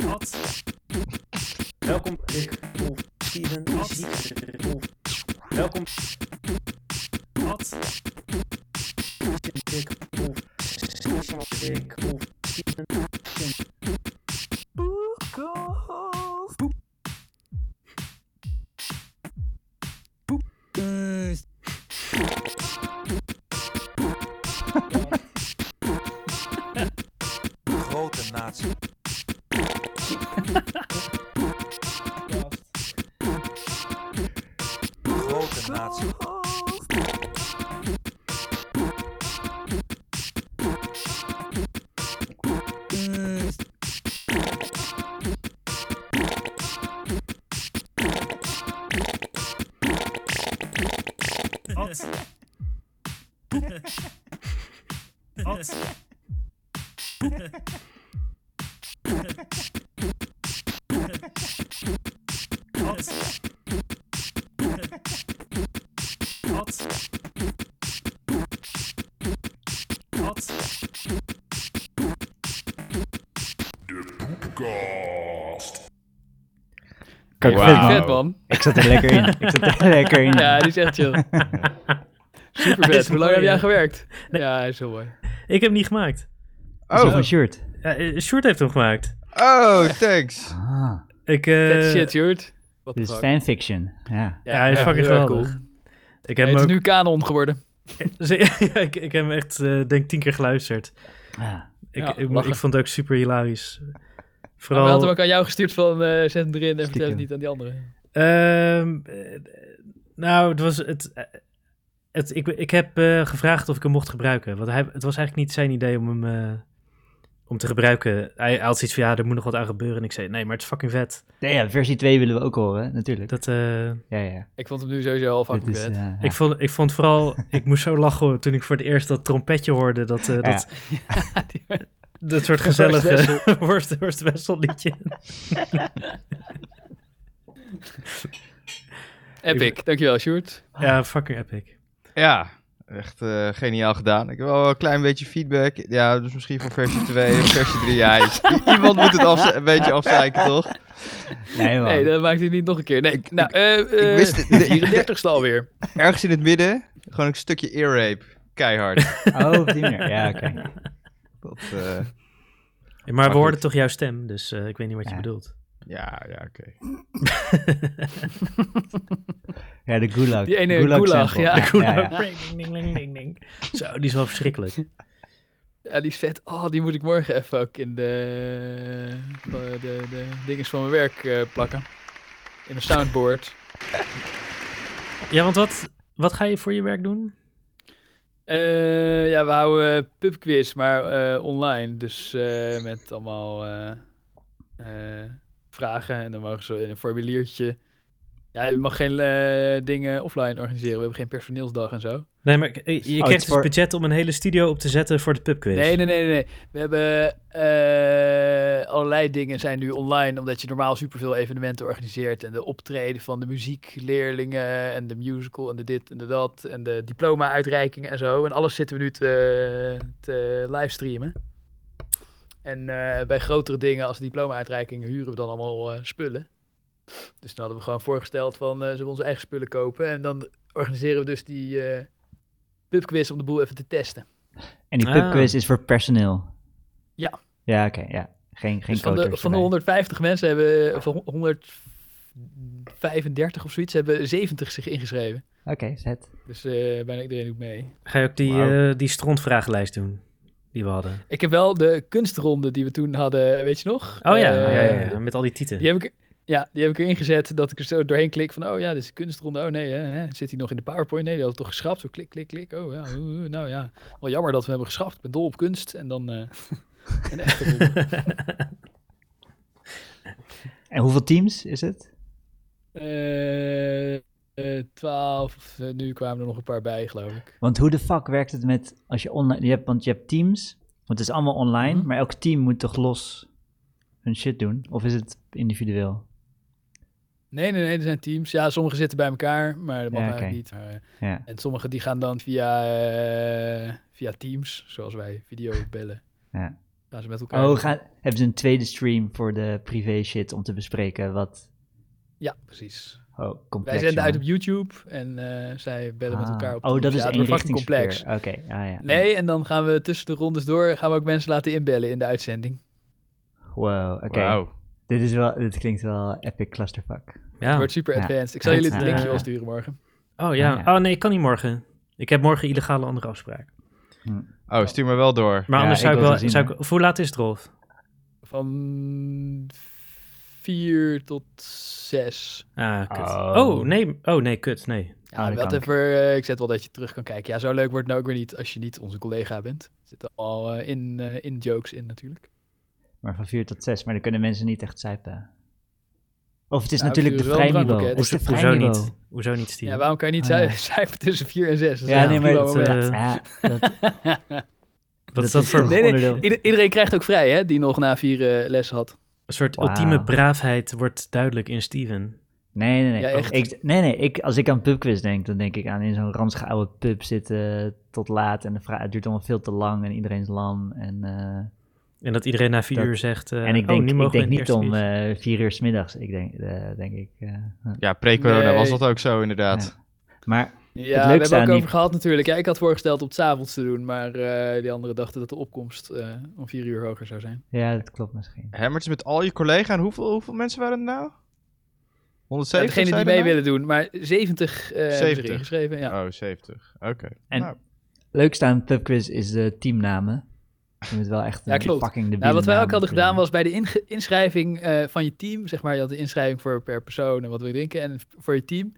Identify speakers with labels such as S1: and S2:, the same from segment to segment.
S1: Wat? Welkom. Ik of Steven Ziekter. Of. Welkom. Wat? Ik of Steven. Ik of Steven.
S2: Podcast.
S3: Grote natie. Grote natie.
S1: Wat? Wat? Wat? Wat? Wat?
S4: Kijk,
S5: Wauw.
S4: vet, man.
S2: Vet man.
S4: Ik zat er lekker in. Ik zat er lekker in.
S2: Ja, die is echt chill. Super
S1: Hij is Eh,
S2: vet. Hoe lang
S1: mooi,
S2: heb jij
S1: ja.
S2: gewerkt? Ja, hij is heel mooi.
S1: Ik heb hem niet gemaakt.
S4: Zo
S5: Oh,
S4: van shirt.
S1: Ja, eh, Sjoerd heeft hem gemaakt.
S5: oh, thanks.
S4: Ah,
S1: Ik, eh,
S2: Vet shit, Jurt. Wat
S5: dus
S4: dit is fanfiction. Ja.
S1: Ja, hij is fucking
S2: heel erg
S1: geweldig.
S2: cool.
S1: ik
S2: Hij
S1: heb hem
S2: is
S1: ook-
S2: nu kanon geworden.
S1: Ze- ja, ik, ik heb hem echt, eh, denk tien keer geluisterd.
S4: Ah.
S1: Ik,
S2: Ja,
S1: ik,
S2: lachen.
S1: ik vond het ook super hilarisch.
S2: Maar We
S1: Vooral,
S2: hadden hem ook aan jou gestuurd van eh, zet hem erin en vertel
S4: Stiekem.
S2: het niet aan die anderen.
S1: ehm, eh, nou, het was het. eh, het ik, ik heb eh, gevraagd of ik hem mocht gebruiken. Want hij, het was eigenlijk niet zijn idee om hem eh, om te gebruiken. Hij, hij had zoiets van ja, er moet nog wat aan gebeuren. En ik zei nee, maar het is fucking vet.
S4: Nee, ja, versie 2 willen we ook horen, natuurlijk.
S1: Dat, eh,
S4: Ja, ja.
S2: Ik vond hem nu sowieso al fucking
S4: Dit is,
S2: vet.
S4: eh,
S1: ik, vond, ik vond vooral, ik moest zo lachen hoor, toen ik voor het eerst dat trompetje hoorde. Dat, eh,
S4: ja.
S1: dat,
S2: Die-
S1: dat soort
S2: Worst Wessel.
S1: gezellige worst, worst Wessel liedje.
S5: eh,
S2: Epic. Dankjewel, Sjoerd.
S1: Ja, fucking epic.
S5: Ja, echt eh, geniaal gedaan. Ik heb wel een klein beetje feedback. Ja, dus misschien voor versie 2 of versie 3. Ja, i- iemand moet het afze- een beetje afzeiken, toch?
S4: Nee, man.
S2: Nee, dat maakt hij niet nog een keer. Nee, nou, eh
S5: ik wist het.
S2: 34ste alweer.
S5: Ergens in het midden, gewoon een stukje ear rape. Keihard.
S4: Oh, op die manier. Ja, oké.
S5: Dat, eh,
S1: Ja, maar we
S5: goed.
S1: hoorden toch jouw stem, dus eh, ik weet niet wat je
S4: Ja.
S1: bedoelt.
S5: ja, ja, oké.
S4: Ja, de gulag.
S2: Die ene
S4: gulag,
S2: gulag,
S4: sample.
S2: ja.
S4: ja, ja.
S1: Ding, ding, ding, ding, ding. Zo, die is wel verschrikkelijk.
S2: Ja, die is vet. Oh, die moet ik morgen even ook in de, de, de, de dinges van mijn werk eh, plakken. In een soundboard.
S1: Ja, want wat, wat ga je voor je werk doen?
S2: Eh, ja, we houden eh, pubquiz, maar eh, online. Dus eh, met allemaal eh, eh, vragen. En dan mogen ze in een formuliertje. Ja, je mag geen eh, dingen offline organiseren. We hebben geen personeelsdag en zo.
S1: Nee, maar eh, je
S4: Oh, het
S1: krijgt
S4: is
S1: dus
S4: voor-
S1: budget om een hele studio op te zetten voor de pubquiz.
S2: Nee, nee, nee, nee, nee. We hebben eh, allerlei dingen zijn nu online, omdat je normaal superveel evenementen organiseert. En de optreden van de muziekleerlingen en de musical en de dit en de dat. En de diploma-uitreikingen en zo. En alles zitten we nu te, te livestreamen. En eh, bij grotere dingen als de diploma-uitreikingen huren we dan allemaal eh, spullen. Dus dan hadden we gewoon voorgesteld van, eh zullen we onze eigen spullen kopen? En dan organiseren we dus die eh pubquiz om de boel even te testen.
S4: En die
S1: Ah.
S4: pubquiz is voor personeel.
S2: Ja.
S4: Ja, oké, ja. Geen, geen
S2: Dus van, de,
S4: koters
S2: van de
S4: erbij.
S2: 150 mensen hebben, van 135 of zoiets, hebben 70 zich ingeschreven.
S4: Oké, zet.
S2: Dus eh, bijna iedereen doet mee.
S1: Ga je ook die,
S4: Wauw.
S1: eh, die strontvragenlijst doen, die we hadden?
S2: Ik heb wel de kunstronde die we toen hadden, weet je nog?
S1: Oh ja,
S2: Eh,
S1: ja, ja, ja, met al die tieten.
S2: Die heb ik, ja, die heb ik erin gezet dat ik er zo doorheen klik van, oh ja, dit is kunstronde. Oh nee, hè, hè, zit hij nog in de PowerPoint? Nee, die hadden we toch geschrapt. Zo klik, klik, klik. Oh ja, oeh, oeh, nou ja. Wel jammer dat we hebben geschrapt. Ik ben dol op kunst. En dan... eh een echte ronde.
S4: En hoeveel teams is het?
S2: Eh, eh, 12, eh, nu kwamen er nog een paar bij, geloof ik.
S4: Want hoe de fuck werkt het met als je online. Je hebt, want je hebt teams, want het is allemaal online,
S2: Mhm.
S4: maar elk team moet toch los hun shit doen? Of is het individueel?
S2: Nee, nee, nee, er zijn teams. Ja, sommige zitten bij elkaar, maar dat mag
S4: Ja,
S2: eigenlijk
S4: oké.
S2: niet. Maar, eh,
S4: Ja.
S2: en sommige die gaan dan via, eh, via teams, zoals wij video bellen.
S4: Ja.
S2: Gaan ze met elkaar.
S4: Oh, gaan, hebben ze een tweede stream voor de privé shit om te bespreken wat...
S2: Ja, precies.
S4: Oh,
S2: Wij
S4: complex.
S2: zenden uit op
S4: jongen.
S2: YouTube en eh, zij bellen met
S4: Ah,
S2: elkaar op.
S4: Oh, dat
S2: ja,
S4: is
S2: het
S4: één
S2: wordt fucking complex.
S4: richtingsverkeer. Oké, ah, ja.
S2: Nee, en dan gaan we tussen de rondes door, gaan we ook mensen laten inbellen in de uitzending.
S4: Wow, oké.
S5: Wauw.
S4: Dit, is wel, dit klinkt wel epic clusterfuck.
S1: Ja.
S2: wordt super
S4: Oh, ja. eh,
S2: advanced. Ik zal jullie het
S4: Ja.
S2: linkje wel sturen morgen.
S1: Oh ja.
S4: Ah, ja.
S1: Oh nee, ik kan niet morgen. Ik heb morgen illegale andere afspraak.
S5: Oh, stuur me wel door.
S1: Maar
S4: Ja,
S1: anders
S4: ik
S1: zou ik
S4: wil
S1: wel...
S4: het wel zien,
S1: zou ik, of hoe laat is het, Rolf?
S2: Van 4 tot 6.
S1: Ah, kut.
S4: Oh.
S1: Oh. nee. Oh, nee, kut. Nee.
S4: Ah,
S2: Ja,
S4: dat
S2: wel
S4: kan ik.
S2: even, eh, ik zet wel dat je terug kan kijken. Ja, zo leuk wordt het nou ook weer niet als je niet onze collega bent. Er zitten al eh, in, eh, in jokes in natuurlijk.
S4: Maar van 4 tot 6, maar dan kunnen mensen niet echt zuipen. Of het is
S2: Nou,
S4: natuurlijk de
S2: vier is wel een
S4: vrijniveau. Het
S2: drankloket.
S4: is
S1: Hoezo,
S4: de
S1: hoezo
S4: vrijniveau.
S1: niet? Hoezo niet, Steven?
S2: Ja, waarom kan je
S4: Ah,
S2: niet
S4: ja.
S2: zui- zuipen tussen 4 en 6?
S4: Ja, nee, maar
S1: dat, eh,
S4: Ja, dat,
S1: wat is dat voor
S4: toch
S2: Nee, nee,
S4: onderdeel?
S2: Ieder- iedereen krijgt ook vrij, hè, die nog na vier eh, lessen had.
S1: een soort
S4: Wauw.
S1: ultieme braafheid wordt duidelijk in Steven.
S4: Nee, nee, nee.
S2: Ja, echt.
S4: ik, nee, nee ik, als ik aan pubquiz denk, dan denk ik aan in zo'n ranzige oude pub zitten tot laat. En de vraag, het duurt allemaal veel te lang en iedereen is lam. En, eh,
S1: En dat iedereen na vier
S4: Dat-
S1: uur zegt... eh,
S4: en ik
S1: oh,
S4: denk,
S1: nu
S4: ik
S1: mogen we in het
S4: denk niet
S1: eerste
S4: om
S1: uurtje.
S4: eh, vier uur 's middags. Ik denk, eh, denk ik. eh,
S5: Ja, pre-corona
S2: Nee.
S5: was dat ook zo, inderdaad.
S4: maar
S2: Ja, we
S4: leukste
S2: hebben
S4: aan
S2: ook
S4: die-
S2: over gehad natuurlijk. Ja, ik had voorgesteld om het 's avonds te doen, maar eh, die anderen dachten dat de opkomst eh, om vier uur hoger zou zijn.
S4: ja, dat klopt misschien.
S5: Hè, maar het is met al je collega's. En hoeveel, hoeveel mensen waren het nou? 170?
S2: degene die
S5: zeiden
S2: mee
S5: we?
S2: willen doen, maar 70, eh hebben ze
S5: 70.
S2: erin geschreven. Ja.
S5: Oh, 70. Oké.
S4: En
S5: Nou.
S4: leukste aan pubquiz is de teamnamen. Je moet wel echt
S2: Ja,
S4: een
S2: klopt.
S4: fucking de
S2: Nou, wat wij ook hadden gedaan was bij de inge- inschrijving eh, van je team, zeg maar, je had de inschrijving voor per persoon en wat wil je drinken en voor je team.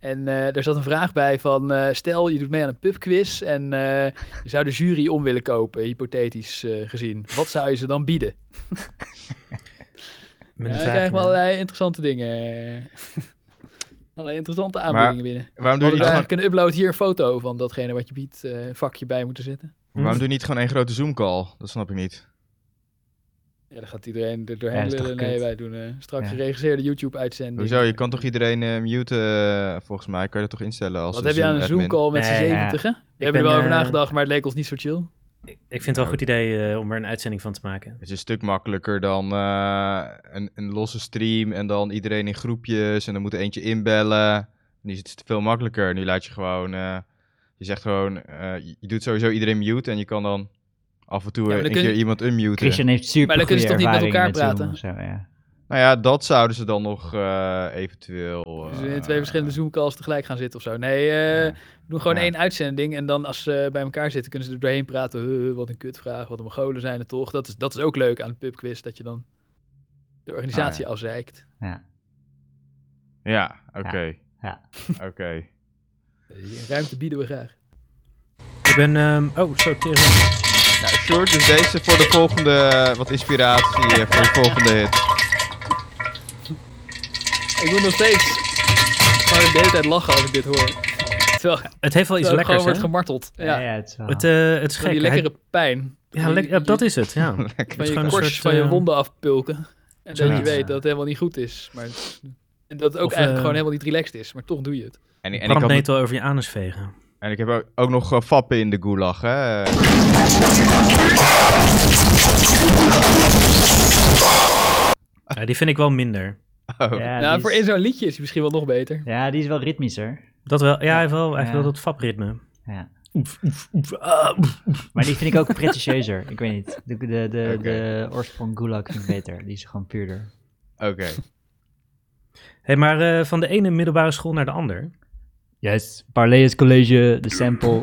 S2: En eh, daar zat een vraag bij van, eh, stel je doet mee aan een pubquiz en eh, je zou de jury om willen kopen, hypothetisch eh, gezien. Wat zou je ze dan bieden?
S1: Met
S2: Ja,
S1: een vraag,
S2: dan
S1: eh,
S2: krijgen we
S1: ja.
S2: allerlei interessante dingen. allerlei interessante aanbiedingen binnen.
S5: Waarom doe je
S2: Hadden
S5: niet
S2: we
S5: gewoon
S2: eigenlijk een upload hier een foto van datgene wat je biedt, eh, een vakje bij moeten zetten.
S5: Waarom doe je niet gewoon één grote Zoom-call? Dat snap ik niet.
S2: Ja, dan gaat iedereen er doorheen
S4: Ja, dat is toch
S2: lullen. Nee,
S4: kut.
S2: wij doen eh, straks
S4: Ja.
S2: geregisseerde YouTube-uitzending.
S5: Hoezo? Je kan toch iedereen eh, muten, eh, volgens mij? Kan je dat toch instellen als
S2: Wat heb je aan een
S5: Zoom-admin?
S2: Zoom-call met z'n
S1: Nee,
S4: ja.
S2: zeventigen? We hebben
S1: ben,
S2: er wel over
S1: eh,
S2: nagedacht, maar het leek ons niet zo chill.
S1: Ik ik vind het wel een goed idee eh, om er een uitzending van te maken.
S5: Het is een stuk makkelijker dan eh, een, een losse stream en dan iedereen in groepjes en dan moet er eentje inbellen. Nu is het veel makkelijker. Nu laat je gewoon, eh, je zegt gewoon, eh, je je doet sowieso iedereen mute en je kan dan af en toe
S2: maar
S5: eh,
S2: dan
S5: een
S2: kun
S5: keer
S2: je-
S5: iemand unmuten.
S4: Christian heeft super
S2: Maar dan kunnen ze toch niet met elkaar praten?
S4: Zo, ja.
S5: Nou ja, dat zouden ze dan nog eh, eventueel...
S2: Dus
S5: eh,
S2: in twee verschillende Zoom-calls tegelijk gaan zitten of zo. Nee, eh,
S4: Ja.
S2: we doen gewoon
S4: Ja.
S2: één uitzending. En dan als ze bij elkaar zitten, kunnen ze er doorheen praten. Huh, wat een kutvraag, wat een mogolen zijn het toch. Dat is, dat is ook leuk aan een pubquiz, dat je dan de organisatie
S1: Ah,
S2: afzeikt.
S5: Ja, oké.
S4: Ja.
S5: Oké.
S2: Die Eh, Ruimte bieden we graag.
S1: Ik ben... ehm, oh, zo, tegen.
S5: Nou, Sjoerd, dus deze voor de volgende, eh, wat inspiratie eh, voor de volgende hit.
S2: Ik moet nog steeds gewoon de hele tijd lachen als ik dit hoor. Terwijl,
S1: Het heeft wel iets
S2: terwijl ik gewoon
S1: lekkers,
S2: wordt
S1: hè?
S2: gemarteld. Ja,
S4: Ja, ja, het is wel-
S1: Het, eh, het is
S2: Van
S1: gek.
S2: die
S1: Hij-
S2: lekkere pijn.
S1: ja,
S2: Van
S1: lek-
S2: die-
S1: ja, dat is het, ja.
S2: van
S1: Het is
S2: je
S1: gewoon een
S2: korst
S1: soort,
S2: van je
S1: eh,
S2: wonden afpulken. En dat
S1: Ja.
S2: je weet dat het helemaal niet goed is. Maar het- en dat het ook
S1: Of,
S2: eigenlijk
S1: eh,
S2: gewoon helemaal niet relaxed is. Maar toch doe je het.
S5: En, en ik had
S1: Brandnetel over je anus vegen.
S5: En ik heb ook, ook nog eh, fappen in de gulag, hè? Eh,
S1: Ja, die vind ik wel minder.
S5: Oh.
S4: ja,
S2: nou,
S4: die
S2: voor
S4: is-
S2: in zo'n liedje is hij misschien wel nog beter.
S4: ja, die is wel ritmischer.
S1: Dat wel, ja, hij heeft wel, hij heeft
S4: Ja.
S1: wel dat fapritme.
S4: Ja.
S1: Oef, oef, oef, ah, oef.
S4: Maar die vind ik ook pretentieuzer. ik weet niet. De, de, de,
S5: Oké.
S4: de oorsprong Gulag vind ik beter. Die is gewoon puurder.
S5: Oké.
S1: hey, maar eh, van de ene middelbare school naar de ander.
S4: Yes. Parleus College, de sample.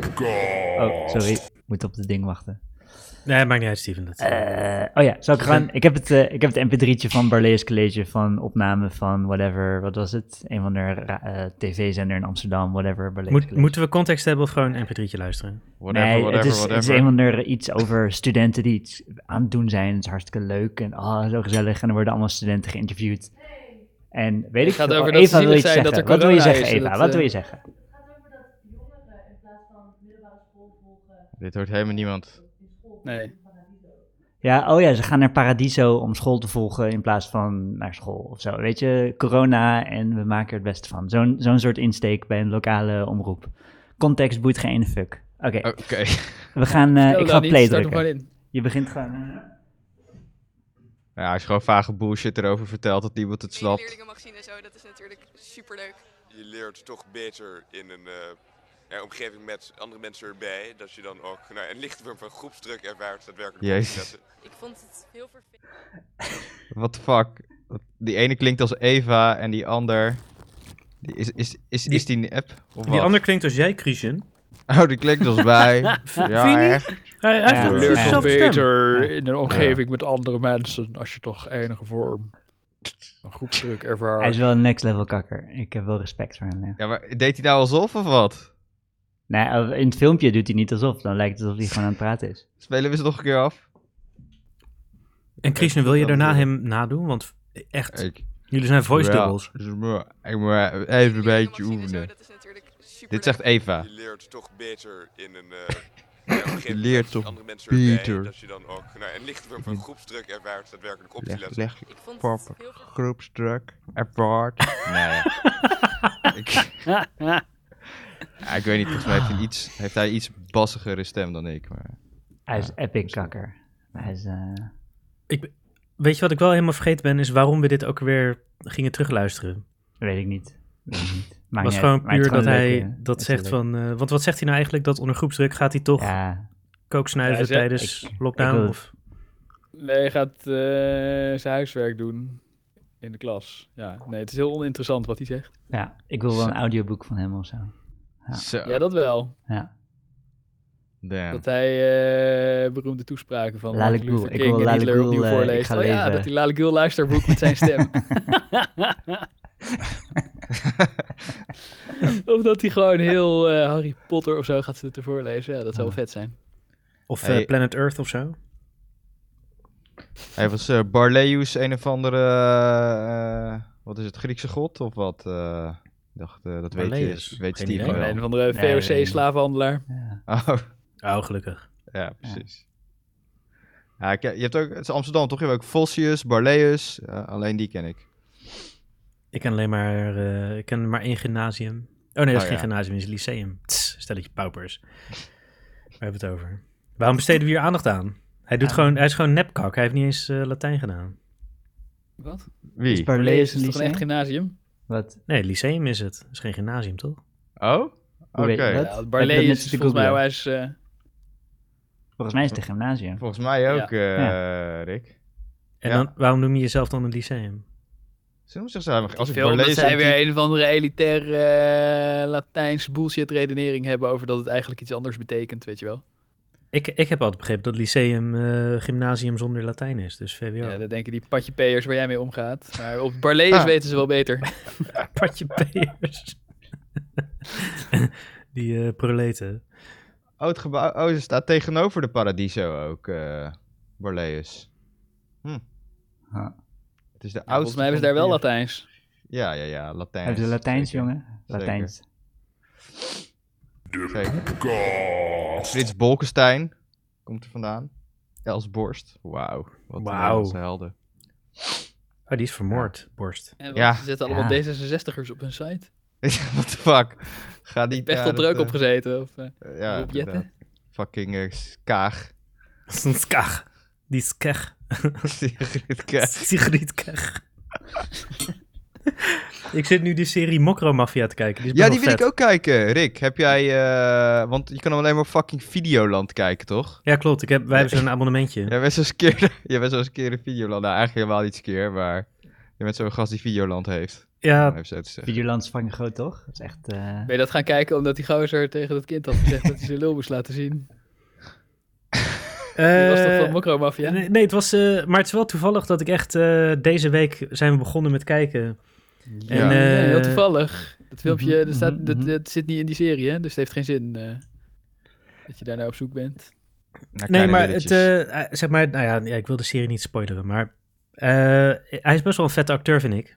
S4: Oh, sorry. Moet op het ding wachten.
S1: Nee, maakt niet uit, Steven. Dat,
S4: Eh, oh ja, zal ik gaan? Ik heb het, eh, ik heb het mp3'tje van Barlees College van opname van whatever, wat was het? Een van de ra- eh, tv-zender in Amsterdam, whatever, Barlees
S1: Moet,
S4: College.
S1: moeten we context hebben of gewoon een mp3'tje luisteren?
S5: Whatever,
S4: nee,
S5: whatever,
S4: het, is,
S5: whatever.
S4: het is een van de iets over studenten die iets aan het doen zijn. Het is hartstikke leuk en ah, zo gezellig. En dan worden allemaal studenten geïnterviewd. En weet ik
S2: gaat
S4: veel, Oh,
S2: over dat ze
S4: Eva wil
S2: zielig
S4: iets
S2: zijn dat
S4: zeggen.
S2: er
S4: Wat wil je
S2: corona
S4: zeggen,
S2: is en
S4: Eva?
S2: dat,
S4: Wat
S2: eh,
S4: wil je zeggen?
S5: Dit hoort helemaal niemand.
S4: Eh,
S2: Nee.
S4: Ja, oh ja, ze gaan naar Paradiso om school te volgen in plaats van naar school of zo. Weet je, corona en we maken er het beste van. Zo'n zo'n soort insteek bij een lokale omroep. Context boeit geen ene fuck. Oké,
S5: Oké. Nou,
S4: we gaan, eh,
S2: Stel
S4: ik
S2: Oh. Nou, dan
S4: ga
S2: niet,
S4: play
S2: start hem
S4: drukken.
S2: gewoon in.
S4: Je begint gewoon... eh,
S5: Nou ja, als je gewoon vage bullshit erover vertelt dat niemand het
S6: Wie je
S5: snapt.
S6: leerlingen mag zien en zo, dat is natuurlijk superleuk.
S7: je leert toch beter in een eh, ja, omgeving met andere mensen erbij. Dat je dan ook nou, een lichte vorm van groepsdruk ervaart. Daadwerkelijk op te
S5: Jezus.
S7: zetten.
S6: Ik vond het heel vervelend.
S5: What the fuck? Die ene klinkt als Eva en die ander... Die is, is, is,
S1: Die-
S5: is die een app? Of
S1: Die
S5: wat?
S1: ander klinkt als jij, Christian.
S5: Oh, die klinkt als wij. ja,
S1: je niet?
S5: echt.
S1: Hij, hij
S4: Ja,
S1: heeft
S4: dat
S2: Leer
S1: precies
S4: is
S2: toch
S1: dezelfde stem.
S2: beter
S4: Ja.
S2: in een omgeving met andere mensen als je toch enige vorm van groepsdruk
S4: Hij is
S2: ervaart.
S4: wel een next level kakker. Ik heb wel respect voor hem. Ja.
S5: Ja, maar deed hij nou alsof of wat?
S4: Nee, eh, in het filmpje doet hij niet alsof. Dan lijkt het alsof hij gewoon aan het praten is.
S5: Spelen we ze nog een keer af?
S1: En Christian, wil je
S5: Dat
S1: daarna
S5: wil ik.
S1: hem nadoen? Want echt,
S5: Ik,
S1: jullie zijn voice
S5: ja,
S1: doubles.
S5: dus ik moet- ik moet
S6: Wie je
S5: even een
S6: leerlingen
S5: beetje
S6: mag zien en zo,
S5: oefenen.
S6: dat is natuurlijk superleuk.
S5: Dit zegt Eva.
S7: Je leert toch beter in een eh, ja, omgeving
S5: Je leert
S7: met
S5: toch
S7: andere mensen erbij.
S5: beter.
S7: Dat je dan ook nou, een lichte vorm van groepsdruk ervaart. Daadwerkelijk op te
S5: Leg,
S7: letten.
S5: leg
S6: Ik vond het
S5: Papa.
S6: heel vervelend.
S5: groepsdruk apart. Nee. ik, Ja, ik weet niet, volgens mij heeft hij, iets, heeft hij iets bassigere stem dan ik. Maar...
S4: Hij is epic kakker. Hij is... eh,
S1: Weet je wat ik wel helemaal vergeten ben, is waarom we dit ook weer gingen terugluisteren.
S4: weet ik niet. Weet ik niet.
S1: Het
S4: Maakt
S1: was
S4: niet
S1: gewoon
S4: uit, maar het
S1: puur
S4: is
S1: dat
S4: gewoon
S1: hij
S4: leuk, eh, het
S1: dat
S4: is
S1: zegt
S4: wel leuk.
S1: van... eh, want wat zegt hij nou eigenlijk? Dat onder groepsdruk gaat hij toch
S4: Ja,
S1: kook snuiven
S2: Hij zegt-
S1: tijdens
S4: ik- ik
S1: lockdown?
S4: wil-
S1: of,
S2: Nee, hij gaat eh, zijn huiswerk doen in de klas. Ja, nee, het is heel oninteressant wat hij zegt.
S4: ja, ik wil wel een audioboek van hem of zo. Ja.
S5: Zo,
S2: Ja, dat wel.
S4: Ja.
S5: damn.
S2: Dat hij eh, beroemde toespraken van
S4: Lale
S2: Martin Luther
S4: Gül. Ik
S2: King
S4: wil
S2: en
S4: Lale
S2: Hitler
S4: Gül,
S2: opnieuw
S4: eh, ik
S2: voorleest.
S4: ga
S2: Oh ja,
S4: leven.
S2: dat die Lale Gül luisterboek met zijn stem. of dat hij gewoon heel eh, Harry Potter of zo gaat zitten voorlezen. Ja, dat zou wel vet zijn.
S1: of eh,
S5: Hey.
S1: Planet Earth of zo?
S5: Hij was eh Barleuus, een of andere... eh, wat is het, Griekse god of wat? Eh, ik dacht, eh, dat weet,
S1: Barleuus?
S5: je, weet
S1: Geen
S5: Steven
S1: idee.
S5: wel.
S2: Een van de
S4: Nee, nee, nee.
S2: VOC-slavenhandelaar.
S4: ja.
S5: Oh,
S1: Oh, gelukkig.
S5: ja, precies. Ja, ik- je hebt ook, het is Amsterdam toch? Je hebt ook Vossius, Barleuus, eh, alleen die ken ik.
S1: Ik ken alleen maar, eh, ik ken maar één gymnasium. Oh nee, dat is
S5: Oh,
S1: geen
S5: ja.
S1: gymnasium, dat is lyceum. Tss, stelletje paupers. Waar hebben we het over? Waarom besteden we hier aandacht aan? Hij, doet
S4: Ja.
S1: gewoon, hij is gewoon nepkak. Hij heeft niet eens eh, Latijn gedaan.
S2: Wat?
S5: Wie?
S4: Barlees
S2: Lees
S4: en
S2: is toch een echt
S4: Lycée?
S2: gymnasium?
S4: Wat?
S1: Nee, lyceum is het. Dat is geen gymnasium, toch?
S5: Oh? Oké.
S4: Hoe weet je dat?
S2: Ja,
S4: Heb je
S2: Barley
S4: dat net
S2: is
S4: zitten
S2: volgens mij
S4: googlen?
S2: hij is... eh,
S4: Volgens mij is het een gymnasium.
S5: Volgens mij ook,
S2: Ja.
S5: eh, Rick.
S1: En
S5: Ja.
S1: dan, waarom noem je jezelf dan een lyceum?
S5: Soms zeggen ze eigenlijk, als ik
S2: Veel omdat
S5: Barleuus...
S2: zij
S5: en
S2: weer een of andere elitaire eh, Latijns bullshit redenering hebben over dat het eigenlijk iets anders betekent, weet je wel.
S1: Ik, ik heb altijd begrepen dat lyceum eh, gymnasium zonder Latijn is. Dus VWO.
S2: Ja, dat denken die patjepeers waar jij mee omgaat. Maar op Barlees
S5: Ah.
S2: weten ze wel beter.
S1: Patje peers. Die eh, proleten.
S5: Oh, het gebouw. Oh, ze staat tegenover de Paradiso ook, eh Borleus. Hm.
S4: Huh.
S5: Het is de oudste.
S2: Volgens mij hebben ze
S5: van
S2: daar
S5: de
S2: wel
S5: vier-
S2: Latijns.
S5: Ja, ja, ja, Latijn.
S4: Heb je Latijns, jongen? Latijns.
S5: Frits Bolkestein komt er vandaan. Els Borst. Wauw. Wat een
S1: Wauw.
S5: Nederlandse helden.
S1: Oh, die is vermoord, Borst.
S2: En
S5: Ja.
S2: ja. Eh, ze zetten allemaal D66'ers op hun site.
S5: What the fuck? Ga die.
S2: Ik ben echt
S5: ja,
S2: wel druk
S5: dat, eh,
S2: opgezeten. Of, eh,
S5: Ja,
S2: Rob Jetten.
S5: inderdaad. Fucking eh, Kaag.
S1: Dat is een skag. Die skag.
S5: Sigrid Kaag.
S1: Sigrid Kaag. ik zit nu die serie Mokromafia te kijken. Die is
S5: Ja, die
S1: best
S5: wil
S1: wel
S5: ik
S1: vet.
S5: ook kijken. Rick, heb jij... eh, want je kan hem alleen maar op fucking Videoland kijken, toch?
S1: Ja, klopt. Ik heb, wij hebben zo'n abonnementje.
S5: Jij bent zo'n keer, jij bent zo'n keer in Videoland. Nou, eigenlijk helemaal niet eens keer, maar... Je bent zo'n gast die Videoland heeft. om
S1: Ja,
S5: even zo te zeggen.
S4: Videoland is fucking groot, toch? Dat is echt... eh,
S2: ben je dat gaan kijken omdat die gozer tegen dat kind had gezegd dat hij zijn lul moest laten zien? Die was toch
S1: eh,
S2: van Mokromafia?
S1: nee, nee, het was... eh, maar het is wel toevallig dat ik echt... eh, deze week zijn we begonnen met kijken.
S2: Ja,
S1: En,
S2: ja,
S1: eh,
S2: heel toevallig. Dat filmpje
S4: mhm,
S2: dat staat,
S4: mhm,
S2: dat,
S4: mhm.
S2: dat zit niet in die serie, hè? dus het heeft geen zin eh, dat je daarna op zoek bent.
S5: Naar
S1: Nee,
S5: kleine
S1: maar het...
S5: dingetjes.
S1: eh, eh, zeg maar... Nou ja, ja, ik wil de serie niet spoileren, maar... eh, hij is best wel een vette acteur, vind ik.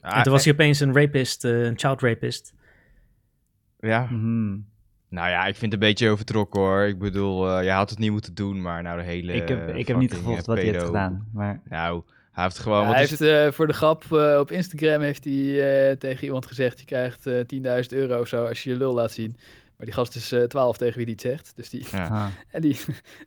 S1: en
S5: Ah,
S1: toen was hij opeens een rapist, eh, een child rapist.
S5: eh, Ja.
S4: mhm.
S5: Nou ja, ik vind het een beetje overtrokken, hoor. Ik bedoel, eh, je had het niet moeten doen, maar nou de hele...
S4: Ik heb,
S5: eh,
S4: ik heb niet
S5: fucking,
S4: gevolgd
S5: eh,
S4: wat hij heeft
S5: pedo-
S4: gedaan, maar...
S5: Nou, hij heeft gewoon...
S2: Ja,
S5: wat
S2: hij
S5: is
S2: heeft eh, voor de grap eh, op Instagram heeft hij eh, tegen iemand gezegd: je krijgt eh, 10.000 euro of zo als je je lul laat zien. Maar die gast is eh 12 tegen wie die het zegt. Dus die,
S5: Ja.
S4: ah.
S2: en die,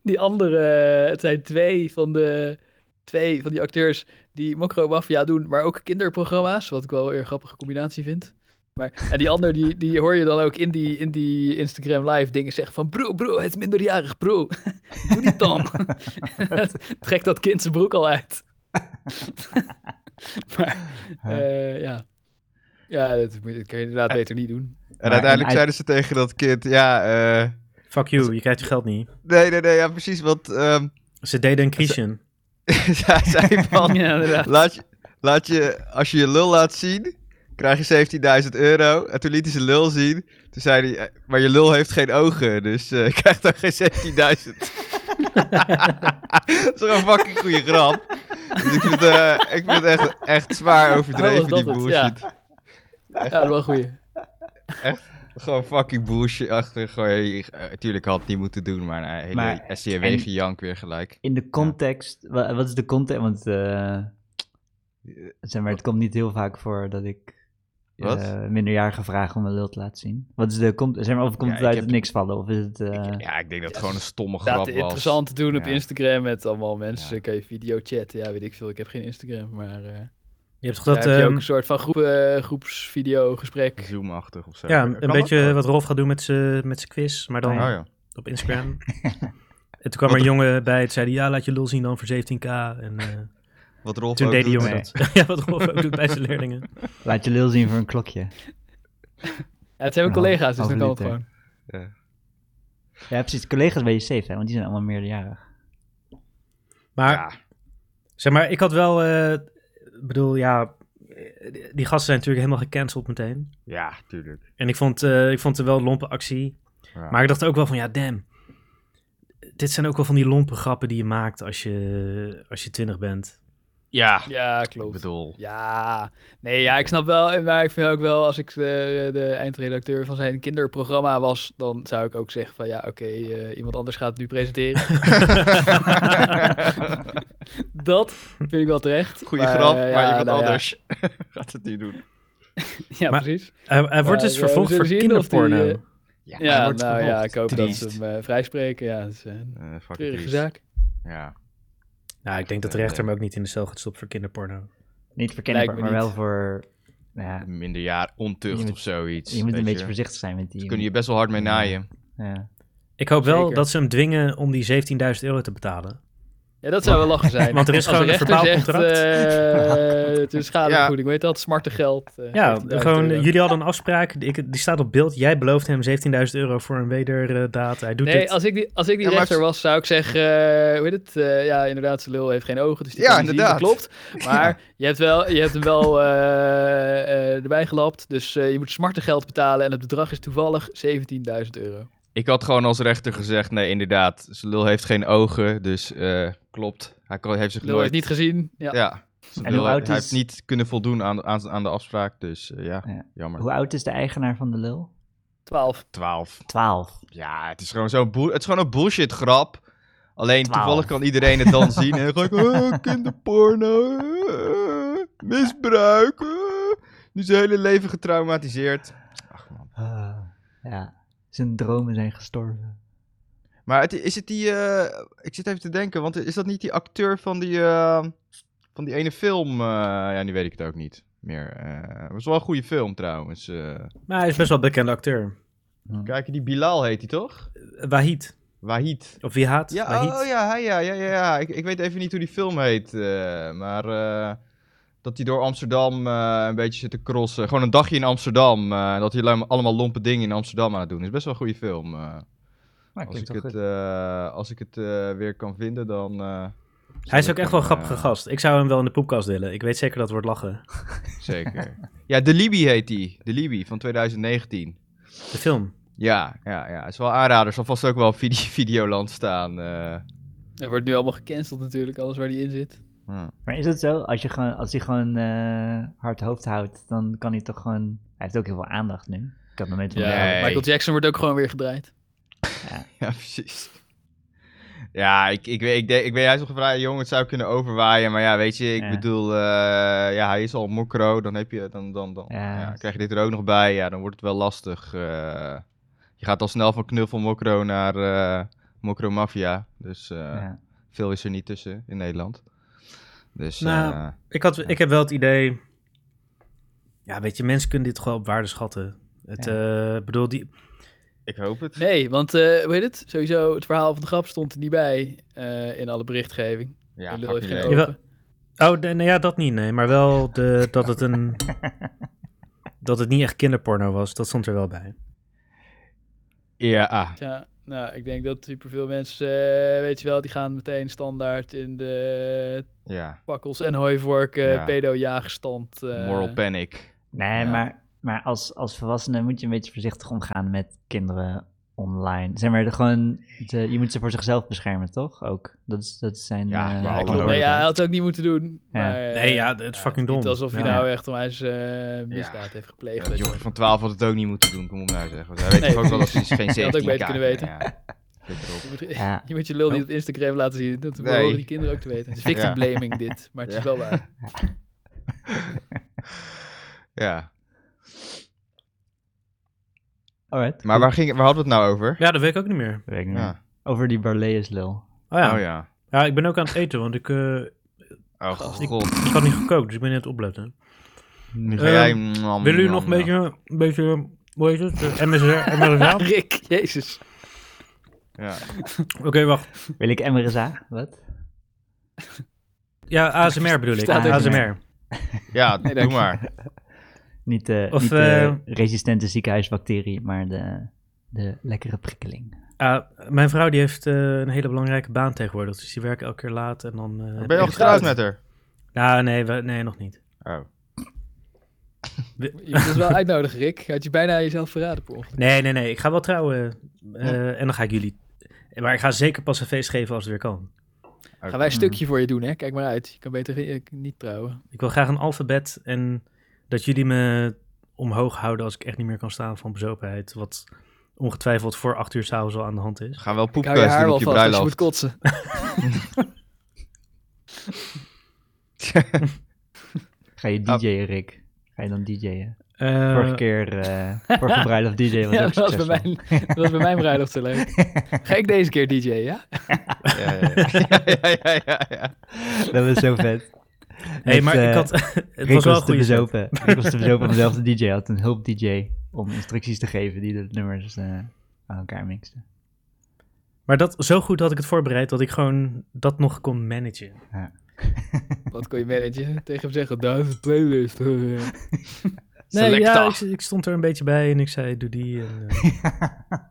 S2: die andere, eh, het zijn twee van de twee van die acteurs die Mokro Mafia doen, maar ook kinderprogramma's. Wat ik wel weer een grappige combinatie vind. Maar, en die ander, die, die hoor je dan ook in die, in die Instagram live dingen zeggen van... Bro, bro, het is minderjarig, bro. Doe niet dan. Trek dat kind zijn broek al uit. maar, eh, ja. Ja, dat, moet- dat kun je inderdaad beter niet doen.
S5: En
S4: Maar-
S5: uiteindelijk
S4: en
S5: zeiden ze tegen dat kind, ja, eh,
S1: Fuck you, je krijgt je geld niet.
S5: nee, nee, nee, ja, precies, want ehm
S1: Ze deden een Christian.
S5: zij zei van,
S2: Ja, inderdaad.
S5: laat je, laat je, als je je lul laat zien, krijg je 17.000 euro. En toen liet hij zijn lul zien, toen zei hij, eh, maar je lul heeft geen ogen, dus eh, je krijgt daar geen 17.000.
S4: Ah.
S5: Dat is toch een fucking goede grap. Dus ik vind het, eh, ik vind het echt, echt zwaar overdreven,
S2: Oh, was
S5: die
S2: dat het? Ja.
S5: bullshit.
S2: Ja, dat is wel een goeie.
S5: Gewoon fucking bullshit achter. Gewoon, eh, tuurlijk had het niet moeten doen, maar nou, hele
S4: Maar-
S5: SCW
S4: en-
S5: gejank weer gelijk.
S4: In de context, wa- wat is de context? Want eh, zeg maar, het komt niet heel vaak voor dat ik
S5: Wat?
S4: eh, minderjarige vragen om mijn lul te laten zien. Wat is de con- zeg maar, of komt
S5: Ja,
S4: het
S5: ik
S4: uit
S5: heb-
S4: het niks vallen? Of is het, eh,
S5: Ik- ja, ik denk dat het
S2: ja,
S5: gewoon een stomme grap
S2: Laat
S5: was.
S2: interessant te doen op
S5: Ja.
S2: Instagram met allemaal mensen.
S5: Ja.
S2: Kan je video chatten, ja, weet ik veel. Ik heb geen Instagram, maar... eh,
S1: Je hebt toch
S2: Dat,
S1: dat...
S2: heb je ook
S1: ehm,
S2: een soort van groep, eh, groepsvideogesprek.
S5: Zoomachtig of zo.
S1: ja, een
S5: eh, Kan dat
S1: beetje eh,
S5: ook?
S1: wat Rolf gaat doen met zijn met zijn quiz, maar dan
S5: Oh ja.
S1: op Instagram. En toen kwam er een jongen bij, het zei die, ja, laat je lul zien dan voor 17k. En eh,
S5: Wat Rolf
S1: toen
S5: ook
S1: deed die
S5: doet. eh,
S1: jongen dat. ja, wat Rolf ook doet bij zijn leerlingen.
S4: laat je lul zien voor een klokje?
S2: Ja, het zijn mijn
S4: Nou,
S2: collega's, dus dan kan het
S4: overlieter.
S2: gewoon.
S4: Ja, precies. Collega's ben je safe, hè, want die zijn allemaal meerderjarig.
S1: Maar
S5: Ja.
S1: Zeg maar, ik had wel. eh, Ik bedoel, ja. eh, Die gasten zijn natuurlijk helemaal gecanceld meteen.
S5: Ja, tuurlijk.
S1: En ik vond, eh, ik vond het wel een lompe actie.
S5: Ja.
S1: Maar ik dacht ook wel van, ja, damn. Dit zijn ook wel van die lompe grappen die je maakt als je, als je twintig bent.
S5: Ja,
S2: Ja,
S5: ik
S2: klopt.
S5: bedoel.
S2: Ja, nee, ja, ik snap wel. en Maar ik vind ook wel, als ik de, de eindredacteur van zijn kinderprogramma was, dan zou ik ook zeggen van ja, oké, eh, iemand anders gaat het nu presenteren. Dat vind ik wel terecht.
S5: Goeie
S2: Maar,
S5: grap,
S2: eh,
S5: maar
S2: ja,
S5: iemand
S2: nou ja.
S5: anders gaat het niet doen.
S2: Ja,
S1: Maar-
S2: precies.
S1: Hij, hij wordt
S2: Ja,
S1: dus
S2: we- we
S1: vervolgd voor
S2: zullen zien of die,
S1: kinderporno.
S2: eh,
S5: Ja,
S2: Ja, nou ja, ik hoop dat ze hem eh, vrijspreken. Ja, dat is eh, een
S5: Uh, fucking
S2: treurige
S5: triest.
S2: zaak.
S5: Ja.
S1: nou, ik denk dat de
S5: eh,
S1: rechter hem ook niet in de cel gaat stoppen voor kinderporno.
S4: Niet voor kennis,
S2: Lijkt
S4: maar
S2: me
S4: wel
S2: niet.
S4: voor... nou ja,
S5: Minder jaar
S4: Je
S5: ontucht
S4: moet-
S5: of zoiets.
S4: je moet een
S5: weet
S4: beetje voorzichtig zijn met die...
S5: Ze kunnen je best wel hard mee naaien.
S4: ja.
S1: Ik hoop wel
S2: Zeker.
S1: dat ze hem dwingen om die 17.000 euro te betalen.
S2: Ja, dat zou wel lachen zijn.
S1: Want er is
S2: Als de
S1: gewoon een
S2: rechter
S1: verbaal
S2: zegt, eh, het is schadevergoeding, weet je dat? Smarte geld. eh,
S1: Ja,
S2: 14.000
S1: gewoon,
S2: euro.
S1: jullie hadden een afspraak. Ik, die staat op beeld. Jij belooft hem 17.000 euro voor een wederdaad. Hij doet dit.
S2: Nee, als ik die, als ik die
S5: Ja, maar
S2: rechter
S5: het-
S2: was, zou ik zeggen, eh, hoe heet het? Eh, ja, inderdaad, zijn lul heeft geen ogen, dus die
S5: Ja,
S2: kan niet zien,
S5: inderdaad.
S2: dat klopt. Maar je, hebt wel, je hebt hem wel eh, eh, erbij gelapt, dus eh, je moet smarte geld betalen en het bedrag is toevallig 17.000 euro.
S5: Ik had gewoon als rechter gezegd, nee inderdaad, zijn lul heeft geen ogen, dus eh, klopt. Hij kan, heeft zich
S2: Lul
S5: nooit...
S2: heeft niet gezien. Ja.
S5: Ja. Zijn
S4: En
S5: lul-
S4: hoe oud
S5: Hij
S4: is-
S5: heeft niet kunnen voldoen aan, aan, aan de afspraak, dus eh, ja,
S4: Ja.
S5: jammer.
S4: Hoe oud is de eigenaar van de lul?
S2: 12.
S5: 12.
S4: Twaalf.
S5: Ja, het is gewoon zo'n boel- het is gewoon een bullshit grap. Alleen
S4: Twaalf.
S5: toevallig kan iedereen het dan zien. En dan ga ik, oh, kinderporno, eh, misbruik. eh." Nu zijn hele leven getraumatiseerd. Ach man.
S4: Ah, ja, zijn dromen zijn gestorven.
S5: Maar het, is het die, eh, ik zit even te denken, want is dat niet die acteur van die, eh, van die ene film? eh, ja, nu weet ik het ook niet meer. Eh, Het was wel een goede film trouwens. eh.
S1: Maar hij is best wel een bekende acteur.
S5: kijk, die Bilal heet hij toch?
S1: Wahid.
S5: Wahid.
S1: Of wie haat?
S5: Ja,
S1: Wahid.
S5: oh, oh ja, hij, ja, ja, ja, ja. Ik, ik weet even niet hoe die film heet. eh, maar eh, dat hij door Amsterdam eh, een beetje zit te crossen. Gewoon een dagje in Amsterdam. eh, dat hij allemaal- allemaal lompe dingen in Amsterdam aan het doen is. Best wel een goede film. eh.
S4: Maar
S5: als, ik
S4: klinkt
S5: het,
S4: wel goed.
S5: eh, als ik het eh, weer kan vinden, dan... eh, zal
S1: Hij is
S5: ik
S1: ook echt
S5: hem,
S1: wel een grappige
S5: eh,
S1: gast. Ik zou hem wel in de poepkast willen. Ik weet zeker dat het wordt lachen.
S5: Zeker. ja, De Libi heet die. De Libi van 2019.
S1: De film.
S5: Ja, ja, ja. Is wel aanrader. Zal vast ook wel op vide- Videoland staan. eh.
S2: Er wordt nu allemaal gecanceld natuurlijk, alles waar die in zit.
S5: Hm.
S4: Maar is het zo? Als, je gewoon, als hij gewoon eh, hard hoofd houdt, dan kan hij toch gewoon... Hij heeft ook heel veel aandacht nu. Ik had nog nooit van
S2: Ja,
S5: Nee.
S2: Michael Jackson wordt ook gewoon weer gedraaid.
S5: Ja, precies. Ja, ik, ik, weet, ik, denk, ik weet, hij is nog een vrij jong, het zou kunnen overwaaien. Maar ja, weet je, ik
S4: Ja.
S5: bedoel, eh, ja, hij is al mokro, dan heb je, dan, dan, dan
S4: Ja.
S5: ja, krijg je dit er ook nog bij. Ja, dan wordt het wel lastig. eh. je gaat al snel van knuffel mokro naar eh mokro mafia. Dus eh,
S4: Ja.
S5: veel is er niet tussen in Nederland. Dus
S1: Nou,
S5: eh,
S1: Ik, had, ik heb wel het idee. Ja, weet je, mensen kunnen dit gewoon op waarde schatten. Het, eh, bedoel, die,
S5: ik hoop het.
S2: Nee, want eh hoe heet het? Sowieso, het verhaal van de grap stond er niet bij eh, in alle berichtgeving.
S5: ja,
S2: De lul
S5: fucking
S2: heeft geen
S5: leuk.
S2: ogen.
S1: Jawel. Oh, nee, nee, ja, dat niet, nee. Maar wel de, dat het een... dat het niet echt kinderporno was, dat stond er wel bij.
S5: Ja, ah.
S2: Ja, nou, ik denk dat superveel mensen, eh, weet je wel, die gaan meteen standaard in de
S5: ja.
S2: pakkels en hooivork eh
S5: Ja.
S2: pedo-jaagstand. eh.
S5: Moral panic.
S4: Nee,
S5: Ja.
S4: maar, maar als, als volwassene moet je een beetje voorzichtig omgaan met kinderen online. Zeg maar, de, gewoon, de- je moet ze voor zichzelf beschermen, toch? Ook. Dat, is, dat zijn...
S5: Ja,
S4: eh,
S5: maar hallo.
S4: klopt.
S2: Nee, Nou ja, hij had het ook niet moeten doen.
S4: Ja.
S2: Maar, eh,
S1: Nee, ja, het is fucking
S2: Niet
S1: dom.
S2: alsof hij
S1: Ja.
S2: nou echt onwijs eh misdaad heeft gepleegd.
S5: Een
S2: weet je
S5: jongen
S2: wel.
S5: van 12 had het ook niet moeten doen, kom op nou zeggen. Want hij weet
S2: Nee,
S5: toch ook wel dat ze geen 17
S2: had ook beter kunnen weten.
S5: Ja. Flikker op.
S2: Je moet,
S4: Ja.
S2: je moet je lul niet op Instagram laten zien. Dat
S5: Nee.
S2: horen die kinderen ook te weten. Het is victim
S5: Ja.
S2: blaming dit, maar het is
S5: Ja.
S2: wel waar.
S5: Ja.
S4: Alright.
S5: Maar waar, ging, waar hadden we het nou over?
S1: Ja, dat weet ik ook niet meer.
S4: Weet ik niet.
S5: Ja.
S4: Over die Barleus lul.
S1: Oh ja.
S5: Oh
S1: ja.
S5: ja.
S1: ik ben ook aan het eten, want ik, eh,
S5: Oh
S1: ik,
S5: god.
S1: ik had niet gekookt, dus ik ben net opletten.
S5: Nu ga
S1: Ehm,
S5: jij... mm,
S1: Willen jullie nog een beetje, een beetje, hoe heet het, Eh, MSR, MRSA? Oké,
S2: Rick, jezus.
S5: mm. Ja.
S1: wacht.
S4: Wil ik MRSA? Wat?
S1: Ja, ASMR bedoel ik,
S2: Staat ook
S1: ASMR.
S5: Ja,
S2: Nee,
S5: doe
S2: dank je.
S5: maar.
S4: Niet, de,
S1: Of,
S4: niet de
S1: eh,
S4: resistente ziekenhuisbacterie, maar de, de lekkere prikkeling.
S1: Ah, mijn vrouw die heeft eh, een hele belangrijke baan tegenwoordig, dus die werkt elke keer laat en dan... eh,
S5: Ben je al getrouwd met haar?
S1: Nou, nee, we- nee, nog niet.
S5: Oh.
S2: Je moet ons wel uitnodigen, Rick. Had je bijna jezelf verraden, per ongeluk.
S1: Nee, nee, nee. Ik ga wel trouwen. eh, En dan ga ik jullie. Maar ik ga zeker pas een feest geven als het weer kan.
S2: Gaan wij een stukje voor je doen, hè? Kijk maar uit. Je kan beter eh, niet trouwen.
S1: Ik wil graag een alfabet en dat jullie me omhoog houden als ik echt niet meer kan staan van bezopenheid. Wat ongetwijfeld voor acht uur s'avonds al aan de hand is.
S5: Ga wel
S2: Ik hou je
S5: poepkeuze
S2: haar
S5: doen op
S2: wel
S5: je
S2: vast dus als je moet
S5: bruiloft.
S2: kotsen.
S4: Ga je
S5: Ah.
S4: DJ'en, Rick? Ga je dan DJ'en?
S1: Eh,
S4: Vorige keer, eh vorige bruiloft DJ was
S2: Ja,
S4: ook
S2: dat was, bij
S4: succesvol.
S2: mijn, dat was bij mijn bruiloft zo leuk. Ga ik deze keer DJ, ja?
S5: Ja, ja, ja. ja, ja, ja, ja.
S4: Dat was zo vet.
S1: Nee, maar ik had. het
S4: eh, Rick
S1: was
S4: was,
S1: wel een
S4: te
S1: goede set.
S4: bezopen. Rick was te bezopen om zelf te DJ. Had een hulp DJ om instructies te geven die de nummers eh, aan elkaar mixten.
S1: Maar dat, zo goed had ik het voorbereid dat ik gewoon dat nog kon managen.
S2: Wat kon je managen? Tegen hem zeggen, duizend playlist. eh."
S1: Nee,
S5: Selecta.
S1: ja, ik, ik stond er een beetje bij en ik zei: doe die. En, eh,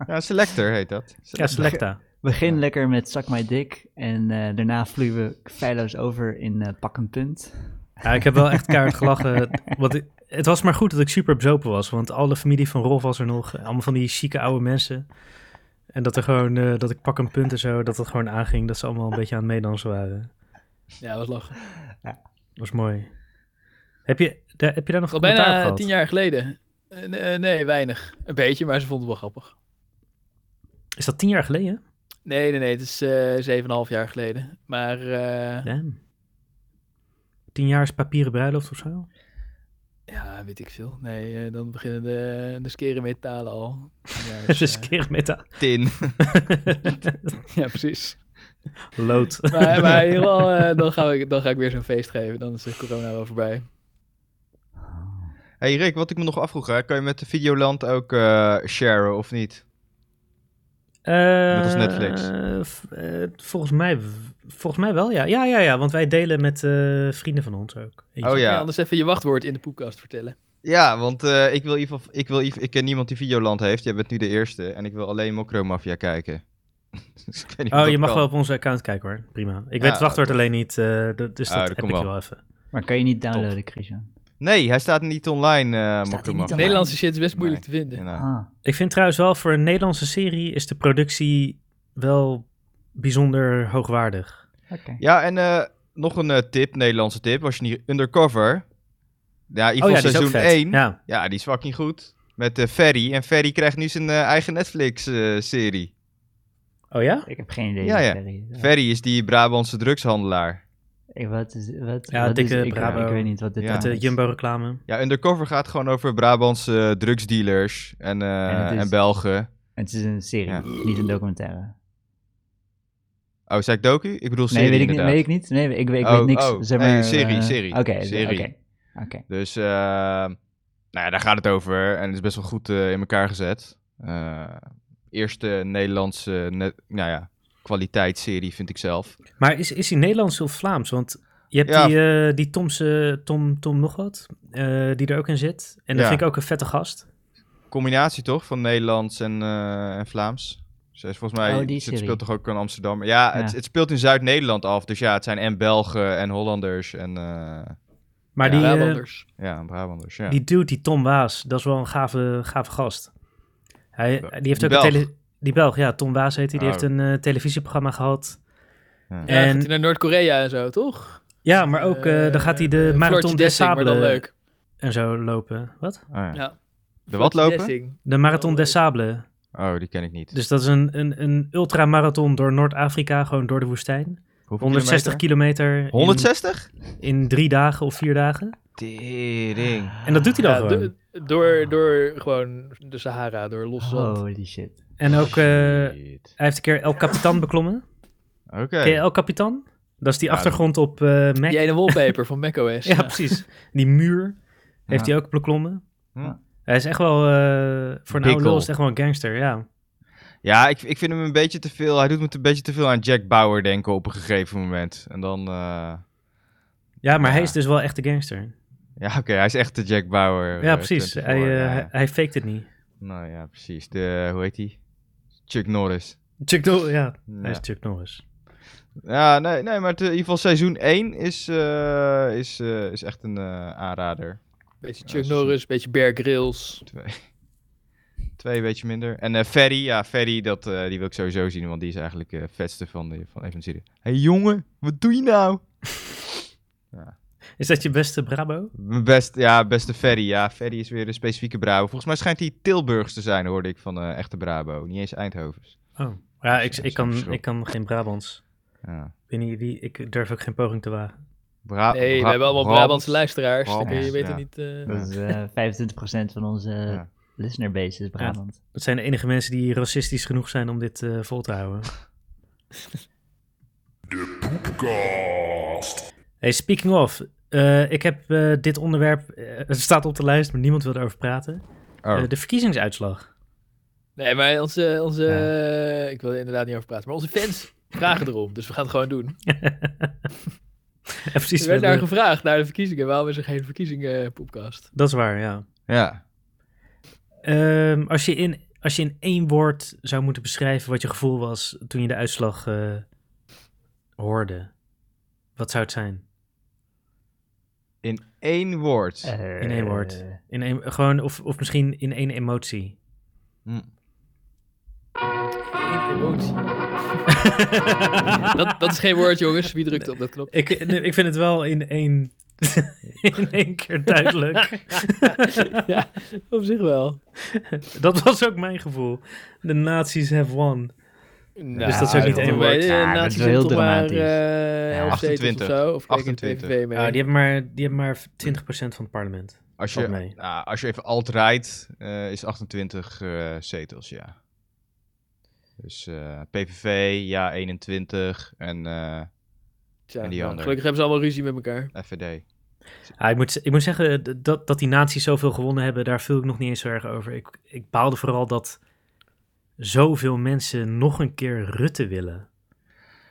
S5: Ja, selector heet dat.
S1: ja, selecta.
S4: Begin lekker met Zak My Dick en eh, daarna vloeien we feilloos over in eh, Pak een Punt.
S1: Ja, ik heb wel echt kaart gelachen. Want ik- het was maar goed dat ik super bezopen was. Want alle familie van Rolf was er nog. Allemaal van die chique oude mensen. En dat er gewoon, eh, dat ik pak een punt en zo, dat het gewoon aanging. Dat ze allemaal een beetje aan het meedansen waren.
S2: Ja, wat lachen.
S1: Dat was mooi. Heb je, daar, heb je daar nog
S2: Al
S1: commentaar op
S2: bijna
S1: gehad?
S2: tien jaar geleden. Eh, nee, nee, weinig. Een beetje, maar ze vonden het wel grappig.
S1: Is dat tien jaar geleden?
S2: Nee, nee, nee. Het is eh, zeven en een half jaar geleden. Maar eh,
S1: Damn. Tien jaar is papieren bruiloft of zo?
S2: ja, weet ik veel. Nee, eh, dan beginnen de, de skere metalen al. Ja,
S1: Het
S2: dus,
S1: is
S2: eh,
S1: keermeta.
S5: Tin.
S2: ja, precies.
S1: Lood.
S2: Maar, maar in ieder geval, eh, dan, ga ik, dan ga ik weer zo'n feest geven. Dan is de corona wel voorbij.
S5: Hey Rick, wat ik me nog afvroeg, hè, kan je met de Videoland ook eh, sharen of niet?
S1: Net
S5: als Netflix.
S1: Eh, volgens, mij, volgens mij wel, ja. Ja, ja, ja, want wij delen met eh, vrienden van ons ook.
S5: Oh
S2: Ja.
S5: ja.
S2: anders even je wachtwoord in de podcast vertellen.
S5: Ja, want eh, ik wil in ieder geval, ik wil in ieder geval- ik ken niemand die Videoland heeft. Jij bent nu de eerste en ik wil alleen Mokro Mafia kijken. Dus ik weet niet of
S1: Oh, je
S5: dat
S1: mag
S5: kan.
S1: wel op onze account kijken hoor. Prima. Ik weet
S5: Ja,
S1: het wachtwoord alleen niet, eh, dat- dus
S5: Ah,
S1: dat
S5: dat
S1: heb ik
S5: komt
S1: je
S5: wel.
S1: wel even.
S4: Maar kan je niet downloaden, Christian?
S5: Nee, hij staat niet online, eh Mokro
S4: hij niet
S5: Mafia.
S4: online?
S2: Nederlandse shit is best moeilijk te vinden.
S5: Ja, nou.
S4: Ah,
S1: Ik vind trouwens wel, voor een Nederlandse serie is de productie wel bijzonder hoogwaardig.
S4: oké.
S5: Ja, en eh, nog een eh, tip, Nederlandse tip. Was je niet undercover? Ja, in ieder
S1: Oh
S5: geval
S1: die is ook
S5: seizoen
S1: vet.
S5: 1. Ja.
S1: Ja,
S5: die is fucking goed. Met eh, Ferry. En Ferry krijgt nu zijn eh, eigen eh, Netflix-serie.
S1: oh ja?
S4: Ik heb geen idee.
S5: Ja,
S4: wat
S5: ja.
S4: Ferry is.
S5: Ferry is die Brabantse drugshandelaar.
S4: Ik- Wat is, wat,
S1: Ja,
S4: wat is-
S1: dikke
S4: ik,
S1: Brabo. eh,
S4: ik weet niet wat dit
S5: Ja.
S1: Met de
S4: is.
S1: Jumbo-reclame.
S5: Ja, Undercover gaat gewoon over Brabantse eh, drugsdealers en, eh,
S4: En het is-
S5: en Belgen.
S4: Het is een serie,
S5: Ja.
S4: niet een documentaire.
S5: Oh, zei ik docu? Ik bedoel serie
S4: Nee, weet ik, niet,
S5: inderdaad.
S4: weet ik niet. Nee, ik, weet- ik
S5: Oh,
S4: weet niks.
S5: oh,
S4: zeg
S5: nee,
S4: maar,
S5: serie,
S4: eh,
S5: serie,
S4: Oké, oké,
S5: serie.
S4: oké.
S5: Dus, eh, nou ja, daar gaat het over. En het is best wel goed eh, in elkaar gezet. Eh, eerste Nederlandse, net, nou ja, kwaliteitsserie vind ik zelf.
S1: Maar is, is hij Nederlands of Vlaams? Want je hebt
S5: Ja.
S1: die, eh, die Tomse, Tom, Tom nog wat, eh, die er ook in zit. En dat
S5: Ja.
S1: vind ik ook een vette gast.
S5: Combinatie toch, van Nederlands en, eh, en Vlaams. Ze is volgens mij,
S4: Oh, die
S5: het
S4: serie.
S5: speelt toch ook in Amsterdam. Ja, het,
S4: Ja.
S5: het speelt in Zuid-Nederland af. Dus ja, het zijn en Belgen en Hollanders en eh,
S1: Maar
S5: Ja,
S1: die, eh,
S2: Brabanders.
S5: ja, en Brabanders. Ja.
S1: die dude, die Tom Waas, dat is wel een gave, gave gast. Hij, die heeft
S5: Die
S1: ook een
S5: Belg.
S1: tele- Die Belg, ja, Tom Waas heet hij. Die
S5: Oh.
S1: heeft een eh, televisieprogramma gehad.
S5: Ja.
S2: Ja, gaat
S1: En-
S2: hij naar Noord-Korea en zo, toch?
S1: Ja, maar ook, eh, dan gaat hij de
S2: Eh,
S1: Marathon
S2: Floortje
S1: des
S2: Dessing, maar dan
S1: Sables
S2: leuk.
S1: en zo lopen. Wat?
S5: Oh, ja.
S2: Ja.
S5: De wat
S2: Floortje
S5: lopen?
S2: Dessing.
S1: De Marathon
S2: Oh,
S1: des
S2: leuk.
S1: Sables.
S5: Oh, die ken ik niet.
S1: Dus dat is een, een, een ultramarathon door Noord-Afrika, gewoon door de woestijn.
S5: Hoeveel
S1: 160
S5: kilometer?
S1: kilometer. in-
S5: 160?
S1: in drie dagen of vier dagen.
S5: Tering.
S1: En dat doet hij dan
S2: Ja,
S1: gewoon.
S2: do- door, door gewoon de Sahara, door los zand.
S1: Oh.
S4: Holy shit.
S1: En ook, eh,
S5: Shit.
S1: hij heeft een keer El Capitan beklommen.
S5: Oké.
S1: Ken je El Capitan? Dat is die
S5: Ja,
S1: achtergrond op eh Mac.
S2: Die ene wallpaper van macOS.
S1: ja, precies. Die muur heeft
S5: Ja.
S1: hij ook beklommen.
S5: Ja.
S1: Hij is echt wel, eh, voor een oude
S5: Pikkel.
S1: lul is het echt wel een gangster, ja.
S5: Ja, ik, ik vind hem een beetje te veel. Hij doet me een beetje te veel aan Jack Bauer denken op een gegeven moment. En dan. eh,
S1: Ja, maar hij
S5: Ja.
S1: is dus wel echt de gangster.
S5: Ja, oké, hij is echt de Jack Bauer.
S1: Ja,
S5: eh,
S1: precies.
S5: 24,
S1: Hij, eh,
S5: ja,
S1: hij,
S5: ja.
S1: hij faked het niet.
S5: Nou ja, precies. De, hoe heet hij? Chuck Norris.
S1: Chuck Norris, ja. Hij is
S5: Ja,
S1: Chuck Norris.
S5: ja nee, nee, maar het, eh, in ieder geval seizoen 1 is, eh, is, eh, is echt een eh, aanrader.
S2: Beetje
S5: Ja,
S2: Chuck
S5: ze-
S2: Norris, beetje Bear Grylls.
S5: Twee een beetje minder. En eh, Ferry, ja, Ferry, dat, eh, die wil ik sowieso zien, want die is eigenlijk eh, het vetste van, de, van even de serie. Hé hey, jongen, wat doe je nou?
S1: Is dat je beste Brabo?
S5: Mijn best, ja, beste Ferry. Ja, Ferry is weer een specifieke Brabo. Volgens mij schijnt hij Tilburgs te zijn, hoorde ik van eh, echte Brabo. Niet eens Eindhovens.
S1: Oh. Ja, ik,
S5: Ja,
S1: ik, kan,
S5: zo'n verschil.
S1: ik kan geen Brabants.
S5: Ja.
S1: Ik, weet niet wie, ik durf ook geen poging te wagen.
S5: Bra
S2: Nee, we hebben allemaal Brabantse luisteraars. Dan kun je
S5: Brabants,
S2: je weet
S5: ja.
S2: het niet. eh,
S4: Dat is eh, 25% van onze
S5: Ja.
S4: listener base is Brabant.
S1: Dat zijn de enige mensen die racistisch genoeg zijn om dit eh, vol te houden. De Poepcast. Hey, speaking of. eh, ik heb eh, dit onderwerp. eh, het staat op de lijst, maar niemand wil erover praten.
S5: Oh.
S1: Eh, de verkiezingsuitslag.
S2: Nee, maar onze, onze ik wil er inderdaad niet over praten, maar onze fans vragen erom, dus we gaan het gewoon doen.
S1: Eh, precies.
S2: Er werd
S1: we
S2: daar
S1: hebben-
S2: gevraagd naar de verkiezingen, waarom is er geen verkiezingen-podcast?
S1: dat is waar, ja.
S5: Ja.
S1: Ehm, als, je in, als je in één woord zou moeten beschrijven wat je gevoel was toen je de uitslag eh, hoorde, wat zou het zijn?
S5: In één woord.
S4: Eh,
S1: In één woord. In één, gewoon, of, of misschien in één emotie.
S5: Hm.
S2: Emotie. dat, dat is geen woord, jongens. Wie drukt op dat knop?
S1: Ik, nee, ik vind het wel in één, in één keer duidelijk.
S2: ja, op zich wel.
S1: dat was ook mijn gevoel. De nazi's have won.
S2: Nou,
S1: dat is ook niet
S2: dan
S1: één
S2: ben je
S1: woord.
S2: de
S4: Ja, dat
S2: nazi
S4: is wel
S2: zit
S4: heel
S2: toch maar,
S4: dramatisch.
S2: eh, elf zetels
S5: 28.
S2: Of zo, of kijk in de
S5: 28.
S2: PVV mee.
S1: Ah, die hebben maar, die hebben maar 20% van het parlement.
S5: Als,
S1: Valt
S5: je,
S1: mee.
S5: nou, als je even alt rijdt, eh, is 28 eh, zetels, ja. Dus eh, PVV, ja, 21 en eh,
S2: Tja,
S5: en die
S2: nou,
S5: ander.
S2: gelukkig hebben ze allemaal ruzie met elkaar.
S5: FVD.
S1: Ah, ik, moet, ik moet zeggen d- dat, dat die nazi's zoveel gewonnen hebben, daar viel ik nog niet eens zo erg over. Ik, ik baalde vooral dat zoveel mensen nog een keer Rutte willen.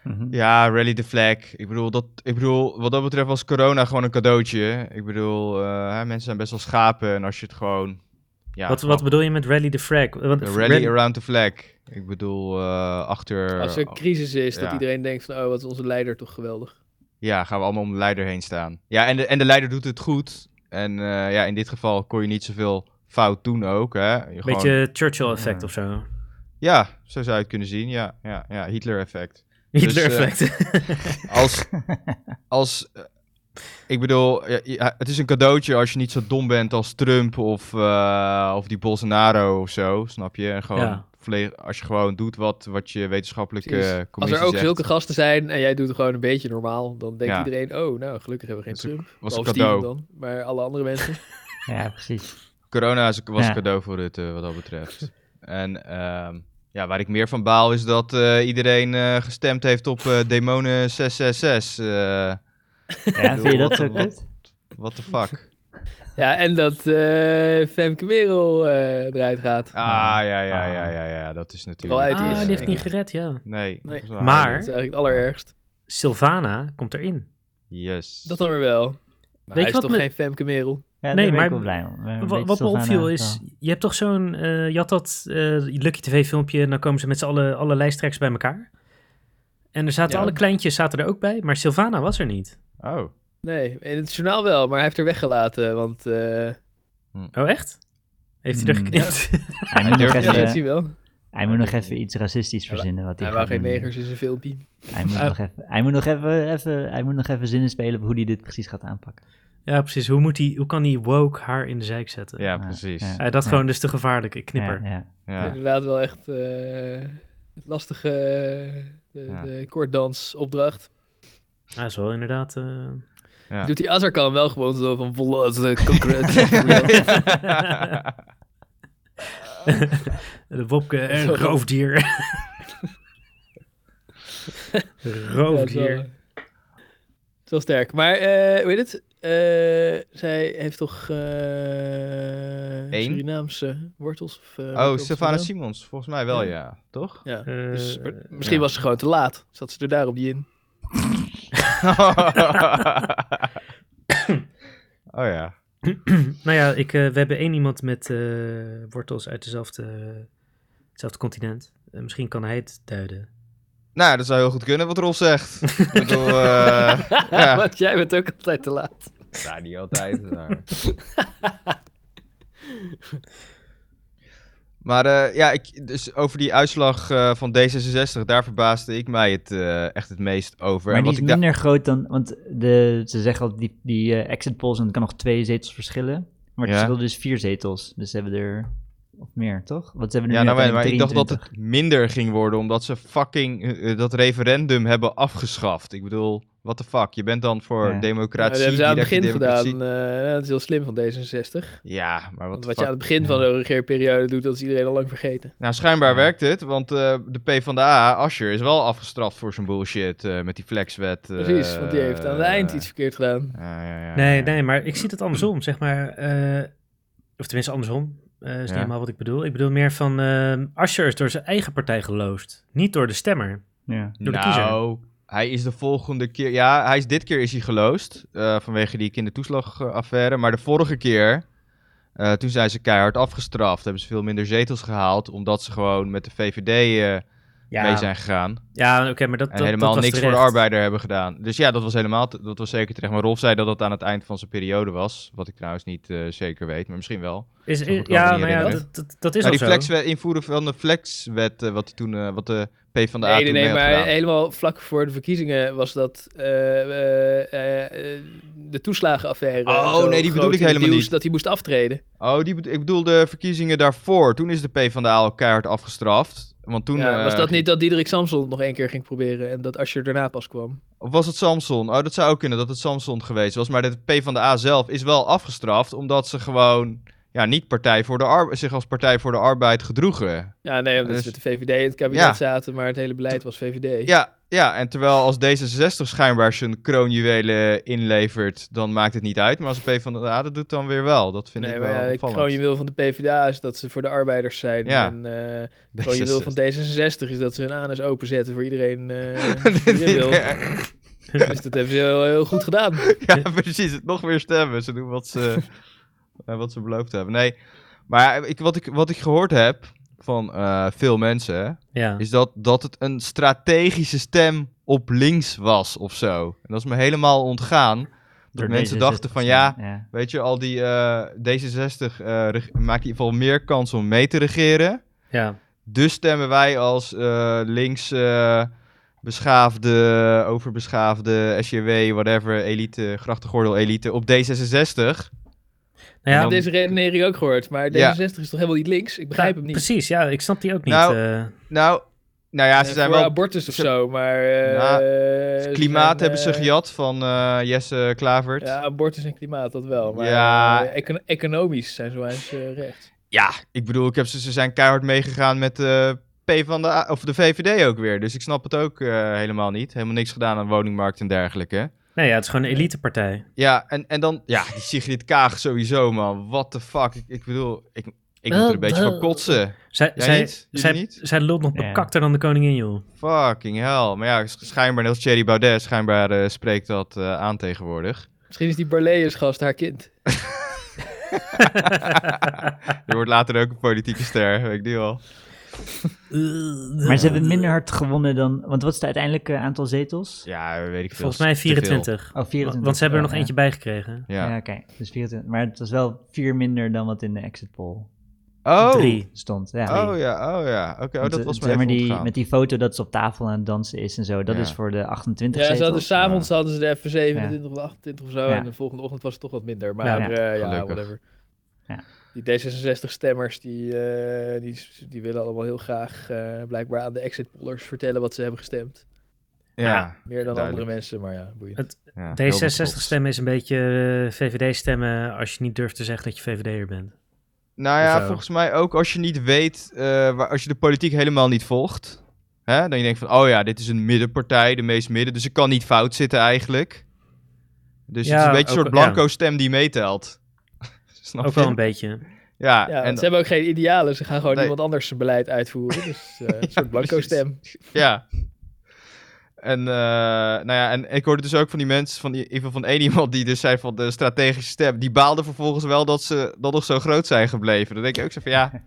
S4: Mhm.
S5: Ja, rally the flag. Ik bedoel, dat, ik bedoel, wat dat betreft was corona gewoon een cadeautje. Ik bedoel, eh, hè, mensen zijn best wel schapen en als je het gewoon... Ja,
S1: wat,
S5: gewoon
S1: wat bedoel je met rally the flag? Want-
S5: een rally around the flag. Ik bedoel, eh, achter...
S2: Als er een crisis is, dat
S5: ja.
S2: iedereen denkt van, oh, wat is onze leider toch geweldig.
S5: Ja, gaan we allemaal om de leider heen staan. Ja, en de, en de leider doet het goed. En eh, ja, in dit geval kon je niet zoveel fout doen ook. Hè? Je gewoon-
S1: Beetje Churchill-effect of zo.
S5: Ja, zo zou je het kunnen zien. Ja, ja, ja Hitler-effect. eh,
S1: Hitler-effect.
S5: Als, als eh, ik bedoel, ja, ja, het is een cadeautje als je niet zo dom bent als Trump of, eh, of die Bolsonaro of zo, snap je? En gewoon
S1: Ja.
S5: volledig- als je gewoon doet wat, wat je wetenschappelijke
S2: Precies.
S5: eh,
S2: Als
S5: commissie
S2: er ook
S5: zegt.
S2: zulke gasten zijn en jij doet het gewoon een beetje normaal, dan denkt
S5: Ja.
S2: iedereen, oh, nou, gelukkig hebben we
S5: Dat
S2: geen
S5: is een-
S2: Trump.
S5: was een
S2: Behalve Steven
S5: cadeau.
S2: dan, maar alle andere mensen.
S4: Ja, precies.
S5: Corona is- was
S4: Ja.
S5: een cadeau voor Rutte, wat dat betreft. en ehm, Ja, waar ik meer van baal is dat eh, iedereen eh, gestemd heeft op eh, Demonen 666. eh
S4: Ja, vind je dat zo
S5: Wat-
S4: kut?
S5: what the fuck?
S2: Ja, en dat eh Femke Merel eh, eruit gaat.
S5: Ah, ja, ja, ja, ja, ja, dat is natuurlijk...
S2: Wel uit
S1: Ah,
S2: is,
S1: die heeft
S5: eh,
S2: denk
S1: niet gered, ja.
S5: Nee.
S2: Nee.
S5: dat is waar.
S1: Maar-
S2: Dat is eigenlijk het allerergst.
S1: Sylvana komt erin.
S5: Yes.
S2: Dat dan weer wel. Maar
S1: je
S2: hij is
S1: wat
S2: toch
S1: me-
S2: geen Femke Merel?
S4: Ja,
S1: Nee,
S4: nee, maar...
S1: maar-
S4: Ik wel blij om. Eh,
S1: Wat,
S4: weet
S1: wat me
S4: Sylvana
S1: opviel
S4: ook
S1: is,
S4: wel.
S1: je hebt toch zo'n, eh, je had dat eh, Lucky TV filmpje en dan komen ze met z'n allen, alle lijsttrekkers bij elkaar. En er zaten
S2: Ja.
S1: alle kleintjes zaten er ook bij, maar Sylvana was er niet.
S5: Oh.
S2: Nee, in het journaal wel, maar hij heeft haar weggelaten, want eh
S1: Oh, echt? Heeft hij er
S4: Hmm.
S1: geknipt?
S4: Hij moet nog
S5: durft
S2: ja,
S5: niet.
S4: even-
S2: dat zie je wel.
S4: Hij moet nog even iets racistisch verzinnen. Wat hij
S2: Hij
S4: gaat
S2: waren geen
S4: doen.
S2: negers in zijn filmpje.
S1: Ah.
S4: Hij moet, nog even, hij, moet nog even, even, hij moet nog even zinnen spelen op hoe hij dit precies gaat aanpakken.
S1: Ja, precies. Hoe, moet die, hoe kan die woke haar in de zijk zetten?
S5: Ja,
S4: Ja,
S5: precies.
S4: Ah, ja.
S1: Eh, dat gewoon dus te gevaarlijk. Ik knipper.
S4: Ja, ja.
S5: Ja.
S2: Inderdaad wel echt eh, het lastige eh, de,
S5: Ja.
S2: de koorddansopdracht.
S1: Ja, dat is wel inderdaad. eh,
S5: Ja.
S2: Doet die Azarkan wel gewoon zo van eh, volle als een concreet.
S1: de Wopke, eh, roofdier. roofdier.
S2: Ja, eh, Het was sterk. Maar eh hoe heet het? Eh, zij heeft toch eh Surinaamse wortels? Of, eh,
S5: Oh,
S2: wortels
S5: Sylvana
S2: vandaan?
S5: Simons. Volgens mij wel, ja. Toch?
S2: Ja.
S1: Eh,
S2: Dus m- misschien was ze gewoon te laat. Zat ze er daarop die in.
S5: oh ja.
S1: nou ja, ik, eh, we hebben één iemand met eh, wortels uit dezelfde, hetzelfde continent. Eh, misschien kan hij het duiden.
S5: Nou, dat zou heel goed kunnen wat Rolf zegt. Ik bedoel, eh, ja.
S2: Want jij bent ook altijd te laat.
S5: Nou, niet altijd. Maar, maar eh, ja, ik, dus over die uitslag eh, van D66, daar verbaasde ik mij het eh, echt het meest over.
S4: Maar
S5: en
S4: die is
S5: wat ik daar-
S4: minder groot dan... Want de, ze zeggen al, die, die eh, exit polls, en het kan nog twee zetels verschillen. Maar het
S5: Ja.
S4: verschil dus vier zetels. Dus ze hebben er... Of meer, toch? Want ze hebben er
S5: Ja,
S4: nu
S5: nou, maar, maar ik dacht dat
S4: 23.
S5: het minder ging worden, omdat ze fucking eh, eh, dat referendum hebben afgeschaft. Ik bedoel, what the fuck? Je bent dan voor
S4: Ja.
S2: Nou,
S5: democratie,
S2: dat hebben ze aan het
S5: directe
S2: begin gedaan.
S5: democratie.
S2: eh, dat is heel slim van D66.
S5: Ja, maar wat
S2: Want
S5: de
S2: wat je
S5: fuck?
S2: aan het begin van de regeerperiode doet, dat is iedereen al lang vergeten.
S5: Nou, schijnbaar werkt het, want eh de P van de A, Asher, is wel afgestraft voor zijn bullshit eh, met die flexwet. eh,
S2: Precies, want die heeft aan het eind
S5: eh,
S2: iets verkeerd gedaan.
S5: ja, ja, ja,
S1: Nee,
S5: ja.
S1: nee, maar ik zie het andersom, zeg maar. eh, of tenminste, andersom. Eh, is niet
S5: Ja.
S1: helemaal wat ik bedoel. Ik bedoel meer van. eh Asscher is door zijn eigen partij geloosd. Niet door de stemmer.
S4: Ja.
S1: door de
S5: nou, hij is de volgende keer... Ja, hij is, dit keer is hij geloosd eh, vanwege die kindertoeslagaffaire. Maar de vorige keer, eh, toen zijn ze keihard afgestraft. Hebben ze veel minder zetels gehaald, omdat ze gewoon met de VVD eh, mee zijn gegaan.
S1: Ja, oké, maar dat,
S5: En
S1: dat,
S5: helemaal
S1: dat was
S5: niks voor de
S1: terecht.
S5: arbeider hebben gedaan. Dus ja, dat was helemaal, te- dat was zeker terecht. Maar Rolf zei dat dat aan het eind van zijn periode was. Wat ik trouwens niet eh, zeker weet, maar misschien wel.
S1: Is,
S5: Zo goed kan
S1: ja,
S5: ik me
S1: nou
S5: niet
S1: ja,
S5: herinneren.
S1: dat, dat, dat is
S5: nou,
S1: al
S5: die
S1: zo.
S5: flexwet, invoeren van de flexwet, eh, wat, die toen, eh, wat de P van de A
S2: Nee, nee,
S5: toen
S2: nee,
S5: mee had
S2: maar
S5: gedaan.
S2: helemaal vlak voor de verkiezingen was dat eh, eh, eh, eh, de toeslagenaffaire.
S5: Oh,
S2: Zo
S5: nee, die bedoel
S2: groot
S5: ik
S2: in het
S5: helemaal
S2: nieuws
S5: niet.
S2: Dat hij moest aftreden.
S5: Oh, die, bedo- ik bedoel de verkiezingen daarvoor. Toen is de P van de A keihard afgestraft. Want toen
S2: Ja,
S5: eh,
S2: was dat niet dat Diederik Samson het nog één keer ging proberen en dat Asscher daarna pas kwam?
S5: Of was het Samson? Oh, dat zou ook kunnen dat het Samson geweest was. Maar de P van de A zelf is wel afgestraft omdat ze gewoon ja, niet partij voor de Ar- zich als partij voor de arbeid gedroegen.
S2: Ja, nee, omdat
S5: Dus-
S2: ze met de VVD in het kabinet
S5: Ja.
S2: zaten, maar het hele beleid was VVD.
S5: Ja, ja, en terwijl als D66 schijnbaar zijn kroonjuwelen inlevert, dan maakt het niet uit. Maar als de P van de A dat doet, dan weer wel. Dat vind
S2: nee,
S5: ik
S2: maar ja,
S5: wel
S2: ik
S5: opvallend.
S2: gewoon je wil van de PvdA is dat ze voor de arbeiders zijn.
S5: Ja.
S2: En eh, gewoon je wil van D66 is dat ze hun anus openzetten voor iedereen eh, die erin wil.
S5: ja,
S2: Dus dat hebben ze heel, heel goed gedaan.
S5: precies. Het nog weer stemmen. Ze doen wat ze, eh, wat ze beloofd hebben. Nee, maar ik, wat, ik, wat ik gehoord heb van eh, veel mensen,
S1: Ja.
S5: is dat, dat het een strategische stem op links was of zo. En dat is me helemaal ontgaan. Dat
S4: Door
S5: mensen
S4: D66
S5: dachten van ja,
S4: ja.
S5: weet je, al die eh, D66 eh, reg- maakt in ieder geval meer kans om mee te regeren.
S1: ja. Nou
S5: Dus stemmen wij als eh, links eh, beschaafde, overbeschaafde, SJW, whatever, elite, grachtengordel elite op D66.
S1: Nou ja,
S5: Dan-
S2: Ik heb deze redenering ook gehoord, maar D66
S5: Ja.
S2: is toch helemaal niet links? Ik begrijp hem niet.
S1: Precies, ja, ik snap die ook niet.
S5: Nou,
S1: eh.
S5: Nou, nou ja, ze
S2: Eh,
S5: zijn
S2: voor
S5: wel...
S2: abortus of
S5: ze-
S2: zo, maar... eh,
S5: Nou,
S2: ze
S5: Klimaat
S2: zijn,
S5: hebben ze
S2: eh,
S5: gejat van eh, Jesse Klavert.
S2: Ja, abortus en klimaat, dat wel. Maar
S5: Ja.
S2: eh, econo- economisch zijn ze wel eens eh, recht.
S5: Ja, ik bedoel, ik heb ze, ze zijn keihard meegegaan met eh, P van de, A- of de VVD ook weer. Dus ik snap het ook eh, helemaal niet. Helemaal niks gedaan aan woningmarkt en dergelijke.
S1: Nee, ja, het is gewoon
S5: eh,
S1: een elitepartij.
S5: Ja, en, en dan, ja, die Sigrid Kaag sowieso, man. What the fuck. Ik, ik bedoel, ik, ik moet er een beetje van kotsen.
S1: Zij,
S5: Jij
S1: zij,
S5: niet? Jullie
S1: zij,
S5: niet?
S1: zij lult nog
S4: Ja.
S1: bekakter dan de koningin, joh.
S5: Fucking hell. Maar ja, sch- schijnbaar, net als Thierry Baudet, schijnbaar eh, spreekt dat eh, aan tegenwoordig.
S2: Misschien is die Barleyers-gast haar kind.
S5: Je wordt later ook een politieke ster, weet ik die al.
S4: Maar ze hebben minder hard gewonnen dan... Want wat is het uiteindelijke aantal zetels?
S5: Ja, weet ik veel.
S1: Volgens mij
S5: Te veel.
S1: 24.
S4: Oh, 24.
S1: Want ze hebben er nog
S4: Ja.
S1: eentje bij gekregen.
S5: Ja.
S4: Ja, oké. Dus 24. Maar het was wel vier minder dan wat in de exit poll
S5: Oh,
S1: Drie.
S4: stond. Ja.
S5: oh ja, oh ja. Oké, oh,
S4: Want,
S5: dat
S4: eh,
S5: was
S4: zeg
S5: mij
S4: maar
S5: even
S4: die,
S5: ontgaan.
S4: met die foto dat ze op tafel aan het dansen is en zo. Dat
S5: Ja.
S4: is voor de 28
S2: Ja, ze hadden
S4: zetels.
S2: s'avonds hadden ze er even 27
S4: 27
S2: of 28 of zo.
S4: Ja.
S2: En
S4: en
S2: de
S4: de
S2: volgende ochtend was het toch wat minder. Maar eh,
S1: maar,
S2: ja,
S4: Ja.
S5: Gelukkig.
S2: whatever.
S5: whatever.
S4: Ja.
S2: Die D66-stemmers, die, eh, die, die willen allemaal heel graag eh, blijkbaar aan de exit pollers vertellen wat ze hebben gestemd.
S5: Ja.
S2: Meer dan
S5: Duidelijk.
S2: andere mensen, maar ja, boeiend.
S1: Het-
S5: ja, heel
S1: D66
S5: beknopt.
S1: stemmen is een beetje eh, VVD stemmen als je niet durft te zeggen dat je VVD'er bent.
S5: Nou ja,
S1: Of zo.
S5: volgens mij ook als je niet weet, eh, waar, als je de politiek helemaal niet volgt. Hè, dan je denkt van, oh ja, dit is een middenpartij, de meest midden. Dus ik kan niet fout zitten eigenlijk. Dus
S1: Ja,
S5: het is een beetje een soort
S1: ook- ja.
S5: blanco stem die meetelt. Snap
S1: Ook
S5: je?
S1: wel een beetje.
S2: Ja,
S5: Ja, en,
S2: want ze hebben ook geen idealen. Ze gaan gewoon
S5: Nee.
S2: iemand anders zijn beleid uitvoeren. Dus eh, een soort blanco
S5: precies.
S2: stem.
S5: ja. En, eh, nou ja, en ik hoorde dus ook van die mensen, van die, in ieder geval van één iemand die dus zei van de strategische stem, die baalde vervolgens wel dat ze dan nog zo groot zijn gebleven. Dan denk ik ook zo van, ja,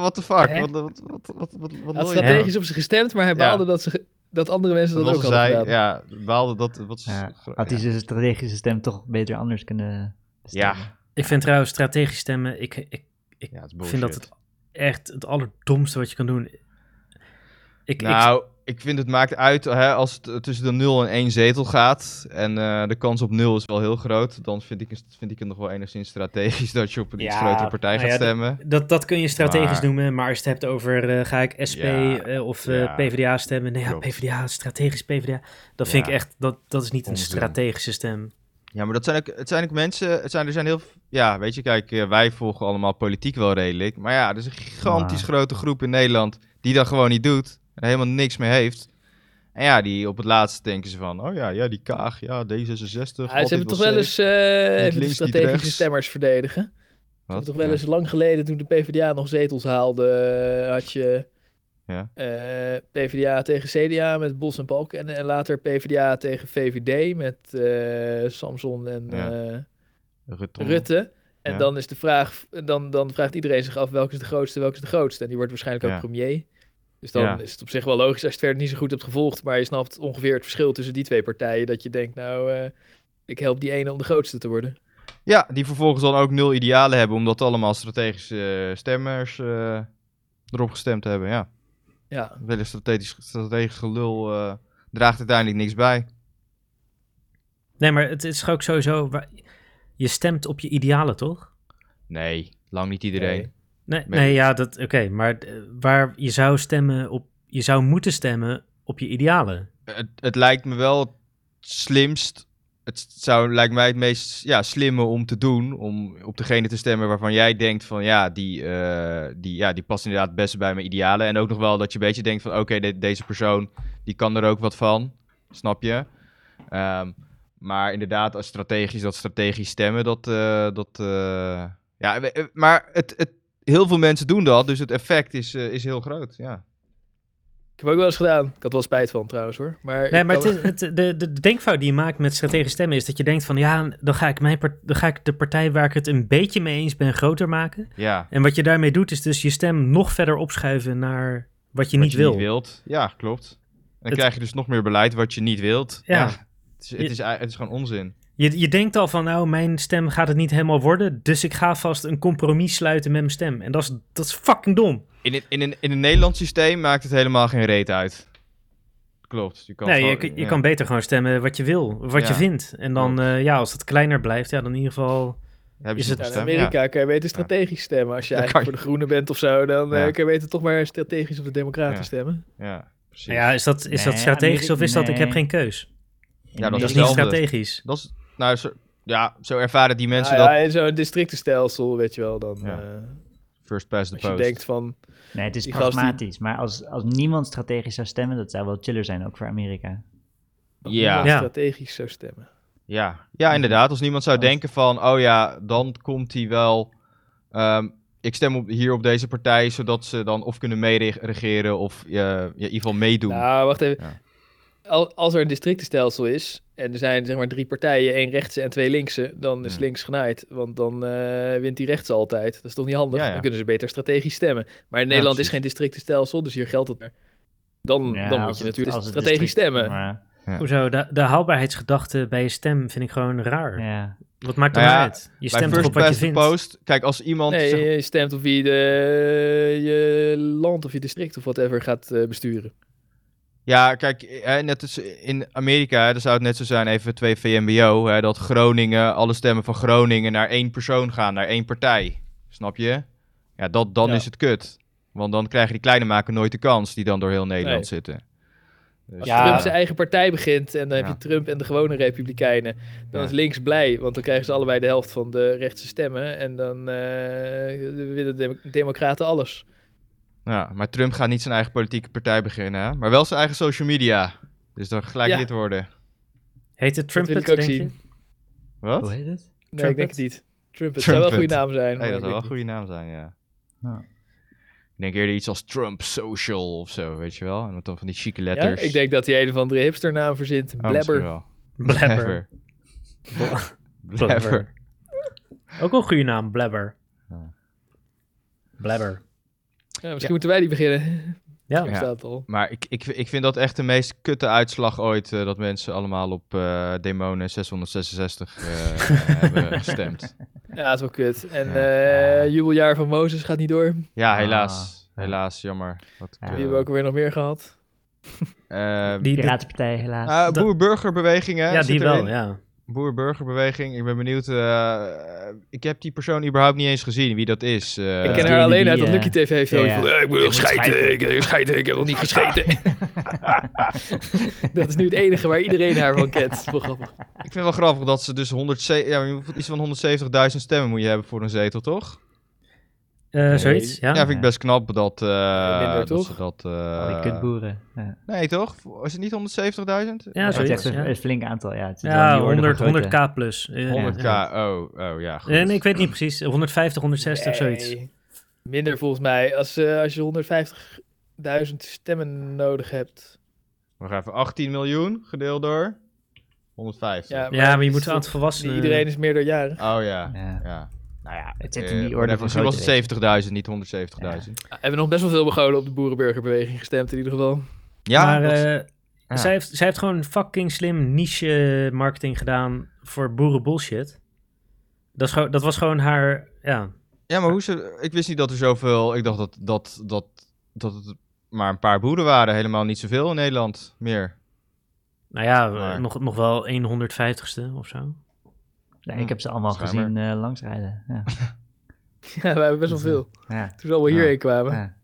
S5: wat de fuck?
S1: Hè?
S5: Wat, wat, wat, wat, wat, wat
S2: Hij had
S5: wil je? nou?
S2: strategisch op ze gestemd, maar hij
S5: Ja.
S2: baalde dat, ze, dat andere mensen dat,
S5: Dat
S2: ook
S5: was
S2: hadden
S5: zij,
S2: gedaan.
S5: ja, baalde dat. Wat ze-
S4: Ja.
S5: gro-
S4: Had hij
S5: ja.
S4: zijn strategische stem toch beter anders kunnen
S5: Ja.
S4: bestemmen.
S1: Ik vind trouwens strategisch stemmen, ik, ik
S5: Ja, het is
S1: vind dat
S5: bullshit.
S1: het echt het allerdomste wat je kan doen. Ik, ik,
S5: Nou, ik vind het maakt uit hè, als het eh, tussen de 0 en 1 zetel gaat. En eh, de kans op 0 is wel heel groot. Dan vind ik, vind ik het nog wel enigszins strategisch dat je op een iets
S1: Ja,
S5: grotere partij
S1: nou
S5: gaat
S1: ja, dat-
S5: stemmen.
S1: dat, dat kun je strategisch
S5: Maar-
S1: noemen, maar als je het hebt over eh, ga ik SP
S5: Ja,
S1: eh, of eh,
S5: ja.
S1: PvdA stemmen, nee ja,
S5: Klopt.
S1: PvdA, strategisch PvdA, dat vind
S5: Ja.
S1: ik echt, dat, dat is niet
S5: Onzin.
S1: een strategische stem.
S5: Ja, maar dat zijn ook, het zijn ook mensen. Het zijn, er zijn heel. v- Ja, weet je, kijk, eh, wij volgen allemaal politiek wel redelijk. Maar ja, er is een gigantisch
S4: Maar-
S5: grote groep in Nederland die dat gewoon niet doet. En helemaal niks mee heeft. En ja, die op het laatst denken ze van: oh ja, ja die Kaag, ja, D66.
S2: Ja, ze hebben toch wel eens eh, even de
S5: links, niet
S2: strategische
S5: rechts.
S2: stemmers verdedigen. Ze hebben toch wel eens lang geleden, toen de PvdA nog zetels haalde, eh, had je
S5: Ja.
S2: eh, PvdA tegen CDA met Bos en Balken. En, en later PvdA tegen VVD met eh, Samson en
S5: Ja.
S2: eh,
S5: Rutte.
S2: Rutte. En
S5: Ja.
S2: dan is de vraag, dan, dan vraagt iedereen zich af welke is de grootste, welke is de grootste. En die wordt waarschijnlijk ook
S5: Ja.
S2: premier. Dus dan
S5: Ja.
S2: is het op zich wel logisch als je het verder niet zo goed hebt gevolgd. Maar je snapt ongeveer het verschil tussen die twee partijen. Dat je denkt, nou, eh, ik help die ene om de grootste te worden.
S5: Ja, die vervolgens dan ook nul idealen hebben, omdat allemaal strategische eh, stemmers eh, erop gestemd hebben. Ja,
S2: Ja,
S5: wel eens strategisch, strategisch gelul eh, draagt uiteindelijk niks bij.
S1: Nee, maar het is ook sowieso, waar- je stemt op je idealen, toch?
S5: Nee, lang niet iedereen.
S2: Nee.
S1: Nee,
S5: Maar-
S1: nee ja, dat oké. maar eh, waar je zou stemmen op, je zou moeten stemmen op je idealen.
S5: Het, het lijkt me wel het slimst. Het zou, lijkt mij het meest ja, slimme om te doen. Om op degene te stemmen waarvan jij denkt van ja, die, eh, die, ja, die past inderdaad het beste bij mijn idealen. En ook nog wel dat je een beetje denkt van oké, de- deze persoon die kan er ook wat van. Snap je? Ehm, maar inderdaad, als strategisch dat strategisch stemmen, dat. eh, dat eh, ja, we- eh, maar het, het, heel veel mensen doen dat, dus het effect is, eh, is heel groot. Ja.
S2: ik heb ook wel eens gedaan. Ik had wel spijt van trouwens hoor. Maar
S1: Nee,
S2: ik
S1: maar het
S2: kan-
S1: is, het, de, de, de denkfout die je maakt met strategisch stemmen is dat je denkt van ja, dan ga, ik mijn part- dan ga ik de partij waar ik het een beetje mee eens ben groter maken.
S5: ja.
S1: En wat je daarmee doet is dus je stem nog verder opschuiven naar wat je,
S5: Wat
S1: niet, wil.
S5: wilt. Ja, klopt. En dan
S1: Het-
S5: krijg je dus nog meer beleid wat je niet wilt.
S1: Ja.
S5: Het, is, het, is, ei- het is gewoon onzin.
S1: Je, je denkt al van nou, mijn stem gaat het niet helemaal worden, dus ik ga vast een compromis sluiten met mijn stem. En dat is, dat is fucking dom.
S5: In het, in, een, in een Nederlands systeem maakt het helemaal geen reet uit. Klopt. Je kan
S1: nee,
S5: gewoon-
S1: je, je
S5: ja.
S1: kan beter gewoon stemmen wat je wil, wat je
S5: Ja,
S1: vindt. En dan,
S5: klopt.
S1: eh, ja, als het kleiner blijft, ja, dan in ieder geval...
S5: Heb je
S1: is
S5: ze
S1: het-
S5: toch
S2: Ja, in
S5: stemmen? Ja.
S2: Amerika kan je beter strategisch stemmen. Als je
S5: Dat
S2: eigenlijk
S5: kan
S2: voor de groenen bent of zo, dan eh,
S5: Ja.
S2: kan je beter toch maar strategisch op de democraten
S5: Ja.
S2: stemmen.
S5: Ja, precies.
S1: Nou ja, is dat, is dat
S4: Nee,
S1: strategisch
S4: Amerika-
S1: of is dat ik heb
S4: nee.
S1: geen keus?
S5: Ja, dat
S1: Dat is
S5: wel
S1: niet
S5: anders.
S1: strategisch.
S5: Dat is, nou, zo, ja, zo ervaren die mensen
S2: Ah, ja,
S5: dat.
S2: in zo'n districtenstelsel, weet je wel, dan...
S5: Ja.
S2: eh,
S5: First past the
S2: Als je
S5: post.
S2: denkt van,
S4: Nee, het is
S2: Die gast die-
S4: pragmatisch. Maar als, als niemand strategisch zou stemmen, dat zou wel chiller zijn, ook voor Amerika.
S2: dat
S5: Ja.
S2: niemand
S1: Ja.
S2: strategisch zou stemmen.
S5: Ja. ja, inderdaad. Als niemand zou
S4: Als-
S5: denken van, oh ja, dan komt hij wel... ehm, ik stem op, hier op deze partij, zodat ze dan of kunnen meeregeren of eh, ja, in ieder geval meedoen.
S2: Nou, wacht even.
S5: Ja.
S2: Al- Als er een districtenstelsel is en er zijn zeg maar drie partijen, één rechtse en twee linkse, dan is
S5: Hmm.
S2: links genaaid, want dan eh, wint die rechts altijd. Dat is toch niet handig?
S5: Ja, ja.
S2: Dan kunnen ze beter strategisch stemmen. Maar in
S5: Ja,
S2: Nederland is
S5: precies.
S2: geen districtenstelsel, dus hier geldt dat er. Dan,
S4: Ja, als
S2: dan moet je
S4: het-
S2: natuurlijk
S4: als het
S2: strategisch
S4: district-
S2: stemmen.
S4: maar,
S1: Hoezo? De, de haalbaarheidsgedachte bij je stem vind ik gewoon raar.
S4: ja.
S1: Wat maakt dat
S5: Nou ja,
S1: uit? Je
S5: Bij
S1: stemt toch
S5: first
S1: op wat je
S5: past the
S1: vindt.
S5: post, kijk, als iemand...
S2: Nee, eh,
S5: zeg-
S2: je stemt op wie de, je land of je district of whatever gaat eh, besturen.
S5: Ja, kijk, hè, net als in Amerika, hè, dan zou het net zo zijn, even twee VMBO, hè, dat Groningen, alle stemmen van Groningen naar één persoon gaan, naar één partij. Snap je? Ja, dat, dan
S2: Ja.
S5: is het kut. Want dan krijgen die kleine maken nooit de kans die dan door heel Nederland
S2: Nee.
S5: zitten. Dus,
S2: Als
S1: Ja.
S2: Trump zijn eigen partij begint en dan
S5: Ja.
S2: heb je Trump en de gewone republikeinen, dan
S5: Ja.
S2: is links blij, want dan krijgen ze allebei de helft van de rechtse stemmen en dan eh, winnen de dem- democraten alles.
S5: ja, maar Trump gaat niet zijn eigen politieke partij beginnen, hè? maar wel zijn eigen social media. Dus dan gelijk
S2: Ja.
S5: dit worden.
S1: Heet het
S2: wil
S1: Trumpet,
S2: ik ook
S1: denk
S2: zien.
S1: je?
S5: Wat?
S4: Hoe heet het?
S2: Nee, ik denk
S1: Trumpet?
S2: het niet. Trump, het zou wel een goede
S5: Trumpet.
S2: naam zijn. maar
S5: Hey, dat zou
S2: ik
S5: wel een
S2: weet
S5: goede naam zijn, ja.
S4: Ja.
S5: Ik denk eerder iets als Trump Social of zo, weet je wel? En dan van die chique
S2: niet.
S5: letters.
S2: Ja? Ik denk dat hij een of andere hipsternaam verzint.
S5: Oh, misschien
S2: Blabber.
S5: wel.
S1: Blabber.
S5: Blabber.
S1: Blabber. Ook wel een goede naam, Blabber.
S5: Ja.
S1: Blabber.
S2: Ja, misschien moeten wij die beginnen.
S1: Ja.
S2: Daar staat het al.
S5: Maar ik, ik, ik vind dat echt de meest kutte uitslag ooit. eh, dat mensen allemaal op eh, Demonen 666 eh, hebben gestemd.
S2: Ja, dat is wel kut. En
S5: Ja.
S2: eh, jubeljaar van Mozes gaat niet door.
S5: Ja, helaas.
S4: Ah.
S5: Helaas, jammer. Wat
S4: Ja.
S2: Die
S5: kut.
S2: hebben we ook weer nog meer gehad.
S5: Eh,
S1: Die, die-
S4: Piratenpartij, helaas.
S5: ah,
S1: dat-
S5: Boer-burgerbeweging, hè?
S1: ja,
S5: zit
S1: die wel,
S5: erin.
S1: ja.
S5: Boer-burgerbeweging. Ik ben benieuwd. eh, ik heb die persoon überhaupt niet eens gezien, wie dat is. eh.
S2: ik
S4: die
S2: ken haar alleen
S4: die,
S2: uit dat
S4: eh,
S2: Lucky TV heeft.
S4: ja, ja.
S2: ik moet nog
S4: moet
S2: scheiden,
S4: scheiden.
S2: ik, ik, scheiden, ik heb nog niet gescheten. dat is nu het enige waar iedereen haar van kent. Dat is wel grappig.
S5: Ik vind het wel grappig dat ze dus 170, ja, maar iets van 170.000 stemmen moet je hebben voor een zetel, toch?
S1: Eh,
S5: Nee.
S1: Zoiets, ja.
S5: Ja, vind ik best knap dat, eh,
S2: minder,
S5: dat
S2: toch?
S5: ze dat... eh,
S1: Oh,
S4: Al die kutboeren. Ja.
S5: nee, toch? Is het niet 170.000?
S1: Ja,
S4: Het is echt
S1: zoiets.
S4: een,
S1: Ja,
S4: een flink aantal, ja. Het is wel in
S1: ja
S4: die orde
S1: 100,
S4: van grootte.
S1: 100k plus. Eh,
S5: 100k,
S1: ja.
S5: oh, oh ja, goed.
S1: Nee, nee, ik weet niet precies. 150, 160 of
S2: Nee,
S1: zoiets.
S2: Minder volgens mij. Als, eh, als je 150.000 stemmen nodig hebt.
S5: We gaan even 18 miljoen gedeeld door 150.
S2: Ja, maar,
S1: Ja, maar je
S2: het
S1: moet
S2: is
S1: een aantal
S2: toch-
S1: volwassenen...
S2: Iedereen is meerderjarig.
S5: Oh ja,
S4: Ja.
S5: ja.
S4: Nou ja, het zit
S5: Eh,
S4: in die
S5: whatever.
S4: orde van
S5: Misschien was
S4: grootte. weet je.
S5: het 70.000, niet 170.000. Ja,
S2: We hebben nog best wel veel begolen op de boerenburgerbeweging gestemd in ieder geval.
S1: maar
S5: dat-
S1: eh,
S5: ja.
S1: zij, heeft, zij heeft gewoon fucking slim niche eh, marketing gedaan voor boeren bullshit. Dat, is gewoon, dat was gewoon haar, ja.
S5: ja maar hoe ze... Ik wist niet dat er zoveel... Ik dacht dat, dat, dat, dat het maar een paar boeren waren. Helemaal niet zoveel in Nederland meer.
S1: Nou ja, eh,
S5: Maar-
S1: nog, nog wel 150ste of zo.
S4: Nee, ik heb ze allemaal
S5: Schijnbaar.
S4: gezien eh, langsrijden. Ja.
S2: Ja, we hebben best wel veel.
S4: Ja.
S2: Toen ze allemaal
S5: Ja.
S2: hierheen kwamen.
S4: Ja.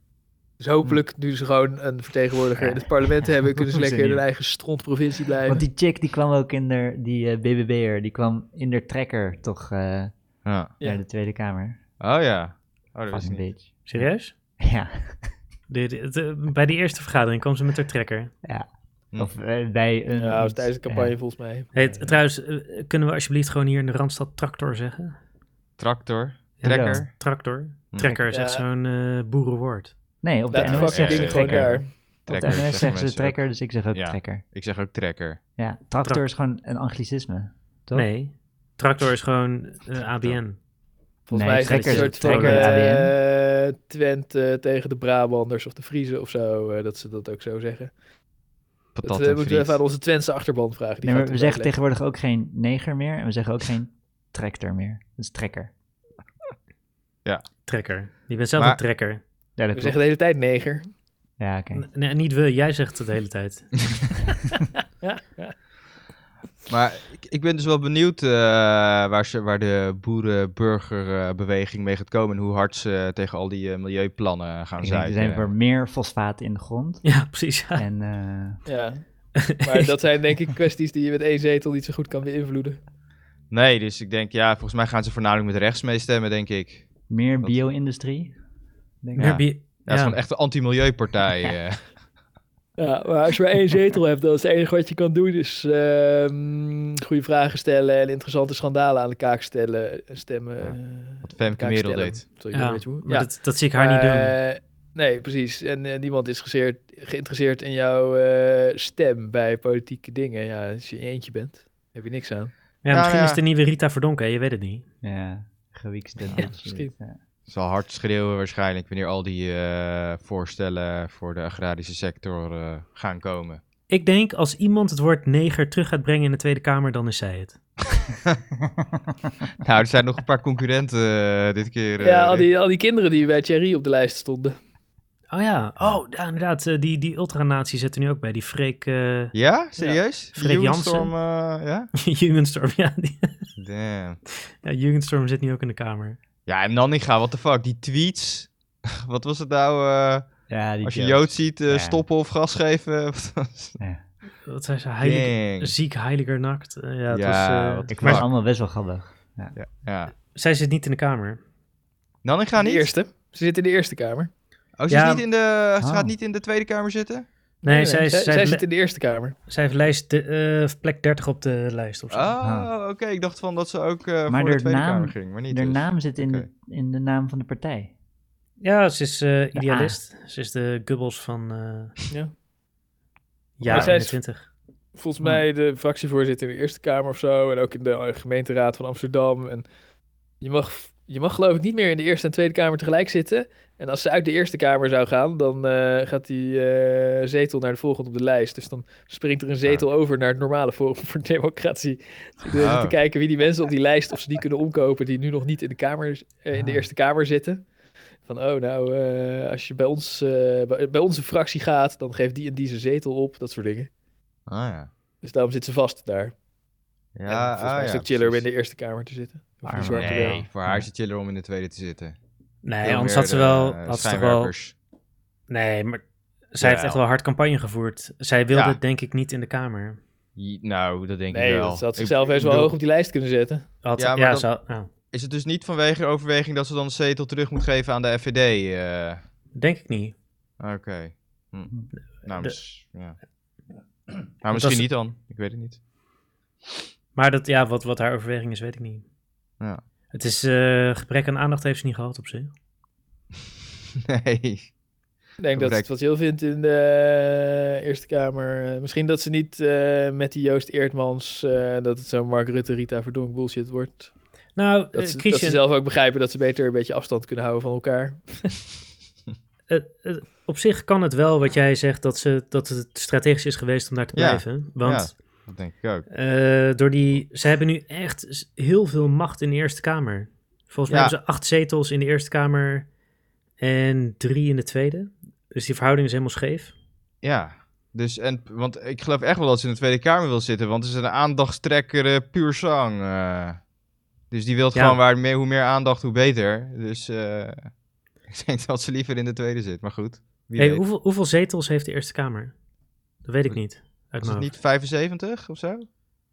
S2: Dus hopelijk, nu ze gewoon een vertegenwoordiger in het parlement hebben, kunnen ze
S4: Hoeven ze
S2: lekker in hun
S4: niet.
S2: eigen strontprovincie blijven.
S4: Want die chick die kwam ook in de, die eh, BBB'er, die kwam in de trekker toch eh,
S5: Ja.
S2: Ja.
S4: naar de Tweede Kamer.
S5: Oh ja. Oh, dat wist ik
S4: Fucking
S5: niet.
S4: bitch.
S1: Serieus?
S4: Ja,
S1: De- de- de- bij die eerste vergadering kwam ze met haar trekker.
S5: Hm.
S4: of eh, bij een... eh,
S2: Ja, dat was tijdens de campagne volgens mij.
S1: Hey, t- trouwens, eh, kunnen we alsjeblieft gewoon hier in de Randstad tractor zeggen?
S5: Tractor.
S1: Ja,
S5: Trekker.
S4: dat-
S1: Tractor?
S5: Hm.
S1: Trekker is
S2: Ja.
S1: echt zo'n eh, boerenwoord.
S4: Nee, op de
S2: Laat de
S4: NOS
S2: fucking
S4: zeggen
S2: dingen
S4: ze
S2: gewoon
S5: Trekker.
S2: daar.
S4: trekker. Op de
S5: Trekker,
S4: NOS
S5: zeggen
S4: zeggen ze
S5: mensen
S4: trekker, dus ik zeg ook
S5: Ja.
S4: trekker.
S5: Ik zeg ook trekker.
S4: Ja, tractor
S1: Tra-
S4: is gewoon een anglicisme. Toch?
S1: Nee, tractor is gewoon eh, ABN.
S2: Volgens
S4: Nee,
S2: mij is het een
S1: trekker
S2: soort
S1: is-
S2: van
S1: trekker
S4: is
S2: eh, Twente tegen de Brabanders of de Friezen of zo, eh, dat ze dat ook zo zeggen. Dat
S5: Patat
S2: eh,
S5: en
S2: moeten we even aan
S5: friet.
S2: onze Twentse achterban vragen. Die
S4: Nee, maar
S2: gaat
S4: we
S2: het
S4: zeggen
S2: uitleggen.
S4: tegenwoordig ook geen neger meer en we zeggen ook geen tractor meer. Dat is trekker.
S1: Trekker. Je bent zelf
S5: Maar-
S1: een trekker.
S4: Ja, dat
S2: We
S4: klopt.
S2: zeggen de hele tijd neger.
S4: Ja, oké.
S1: N- Nee, niet we. Jij zegt het de hele tijd.
S5: Maar ik, ik ben dus wel benieuwd eh, waar, ze, waar de boerenburgerbeweging mee gaat komen. En hoe hard ze tegen al die eh, milieuplannen gaan
S4: Ik denk, Er zijn
S5: zijn.
S4: weer meer fosfaat in de grond.
S1: Ja, precies. Ja.
S4: En eh,
S2: Ja. Maar dat zijn denk ik kwesties die je met één zetel niet zo goed kan beïnvloeden.
S5: Nee, dus ik denk, ja, volgens mij gaan ze voornamelijk met rechts meestemmen, denk ik.
S4: meer
S5: Wat?
S4: bio-industrie. denk
S5: Ja.
S1: Meer
S4: ik.
S1: bier-
S5: dat is
S1: ja.
S5: gewoon echt een anti-milieupartij. eh.
S2: Ja, maar als je maar één zetel hebt, dan is het enige wat je kan doen. Is ehm, goede vragen stellen en interessante schandalen aan de kaak stellen, stemmen.
S5: Ja.
S2: eh,
S5: Wat Femke
S2: kaak
S5: Merel
S2: stellen.
S5: deed.
S2: Sorry,
S1: Ja,
S2: weet je hoe?
S1: maar Dat, dat zie ik haar niet doen.
S2: Eh, Nee, precies. En eh, niemand is gezeerd- geïnteresseerd in jouw eh, stem bij politieke dingen. Ja, als je in je eentje bent, heb je niks aan.
S1: Ja,
S5: nou
S1: misschien
S5: ja.
S1: is de nieuwe Rita Verdonken, je weet het niet.
S4: Ja, gewiekste.
S2: misschien.
S5: Zal hard schreeuwen waarschijnlijk wanneer al die eh, voorstellen voor de agrarische sector eh, gaan komen.
S1: Ik denk als iemand het woord neger terug gaat brengen in de Tweede Kamer, dan is zij het.
S5: nou, er zijn nog een paar concurrenten eh, dit keer. eh,
S2: Ja, al die, al die kinderen die bij Thierry op de lijst stonden.
S1: Oh ja, oh ja, inderdaad, eh, die, die ultranatie zit er nu ook bij. Die Freek eh
S5: Ja? Serieus?
S1: Freek
S5: Die
S1: Jansen.
S5: Jongestorm, eh, ja?
S1: Jungenstorm, ja, die,
S5: Damn.
S1: ja, Jungenstorm zit nu ook in de Kamer.
S5: Ja, en Nanninga, what the fuck? Die tweets. Wat was het nou? eh,
S4: Ja, die
S5: als je
S4: jokes.
S5: Jood ziet, eh,
S4: Ja.
S5: stoppen of gas geven. Wat was-
S1: Wat zijn ze, heilig,
S5: Dang.
S1: ziek heiliger nakt. Eh, ja, het
S5: Ja,
S1: was, eh,
S5: wat-
S4: Ik vond
S5: Fuck.
S4: het allemaal best wel grappig.
S5: Ja.
S1: Zij zit niet in de Kamer.
S5: Nanninga
S2: de
S5: niet?
S2: eerste. Ze zitten in de Eerste Kamer.
S5: Oh, ze,
S1: Ja.
S5: is niet in de, ze
S4: Oh.
S5: gaat niet in de Tweede Kamer zitten?
S1: Nee, zij, is- zij,
S2: zij, zij
S1: heeft
S2: zit
S1: le-
S2: in de Eerste Kamer.
S1: zij heeft lijst, de- eh, plek 30 op de lijst of zo.
S5: Oh, oké. Ik dacht van dat ze ook eh, voor de
S4: haar
S5: Tweede
S4: naam-
S5: Kamer ging. Maar niet
S4: De
S5: dus.
S4: naam zit in,
S5: Oké.
S4: de, in de naam van de partij.
S1: Ja, ze is eh,
S4: De
S1: idealist. Ze is de Gubbels van eh
S2: Ja.
S1: ja,
S2: Maar zij is-
S1: 21.
S2: Volgens mij de fractievoorzitter in de Eerste Kamer of zo. En ook in de eh, gemeenteraad van Amsterdam. En je mag, je mag geloof ik niet meer in de Eerste en Tweede Kamer tegelijk zitten. En als ze uit de Eerste Kamer zou gaan, dan eh, gaat die eh, zetel naar de volgende op de lijst. Dus dan springt er een zetel over naar het normale Forum voor Democratie. Dus ik wil even
S5: Oh.
S2: te kijken wie die mensen op die lijst, of ze die kunnen omkopen die nu nog niet in de, kamer, eh, in de
S4: Ah.
S2: Eerste Kamer zitten. Van, oh nou, eh, als je bij, ons, eh, bij, bij onze fractie gaat, dan geeft die en die zijn zetel op. Dat soort dingen.
S5: Ah ja.
S2: Dus daarom zit ze vast daar.
S5: Ja,
S2: Ja, en volgens
S5: ah,
S2: mij is
S5: ja,
S2: het ook chiller om in
S5: precies.
S2: de Eerste Kamer te zitten. Of
S4: Arme
S2: niet zwart te
S4: nee.
S2: werken.
S5: Nee, voor haar is het chiller om in de Tweede te zitten.
S1: Nee,
S5: Veel
S1: anders
S5: meer
S1: had ze
S5: de,
S1: wel,
S5: eh,
S1: had ze toch wel
S5: schijnwerpers.
S1: Nee, maar zij heeft echt
S5: Jawel.
S1: wel hard campagne gevoerd. Zij wilde
S5: Ja.
S1: het denk ik niet in de Kamer.
S5: Je- Nou, dat denk
S2: Nee,
S5: ik wel.
S2: dat ze had
S5: Ik-
S2: zichzelf
S5: ik
S2: best wel
S5: bedoel,
S2: hoog op die lijst kunnen zetten.
S1: Had,
S5: Ja,
S1: ja,
S5: maar dan-
S1: ze had- nou,
S5: Is het dus niet vanwege de overweging dat ze dan een zetel terug moet geven aan de FVD? eh?
S1: denk ik niet.
S5: Oké. Hm. Nou,
S1: De-
S5: mis- ja.
S1: dat
S5: nou, misschien
S1: is-
S5: niet dan. Ik weet het niet.
S1: Maar dat, ja, wat, wat haar overweging is, weet ik niet.
S5: Ja.
S1: Het is eh, gebrek aan aandacht heeft ze niet gehad op zich.
S5: nee.
S2: Ik denk dat het
S5: Correct.
S2: wat heel vindt in de eh, Eerste Kamer. eh, misschien dat ze niet eh, met die Joost Eertmans, eh, dat het zo'n Mark Rutte, Rita Verdonk bullshit wordt.
S1: Nou, eh,
S2: Dat, ze, dat ze
S1: Christian,
S2: zelf ook begrijpen dat ze beter een beetje afstand kunnen houden van elkaar.
S1: eh, eh, op zich kan het wel wat jij zegt dat, ze, dat het strategisch is geweest om daar te
S5: Ja.
S1: blijven. Want
S5: Dat denk ik ook.
S1: eh, door die, ze hebben nu echt s- heel veel macht in de Eerste Kamer. Volgens mij
S5: Ja.
S1: hebben ze acht zetels in de Eerste Kamer en drie in de Tweede. Dus die verhouding is helemaal scheef.
S5: Ja. Dus, en, want ik geloof echt wel dat ze in de Tweede Kamer wil zitten. Want ze is een aandachtstrekker eh, puur zang. eh. dus die wil
S1: Ja.
S5: gewoon waar meer, hoe meer aandacht, hoe beter. Dus eh, ik denk dat ze liever in de Tweede zit. Maar goed. Wie
S1: Hey,
S5: weet.
S1: hoeveel, hoeveel zetels heeft de Eerste Kamer? Dat weet ik niet. Uit
S5: Is
S1: mijn
S5: het
S1: hoofd.
S5: niet 75 of zo?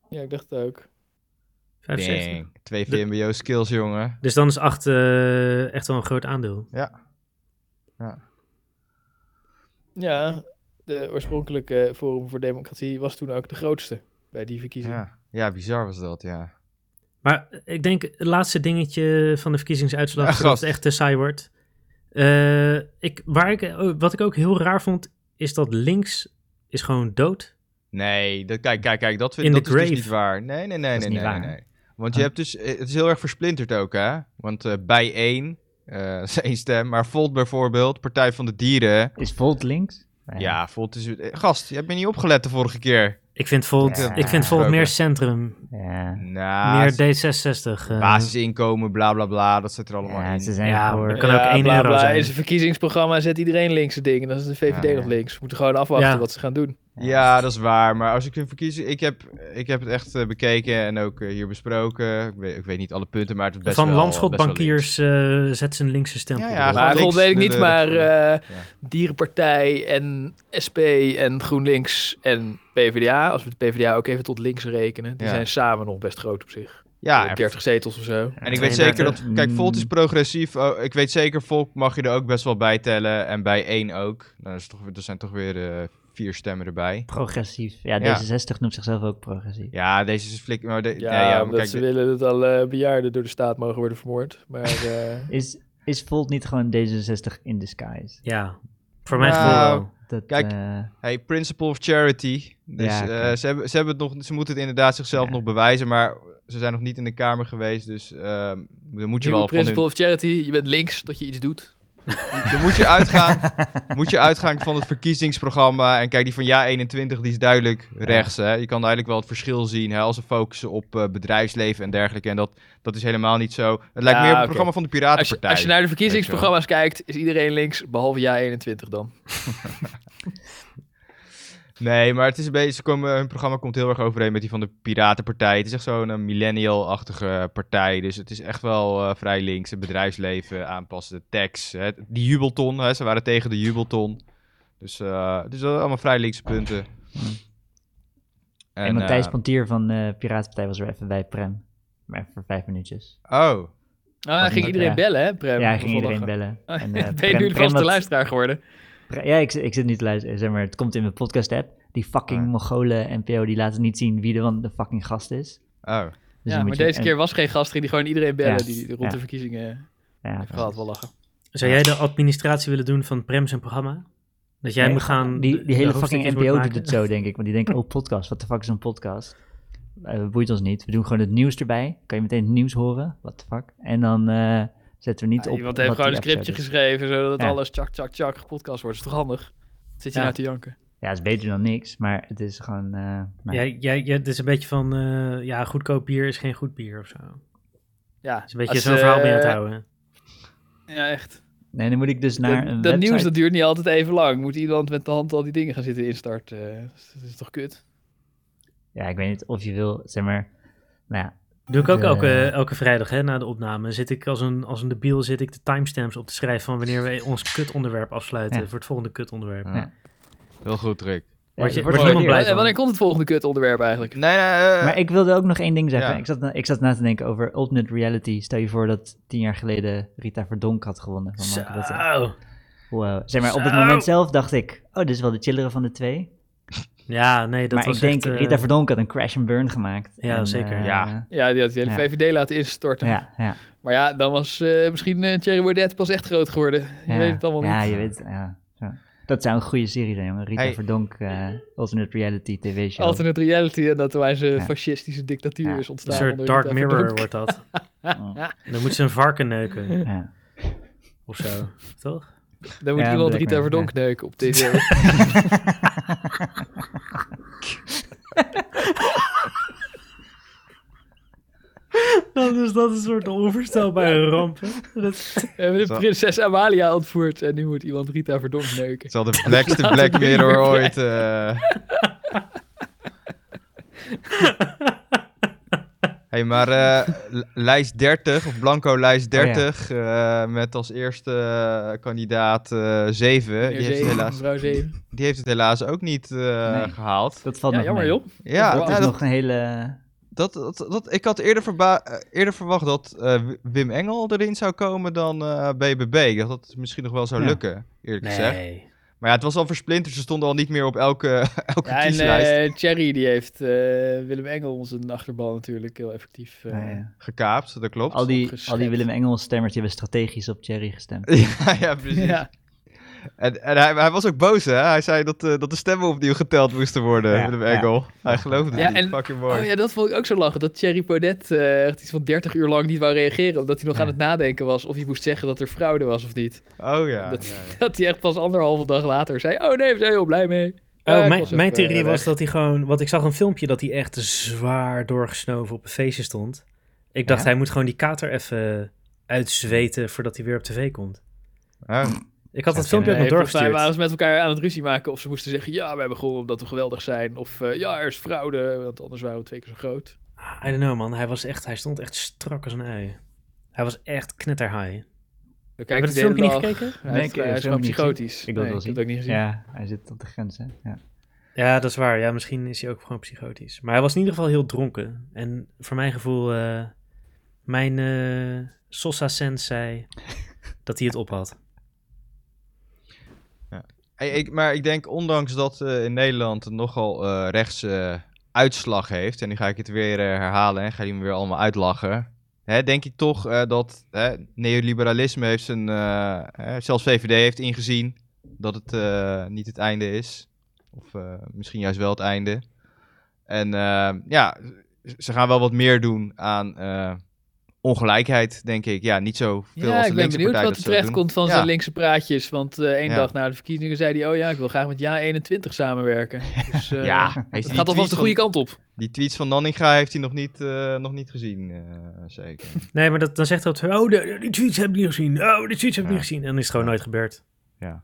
S2: Ja, ik dacht het ook.
S1: 75.
S5: Dang, Twee
S1: De-
S5: VMBO skills, jongen.
S1: Dus dan is 8 echt wel een groot aandeel.
S2: Ja, de oorspronkelijke Forum voor Democratie was toen ook de grootste bij die verkiezingen.
S5: Ja. ja, bizar was dat, ja.
S1: Maar ik denk het laatste dingetje van de verkiezingsuitslag,
S5: Ja,
S1: voordat
S5: gast.
S1: het echt te saai wordt. Eh, ik, waar ik, oh, wat ik ook heel raar vond, is dat links is gewoon dood.
S5: Nee, dat, kijk, kijk, kijk, dat, vind,
S1: In
S5: dat
S1: the
S5: is dus
S1: grave.
S5: niet waar. Nee, nee, nee,
S4: Dat is
S5: nee,
S4: niet
S5: nee, nee,
S4: waar.
S5: nee. Want je
S4: Oh.
S5: hebt dus, eh, het is heel erg versplinterd ook, hè? Want eh, bij één, eh is één stem, maar Volt bijvoorbeeld, Partij van de Dieren.
S4: Is Volt links? Nee.
S5: Ja, Volt is... eh, Gast, je hebt me niet opgelet de vorige keer.
S1: Ik vind Volt,
S4: Ja.
S1: ik vind Volt meer centrum,
S4: Ja.
S5: Nou,
S1: meer
S5: het is
S1: D66. eh.
S5: basisinkomen, bla, bla, bla, dat zit er allemaal
S4: Ja,
S5: in.
S4: ze zijn
S1: Ja,
S4: voor...
S1: maar kan ook één
S2: bla,
S1: euro
S2: bla,
S1: zijn.
S2: is een verkiezingsprogramma, zet iedereen links het ding. En dan is de VVD
S5: Ja, ja.
S2: nog links. We moeten gewoon afwachten
S1: Ja.
S2: wat ze gaan doen.
S5: Ja, dat is waar. Maar als ik een verkiezing... Ik heb, ik heb het echt eh, bekeken en ook eh, hier besproken. Ik weet, ik weet niet alle punten, maar het is best
S1: van
S5: wel...
S1: landschot
S5: best wel links.
S1: bankiers eh, zet zijn linkse stempel.
S5: Ja, ja,
S1: erop.
S5: gewoon
S2: Maar dat
S5: links
S2: weet ik
S5: de-
S2: niet,
S5: de-
S2: maar
S5: de-
S2: eh, Dierenpartij en SP en GroenLinks en PvdA, als we de PvdA ook even tot links rekenen, die
S5: Ja.
S2: zijn samen nog best groot op zich.
S5: Ja,
S2: eh,
S5: en-
S2: 30 zetels of zo.
S5: en ik weet zeker dat... Kijk, Volt
S4: Mm,
S5: is progressief. oh, ik weet zeker, Volk mag je er ook best wel bij tellen. En bij één ook. Nou, dat, is toch, dat zijn toch weer eh, vier stemmen erbij.
S4: Progressief. Ja,
S5: Ja.
S4: D66 noemt zichzelf ook progressief.
S5: Ja, deze is flik... Maar de,
S2: Ja,
S5: nee, ja, maar
S2: omdat
S5: kijk,
S2: ze
S5: de-
S2: willen dat alle bejaarden door de staat mogen worden vermoord. Maar eh,
S4: Is, is Volt niet gewoon D66 in disguise?
S1: Ja, voor mijn
S5: Nou,
S1: gevoel wel.
S4: Dat,
S5: Kijk,
S4: eh,
S5: Hey, principle of charity. Dus
S4: Ja,
S5: eh,
S4: oké.
S5: ze, hebben, ze, hebben het nog, ze moeten het inderdaad zichzelf
S4: Ja.
S5: nog bewijzen, maar ze zijn nog niet in de Kamer geweest, dus ehm, dan moet je
S2: nieuwe
S5: wel van
S2: principle
S5: hun,
S2: of charity, je bent links dat je iets doet.
S5: dan moet je, uitgaan, moet je uitgaan van het verkiezingsprogramma. En kijk, die van Ja 21, die is duidelijk rechts. Hè? Je kan duidelijk wel het verschil zien hè, als ze focussen op eh, bedrijfsleven en dergelijke. En dat, dat is helemaal niet zo. Het lijkt
S2: Ja,
S5: meer op het
S2: oké.
S5: programma van de
S2: Als je,
S5: Piratenpartij.
S2: als je naar de verkiezingsprogramma's kijkt, is iedereen links, behalve jij 21 dan.
S5: Nee, maar het is een beetje, ze komen, hun programma komt heel erg overeen met die van de Piratenpartij. Het is echt zo'n eh, millennial-achtige partij. Dus het is echt wel eh, vrij links. Het bedrijfsleven aanpassen, de tax. Hè, die jubelton, hè, ze waren tegen de jubelton. Dus eh, het is wel allemaal vrij linkse punten.
S4: en, Matthijs
S5: eh,
S4: Pontier van eh Piratenpartij was er even bij, Prem. Maar even voor vijf minuutjes.
S5: oh,
S2: Nou, dan ging
S4: Ja.
S2: iedereen bellen, hè, Prem?
S4: eh, ja, hij ging iedereen
S2: Zondag.
S4: bellen. En, eh,
S2: ben je
S4: Prem-
S2: nu
S4: Prem
S2: vast de
S4: had- Dus
S2: luisteraar geworden?
S4: Pre- Ja, ik, zit- ik zit niet te luisteren, zeg maar, het komt in mijn podcast-app. Die fucking
S5: Ah.
S4: Mongolen NPO, die laten niet zien wie de, van de fucking gast is. Dus
S2: ja,
S5: oh.
S4: dan
S2: maar
S4: moet je-
S2: deze
S4: en-
S2: keer was geen gast, ging die gewoon iedereen bellen
S4: Ja,
S2: die rond
S4: ja.
S2: de verkiezingen
S4: ja,
S2: heeft gehad. Wel lachen.
S1: Zou jij de administratie willen doen van Prem zijn programma? Dat jij
S4: Nee,
S1: moet gaan... de-
S4: Die, die
S1: de
S4: hele
S1: hoofdstukjes
S4: fucking
S1: moet
S4: NPO doet
S1: maken?
S4: het zo, denk ik. Want die denken, oh, podcast, wat de fuck is een podcast? Eh boeit ons niet. We doen gewoon het nieuws erbij. Kan je meteen het nieuws horen? What the fuck? En dan eh, zetten we niet
S2: Ja,
S4: op.
S2: Ah, iemand heeft
S4: wat
S2: gewoon een
S4: die
S2: scriptje
S4: episode is.
S2: geschreven, zodat
S4: Ja.
S2: alles tjak, tjak, tjak gepodcast wordt. Is toch handig? Zit je
S1: Ja.
S2: nou te janken?
S4: Ja, is beter dan niks, maar het is gewoon. eh, nou,
S1: Jij, jij, jij- het is een beetje van, eh, ja, goedkoop bier is geen goed bier of zo. Het
S2: Ja,
S1: is een beetje
S2: als,
S1: zo'n verhaal mee aan het
S2: eh,
S1: houden.
S2: Ja, echt.
S4: Nee, dan moet ik dus naar. een
S2: dat dat nieuws
S4: website-
S2: dat duurt niet altijd even lang. Moet iemand met de hand al die dingen gaan zitten instarten? eh, dat is toch kut?
S4: Ja, ik weet niet of je wil, zeg maar. Nou ja,
S1: Doe ik ook
S4: de-
S1: elke, elke vrijdag hè, na de opname. Zit ik als een, als een debiel zit ik de timestamps op te schrijven van wanneer we ons kutonderwerp afsluiten
S4: Ja.
S1: voor het volgende kutonderwerp.
S5: Ja. Heel goed, Rick.
S1: Word je- word
S4: het wel
S1: je
S4: weer-
S1: helemaal blij
S2: En Oh, wanneer komt het volgende kut onderwerp eigenlijk?
S5: Nee, nee, eh,
S4: Maar ik wilde ook nog één ding zeggen.
S5: Ja.
S4: Ik, zat na, ik zat na te denken over Ultimate Reality. Stel je voor dat tien jaar geleden Rita Verdonk had gewonnen. Van
S1: Zo.
S4: Marco Rutte. Wow. Zeg maar, op het
S1: Zo.
S4: moment zelf dacht ik, oh, dit is wel de chillere van de twee.
S1: Ja, nee, dat
S4: maar
S1: was
S4: ik denk,
S1: echt, eh,
S4: Rita Verdonk had een crash and burn gemaakt.
S1: Ja,
S4: En,
S1: zeker.
S4: eh,
S5: Ja.
S2: Ja, die had die hele
S4: Ja.
S2: VVD laten instorten.
S4: Ja, ja.
S2: Maar ja, dan was eh, misschien eh, Thierry Baudet pas echt groot geworden. Je
S4: ja.
S2: weet het allemaal
S4: Ja,
S2: niet.
S4: je weet ja. ja. Dat zou een goede serie zijn, jongen. Rita
S5: Hey.
S4: Verdonk, eh, Alternate Reality TV show.
S2: Alternate reality en dat wij ze
S4: Ja.
S2: fascistische dictatuur
S4: Ja.
S2: is
S1: een
S2: ontstaan.
S1: soort
S2: onder
S1: Dark
S2: Rita
S1: Mirror
S2: Verdonk.
S1: wordt dat.
S4: Oh,
S1: En dan moet ze een varken neuken
S4: ja.
S1: of zo, toch?
S2: Dan moet
S4: Ja,
S2: iemand
S4: Black
S2: Rita
S4: Mirror,
S2: Verdonk neuken op tv.
S1: Dat is, dat een soort onvoorstelbare ramp. Dat,
S2: We hebben
S5: Zo.
S2: de prinses Amalia ontvoerd en nu moet iemand Rita Verdonk neuken.
S5: het zal de blackste
S2: Laten
S5: Black
S2: we die
S5: Mirror
S2: weer
S5: ooit... eh. hey, maar eh, l- lijst 30, of Blanco lijst
S4: Oh, ja.
S5: 30, eh, met als eerste eh, kandidaat eh 7.
S2: Meneer
S5: Die heeft, het
S2: Zeven,
S5: helaas,
S2: mevrouw Zeven.
S5: die heeft het helaas ook niet eh,
S4: Nee.
S5: gehaald.
S4: Dat valt
S2: Ja,
S4: nog
S2: jammer
S4: mee.
S2: joh.
S5: Ja,
S4: Dat
S5: nou,
S4: is
S5: dat,
S4: nog een hele...
S5: dat, dat, dat- ik had eerder, verba- eh, eerder verwacht dat eh, Wim Engel erin zou komen dan eh, BBB. Ik dacht dat het misschien nog wel zou
S4: Ja.
S5: lukken, eerlijk gezegd.
S1: nee.
S5: Maar ja, het was al versplinterd. Ze stonden al niet meer op elke, elke
S2: Ja, en
S5: kieslijst
S2: eh Thierry die heeft eh, Willem Engel zijn achterban natuurlijk heel effectief. eh,
S4: nou ja.
S5: gekaapt. Dat klopt.
S4: Al die,
S2: opgeschept.
S4: al die Willem Engels stemmers die hebben strategisch op Thierry gestemd.
S5: ja, ja, precies.
S2: ja.
S5: En, en hij, hij was ook boos, hè? Hij zei dat, eh, dat de stemmen opnieuw geteld moesten worden,
S4: Ja,
S5: Willem
S4: ja.
S5: Engel. Hij geloofde het
S2: Ja,
S5: niet.
S2: en-
S5: Fucking mooi.
S2: Oh ja, dat vond ik ook zo lachen. Dat Thierry Baudet eh, echt iets van 30 uur lang niet wou reageren. Omdat hij nog aan het nadenken was of hij moest zeggen dat er fraude was of niet.
S5: Oh ja.
S2: dat,
S5: ja, ja.
S2: dat hij echt pas anderhalve dag later zei: Oh nee, we zijn heel blij mee. Eh,
S1: Oh,
S2: ik
S1: mijn,
S2: was
S1: mijn
S2: even,
S1: theorie
S2: eh,
S1: was
S2: weg.
S1: dat hij gewoon... Want ik zag een filmpje dat hij echt zwaar doorgesnoven op een feestje stond. Ik dacht,
S4: Ja?
S1: hij moet gewoon die kater even uitzweten voordat hij weer op tv komt.
S5: Oh,
S1: Ik had
S4: Zou
S1: dat filmpje ook
S2: Nee,
S1: nog
S2: volgens mij
S1: doorgestuurd.
S2: waren ze met elkaar aan het ruzie maken. Of ze moesten zeggen: Ja, we hebben gewonnen omdat we geweldig zijn. Of eh, Ja, er is fraude. Want anders waren we twee keer zo groot.
S1: Ah, I don't know, man. Hij, was echt, hij stond echt strak als een ui. Hij was echt knetterhigh.
S2: We
S1: Heb je
S2: kijken
S1: dat filmpje niet
S2: gekeken?
S1: gekeken?
S2: Hij is,
S4: ik- ik
S2: hij is
S4: heb
S2: gewoon
S4: hem niet gezien.
S2: psychotisch.
S4: Ik wil het wel
S2: Nee,
S4: zien.
S2: heb het ook niet gezien.
S4: Ja, hij zit op de grens, hè? Ja.
S1: Ja, dat is waar. Ja, misschien is hij ook gewoon psychotisch. Maar hij was in ieder geval heel dronken. En voor mijn gevoel, eh, mijn eh Sosa Sens zei dat hij het op had.
S5: Hey, ik, maar ik denk, ondanks dat eh, in Nederland het nogal eh rechts eh, uitslag heeft, en nu ga ik het weer eh, herhalen en ga die me weer allemaal uitlachen, hè, denk ik toch eh, dat hè, neoliberalisme heeft zijn, eh, hè, zelfs VVD heeft ingezien dat het eh, niet het einde is. Of eh, misschien juist wel het einde. En eh, ja, z- ze gaan wel wat meer doen aan eh, ongelijkheid, denk ik. Ja, niet zo veel
S2: ja,
S5: als
S2: ik
S5: de
S2: ben
S5: linkse
S2: benieuwd
S5: partij
S2: wat
S5: dat
S2: er
S5: zo
S2: terecht
S5: doen.
S2: komt van
S5: Ja.
S2: zijn linkse praatjes. Want eh één
S5: Ja.
S2: dag na de verkiezingen zei hij... oh ja, ik wil graag met JA21 samenwerken. Dus eh,
S5: Ja, hij is die
S2: het gaat
S5: tweets
S2: alvast de
S5: van-
S2: goede kant op.
S5: Die tweets van Nanninga heeft hij nog niet, eh, nog niet gezien, eh, zeker.
S1: Nee, maar dat, dan zegt hij altijd, oh, de- die tweets heb ik niet gezien. Oh, die tweets heb ik
S5: Ja.
S1: niet gezien. En dan is het gewoon nooit gebeurd.
S5: ja.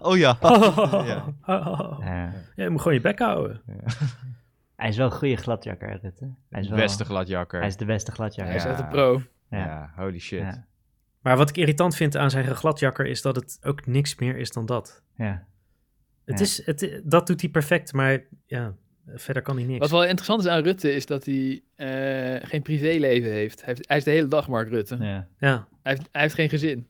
S5: oh ja. Ja.
S4: Eh,
S1: Ja, je moet gewoon je bek houden.
S4: hij is wel een goede gladjakker, Rutte. Hij is wel,
S5: Beste gladjakker.
S4: Hij is de beste gladjakker.
S2: Hij is
S5: Ja.
S2: echt een pro.
S5: ja.
S4: Ja.
S5: holy shit.
S4: Ja.
S1: Maar wat ik irritant vind aan zijn gladjakker is dat het ook niks meer is dan dat.
S4: Ja.
S1: Het
S4: Ja.
S1: is, het, dat doet hij perfect, maar ja, verder kan hij niks.
S2: Wat wel interessant is aan Rutte is dat hij eh, geen privéleven heeft. Hij, heeft. hij is de hele dag Mark Rutte.
S4: Ja.
S1: Ja.
S2: Hij, heeft, hij heeft geen gezin.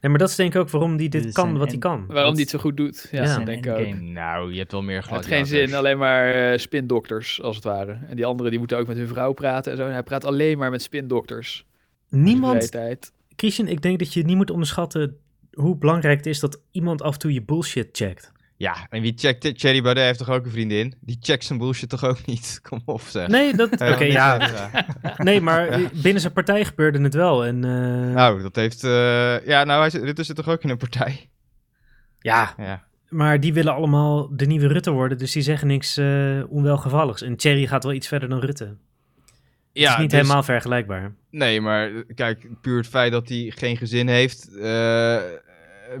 S1: Nee, maar dat is denk ik ook waarom hij dit
S4: Dit is
S1: kan
S4: een
S1: wat hij
S4: end-
S1: kan.
S2: Waarom
S1: Dat-
S2: hij het zo goed doet. Ja,
S1: Ja.
S2: dat denk ik ook.
S4: Endgame.
S5: Nou, je hebt wel meer
S2: Hij heeft
S5: gladjakkers.
S2: geen zin, alleen maar eh, spindokters als het ware. En die anderen die moeten ook met hun vrouw praten en zo. En hij praat alleen maar met spindokters. In zijn
S1: Niemand,
S2: vrije tijd.
S1: Christian, ik denk dat je niet moet onderschatten hoe belangrijk het is dat iemand af en toe je bullshit checkt.
S5: Ja, en wie checkt dit? Thierry Baudet heeft toch ook een vriendin? Die checkt zijn bullshit toch ook niet? Kom op zeg. Eh,
S1: Nee, dat, oké,
S5: Hij wil niks
S1: ja,
S5: zeggen.
S1: nee, maar binnen zijn partij gebeurde het wel. En, eh,
S5: Nou, dat heeft... eh, ja, nou, hij zit, Rutte zit toch ook in een partij?
S1: ja,
S5: Ja.
S1: maar die willen allemaal de nieuwe Rutte worden, dus die zeggen niks eh, onwelgevalligs. En Thierry gaat wel iets verder dan Rutte. het is niet
S5: dus-
S1: helemaal vergelijkbaar.
S5: Nee, maar eh, kijk, puur het feit dat hij geen gezin heeft, eh,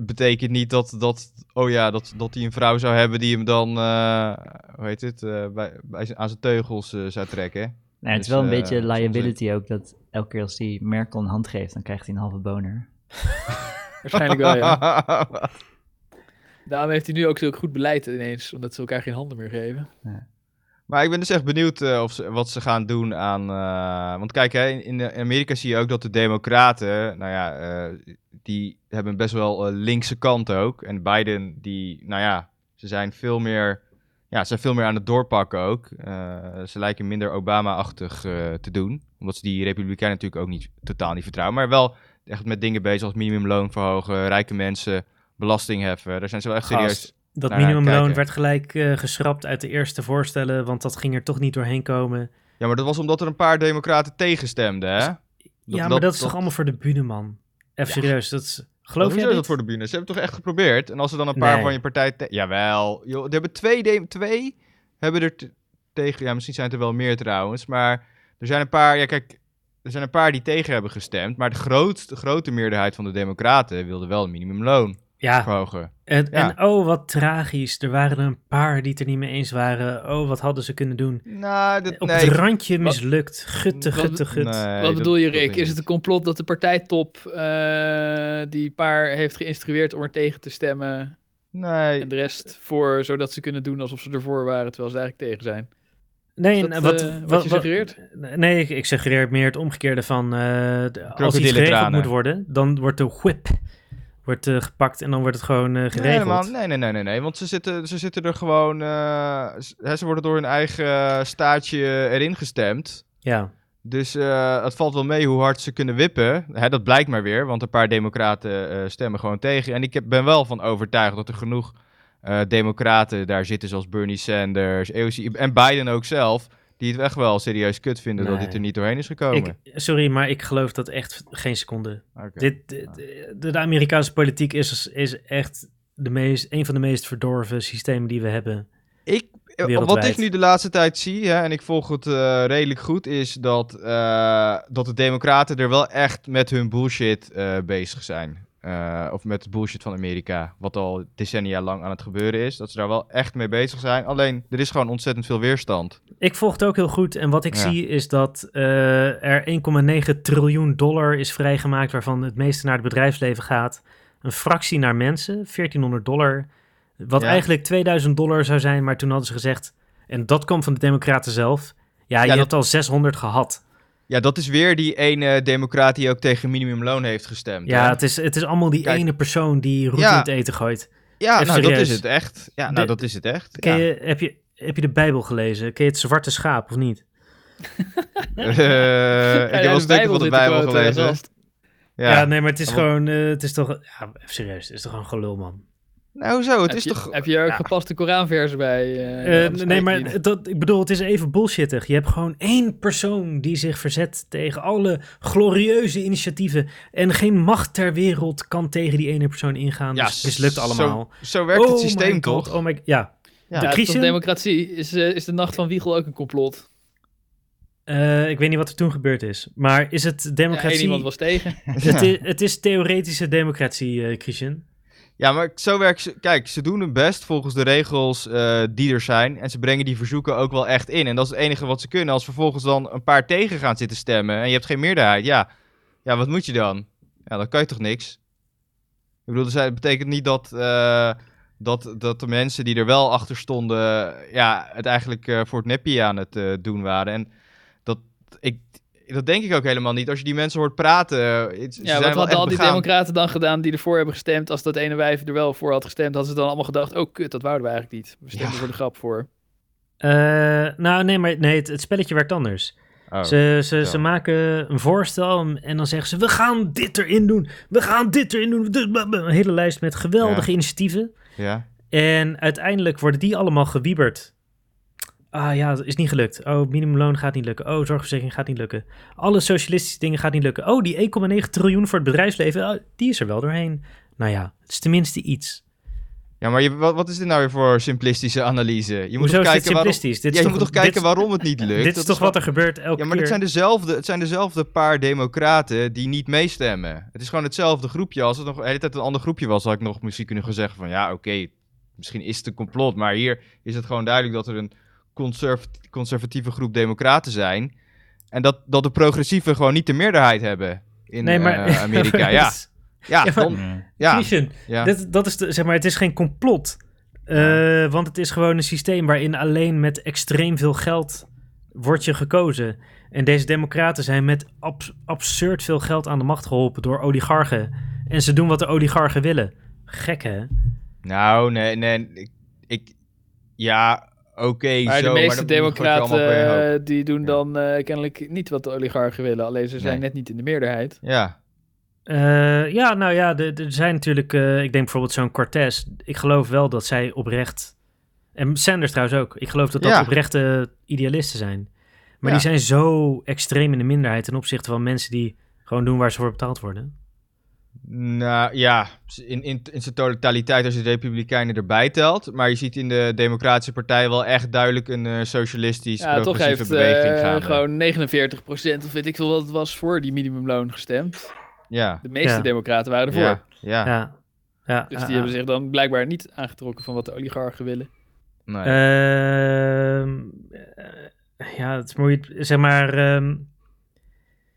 S5: betekent niet dat, dat, oh ja, dat, dat hij een vrouw zou hebben die hem dan, eh, hoe heet het, eh, bij, bij zijn- aan zijn teugels eh, zou trekken.
S4: Nou, het is
S5: Dus,
S4: wel een
S5: eh,
S4: beetje
S5: soms, eh,
S4: liability ook, dat elke keer als hij Merkel een hand geeft, dan krijgt hij een halve boner.
S2: Waarschijnlijk wel, ja. Daarom heeft hij nu ook zulk goed beleid ineens, omdat ze elkaar geen handen meer geven.
S5: maar ik ben dus echt benieuwd eh, of ze, wat ze gaan doen aan, eh, want kijk, hè, in, in Amerika zie je ook dat de democraten, nou ja, eh, die hebben best wel een linkse kant ook. En Biden, die, nou ja, ze zijn veel meer, ja, ze zijn veel meer aan het doorpakken ook. Eh, ze lijken minder Obama-achtig eh, te doen. Omdat ze die Republikeinen natuurlijk ook niet, totaal niet vertrouwen. Maar wel echt met dingen bezig als minimumloon verhogen, rijke mensen, belasting heffen. Daar zijn ze wel echt
S1: Gast,
S5: serieus.
S1: Dat
S5: Nou ja,
S1: minimumloon
S5: kijken.
S1: werd gelijk eh, geschrapt uit de eerste voorstellen, want dat ging er toch niet doorheen komen.
S5: Ja, maar dat was omdat er een paar democraten tegenstemden, hè?
S1: Dus- ja, maar dat, is toch allemaal voor de bühne, man? Even serieus, dat is... Geloof
S5: Hoezo
S1: je
S5: is dat voor de bühne? Ze hebben het toch echt geprobeerd? En als er dan een paar
S1: Nee.
S5: van je partij... te- Jawel. Joh, er hebben twee, de- twee hebben er t- tegen... Ja, misschien zijn het er wel meer trouwens. Maar er zijn een paar... Ja, kijk. Er zijn een paar die tegen hebben gestemd. Maar de grootste, grote meerderheid van de democraten wilde wel een minimumloon
S1: Ja,
S5: verhogen.
S1: En,
S5: Ja.
S1: en oh, wat tragisch. Er waren er een paar die het er niet mee eens waren. Oh, wat hadden ze kunnen doen?
S5: Nou, dat...
S1: Op
S5: nee.
S1: het randje mislukt. Gutte,
S2: Wat-
S1: gutte, gut.
S5: Nee,
S2: Wat
S5: dat-
S2: bedoel je,
S5: dat
S2: Rick?
S5: denk ik
S2: Is het een complot dat de partijtop eh, die paar heeft geïnstrueerd om er tegen te stemmen
S5: niet. Nee.
S2: en de rest voor, zodat ze kunnen doen alsof ze ervoor waren, terwijl ze eigenlijk tegen zijn?
S1: Nee,
S2: Is
S1: en
S2: dat,
S1: wat,
S2: eh, wat
S1: wat-
S2: je
S1: wat-
S2: suggereert?
S1: Nee, ik, ik suggereer meer het omgekeerde van... eh, de- als iets geregeld
S5: Krokodillentranen.
S1: moet worden, dan wordt de whip wordt, eh, gepakt en dan wordt het gewoon eh,
S5: Nee,
S1: geregeld.
S5: helemaal, nee, nee, nee, nee, nee. Want ze zitten, ze zitten er gewoon... eh, z- hè, ze worden door hun eigen eh, staartje erin gestemd.
S1: Ja,
S5: Dus eh, het valt wel mee hoe hard ze kunnen wippen. Hè, dat blijkt maar weer, want een paar democraten eh, stemmen gewoon tegen. En ik heb- ben wel van overtuigd dat er genoeg eh, democraten daar zitten, zoals Bernie Sanders, AOC en Biden ook zelf, die het echt wel serieus kut vinden dat
S1: Nee.
S5: dit er niet doorheen is gekomen.
S1: ik, sorry, maar ik geloof dat echt geen seconde.
S5: Oké.
S1: Dit, dit- de, de Amerikaanse politiek is, is echt de meest, een van de meest verdorven systemen die we hebben.
S5: Ik, eh, wat
S1: Wereldwijd.
S5: ik nu de laatste tijd zie, hè, en ik volg het eh, redelijk goed, is dat, eh, dat de Democraten er wel echt met hun bullshit eh, bezig zijn. Eh, of met de bullshit van Amerika, wat al decennia lang aan het gebeuren is. Dat ze daar wel echt mee bezig zijn. Alleen, er is gewoon ontzettend veel weerstand.
S1: Ik volg het ook heel goed. En wat ik
S5: Ja.
S1: zie is dat eh, er 1,9 triljoen dollar is vrijgemaakt, waarvan het meeste naar het bedrijfsleven gaat. Een fractie naar mensen, 1400 dollar. Wat
S5: Ja.
S1: eigenlijk 2000 dollar zou zijn, maar toen hadden ze gezegd... En dat kwam van de Democraten zelf. Ja, je
S5: dat-
S1: hebt al 600 gehad.
S5: Ja, dat is weer die ene democraat die ook tegen minimumloon heeft gestemd.
S1: Ja,
S5: hè?
S1: het is, het is allemaal die
S5: Kijk.
S1: ene persoon die roet
S5: Ja.
S1: in het eten gooit.
S5: ja
S1: even
S5: nou, dat
S1: serieus.
S5: is het echt. Ja, nou,
S1: De-
S5: dat is het echt.
S1: Ken
S5: Ja.
S1: je, heb, je, heb je de Bijbel gelezen? Ken je het zwarte schaap of niet?
S5: Eh, ik heb wel een stukje van de Bijbel
S1: eh,
S5: gelezen.
S1: Ja,
S5: Ja.
S1: nee, maar het is
S5: Ja,
S1: gewoon... eh, het is toch... Ja, even serieus. Het is toch gewoon gelul, man.
S5: Nou, hoezo? Het
S2: Heb
S5: is
S2: je,
S5: toch...
S2: heb je er ook
S5: ja.
S2: gepaste Koranversen bij? eh,
S1: Eh,
S2: ja, dat
S1: nee,
S2: weet
S1: maar
S2: ik niet.
S1: dat, ik bedoel, het is even bullshittig. Je hebt gewoon één persoon die zich verzet tegen alle glorieuze initiatieven. En geen macht ter wereld kan tegen die ene persoon ingaan.
S5: Ja,
S1: dus het lukt
S5: zo-
S1: allemaal.
S5: Zo werkt
S1: Oh
S5: het
S1: my
S5: systeem
S1: God,
S5: toch?
S1: Oh my, ja.
S5: Ja.
S1: De
S2: Ja, het is toch
S1: Christen,
S2: democratie. Is, eh, is de nacht van Wiegel ook een complot?
S1: eh, ik weet niet wat er toen gebeurd is. Maar is het
S2: Ja, één
S1: democratie...
S2: iemand was tegen.
S1: het, is, het is theoretische democratie, eh Christian.
S5: Ja, maar zo werkt ze. Kijk, ze doen hun best volgens de regels eh, die er zijn. En ze brengen die verzoeken ook wel echt in. En dat is het enige wat ze kunnen. Als vervolgens dan een paar tegen gaan zitten stemmen. en je hebt geen meerderheid. Ja, ja wat moet je dan? Ja, dan kan je toch niks? Ik bedoel, dus het betekent niet dat. eh, dat, dat de mensen die er wel achter stonden. ja, het eigenlijk eh, voor het neppie aan het eh, doen waren. En dat, ik, dat denk ik ook helemaal niet. Als je die mensen hoort praten. eh, het- ze
S2: Ja,
S5: zijn
S2: wat
S5: wel
S2: hadden
S5: echt
S2: al die
S5: begaan.
S2: democraten dan gedaan die ervoor hebben gestemd? Als dat ene wijf er wel voor had gestemd, hadden ze dan allemaal gedacht... Oh, kut, dat wouden we eigenlijk niet. We stemden
S5: Ja.
S2: voor de grap voor.
S1: Eh, nou, nee, maar nee, het, het spelletje werkt anders.
S5: Oh.
S1: ze, ze, ze
S5: zo.
S1: maken een voorstel en dan zeggen ze: We gaan dit erin doen. We gaan dit erin doen. Dus Een hele lijst met geweldige
S5: Ja.
S1: initiatieven.
S5: Ja.
S1: En uiteindelijk worden die allemaal gewieberd. Ah ja, dat is niet gelukt. Oh, minimumloon gaat niet lukken. Oh, zorgverzekering gaat niet lukken. Alle socialistische dingen gaat niet lukken. Oh, die 1,9 triljoen voor het bedrijfsleven, ah, die is er wel doorheen. Nou ja, het is tenminste iets.
S5: Ja, maar je, wat, wat is dit nou weer voor simplistische analyse? Je moet
S1: Hoezo
S5: toch
S1: is dit
S5: kijken waarom, ja,
S1: simplistisch? Dit
S5: je
S1: is
S5: moet
S1: toch-
S5: toch kijken
S1: dit-
S5: waarom het niet
S1: Dit
S5: lukt? Dat
S1: is toch wat
S5: wel-
S1: er gebeurt elke
S5: Ja, maar
S1: keer?
S5: het zijn, dus dezelfde, het zijn dezelfde paar democraten die niet meestemmen. Het is gewoon hetzelfde groepje. Als het nog de hele tijd een ander groepje was, had ik nog misschien kunnen gaan zeggen van... Ja, oké, misschien is het een complot. Maar hier is het gewoon duidelijk dat er een conservat- conservatieve groep democraten zijn. En dat, dat de progressieven gewoon niet de meerderheid hebben in
S1: Nee, maar...
S5: eh, Amerika. ja, ja,
S1: Ja, maar-
S5: dan-
S4: Nee.
S5: ja,
S1: Christian,
S5: ja.
S1: Dit, dat is de- zeg maar, het is geen complot. Eh, Want het is gewoon een systeem waarin alleen met extreem veel geld wordt je gekozen. En deze democraten zijn met ab- absurd veel geld aan de macht geholpen door oligarchen. En ze doen wat de oligarchen willen. Gek hè?
S5: Nou, nee, nee. Ik, ik- ja, oké,
S2: Maar de meeste
S5: zo. maar dat moet je gewoon
S2: democraten
S5: allemaal op één hoop.
S2: eh, die doen
S5: Ja.
S2: dan eh, kennelijk niet wat de oligarchen willen. Alleen ze zijn
S5: Nee.
S2: net niet in de meerderheid.
S5: Ja,
S1: Eh, ja, nou ja, de- de- er zijn natuurlijk, eh, ik denk bijvoorbeeld zo'n Cortez. Ik geloof wel dat zij oprecht, en Sanders trouwens ook, ik geloof dat dat
S5: Ja.
S1: oprechte idealisten zijn. Maar
S5: Ja.
S1: die zijn zo extreem in de minderheid ten opzichte van mensen die gewoon doen waar ze voor betaald worden.
S5: nou ja, in, in, in zijn totaliteit als je de Republikeinen erbij telt. Maar je ziet in de Democratische Partij wel echt duidelijk een eh, socialistisch
S2: Ja, toch
S5: progressieve
S2: heeft
S5: beweging
S2: eh,
S5: gaande.
S2: gewoon 49% of weet ik veel wat het was voor die minimumloon gestemd.
S5: Ja,
S2: De meeste
S1: Ja.
S2: democraten waren ervoor.
S5: ja, ja.
S1: Ja. ja. ja,
S2: Dus die
S1: ja.
S2: hebben zich dan blijkbaar niet aangetrokken van wat de oligarchen willen.
S5: Nee.
S1: Ehm, eh, ja, het is moeilijk. Zeg maar, ehm,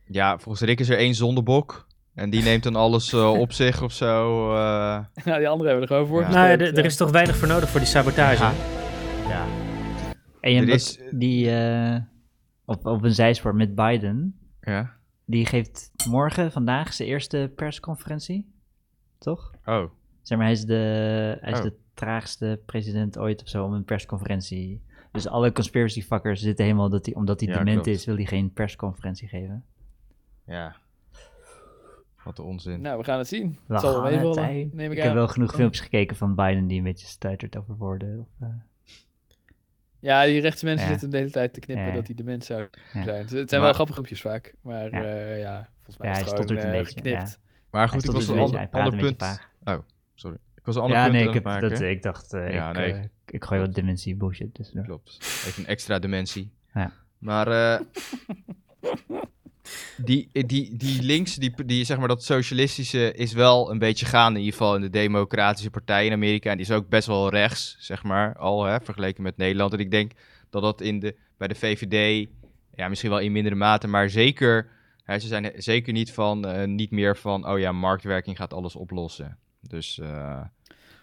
S5: ja, volgens Rick is er één zondebok. En die neemt dan alles eh, op zich of zo. eh.
S2: Ja, Nou, die anderen hebben er gewoon voor
S5: Ja.
S1: nou ja,
S2: gestemd, eh.
S1: d- er is toch weinig voor nodig voor die sabotage.
S5: Ja. ja.
S4: En je hebt
S5: Er
S4: ook
S5: is-
S4: die eh, op, op een zijspoor met Biden.
S5: ja.
S4: Die geeft morgen, vandaag, zijn eerste persconferentie. Toch?
S5: Oh,
S4: Zeg maar, hij is de, hij is
S5: Oh.
S4: de traagste president ooit of zo om een persconferentie. Dus alle conspiracy fuckers zitten helemaal dat hij, omdat hij
S5: Ja,
S4: dement
S5: klopt.
S4: is, wil hij geen persconferentie geven.
S5: ja. Wat een onzin.
S2: Nou, we gaan het zien.
S4: We
S2: het zal wel
S4: gaan het
S2: meevallen,
S4: zien.
S2: neem ik,
S4: Ik
S2: aan.
S4: heb wel genoeg filmpjes gekeken van Biden die een beetje stuitert over woorden. Of, eh,
S2: Ja, die rechtse mensen
S4: Ja.
S2: zitten de hele tijd te knippen
S4: Ja.
S2: dat hij dement zou
S4: Ja.
S2: zijn. Het zijn wel
S5: Maar-
S2: grappige groepjes vaak, maar
S4: Ja.
S2: ja, ja volgens mij
S4: Ja, hij
S2: is het gewoon
S4: stottert een
S2: eh,
S4: beetje,
S2: geknipt.
S5: Maar
S4: hij
S5: goed, ik
S4: stond
S5: was
S4: dus
S5: een
S4: een beetje-
S5: ander,
S4: hij praat
S5: ander
S4: een beetje
S5: punt.
S4: vaag.
S5: Sorry. Ik was een ander
S4: Ja,
S5: punt
S4: nee,
S5: aan
S4: ik,
S5: het
S4: heb,
S5: maken.
S4: dat, ik dacht, eh,
S5: Ja,
S4: ik,
S5: nee.
S4: eh, ik gooi wat dementie bullshit dus nou, tussendoor.
S5: Klopt. Even een extra dimensie.
S4: Ja.
S5: Maar eh, die, eh, die, die links, die, die, zeg maar dat socialistische is wel een beetje gaande. In ieder geval in de democratische partij in Amerika. En die is ook best wel rechts, zeg maar, al hè, vergeleken met Nederland. En ik denk dat dat in de, bij de VVD, ja, misschien wel in mindere mate, maar zeker... hè, ze zijn zeker niet, van, eh, niet meer van, oh ja, marktwerking gaat alles oplossen. Dus eh,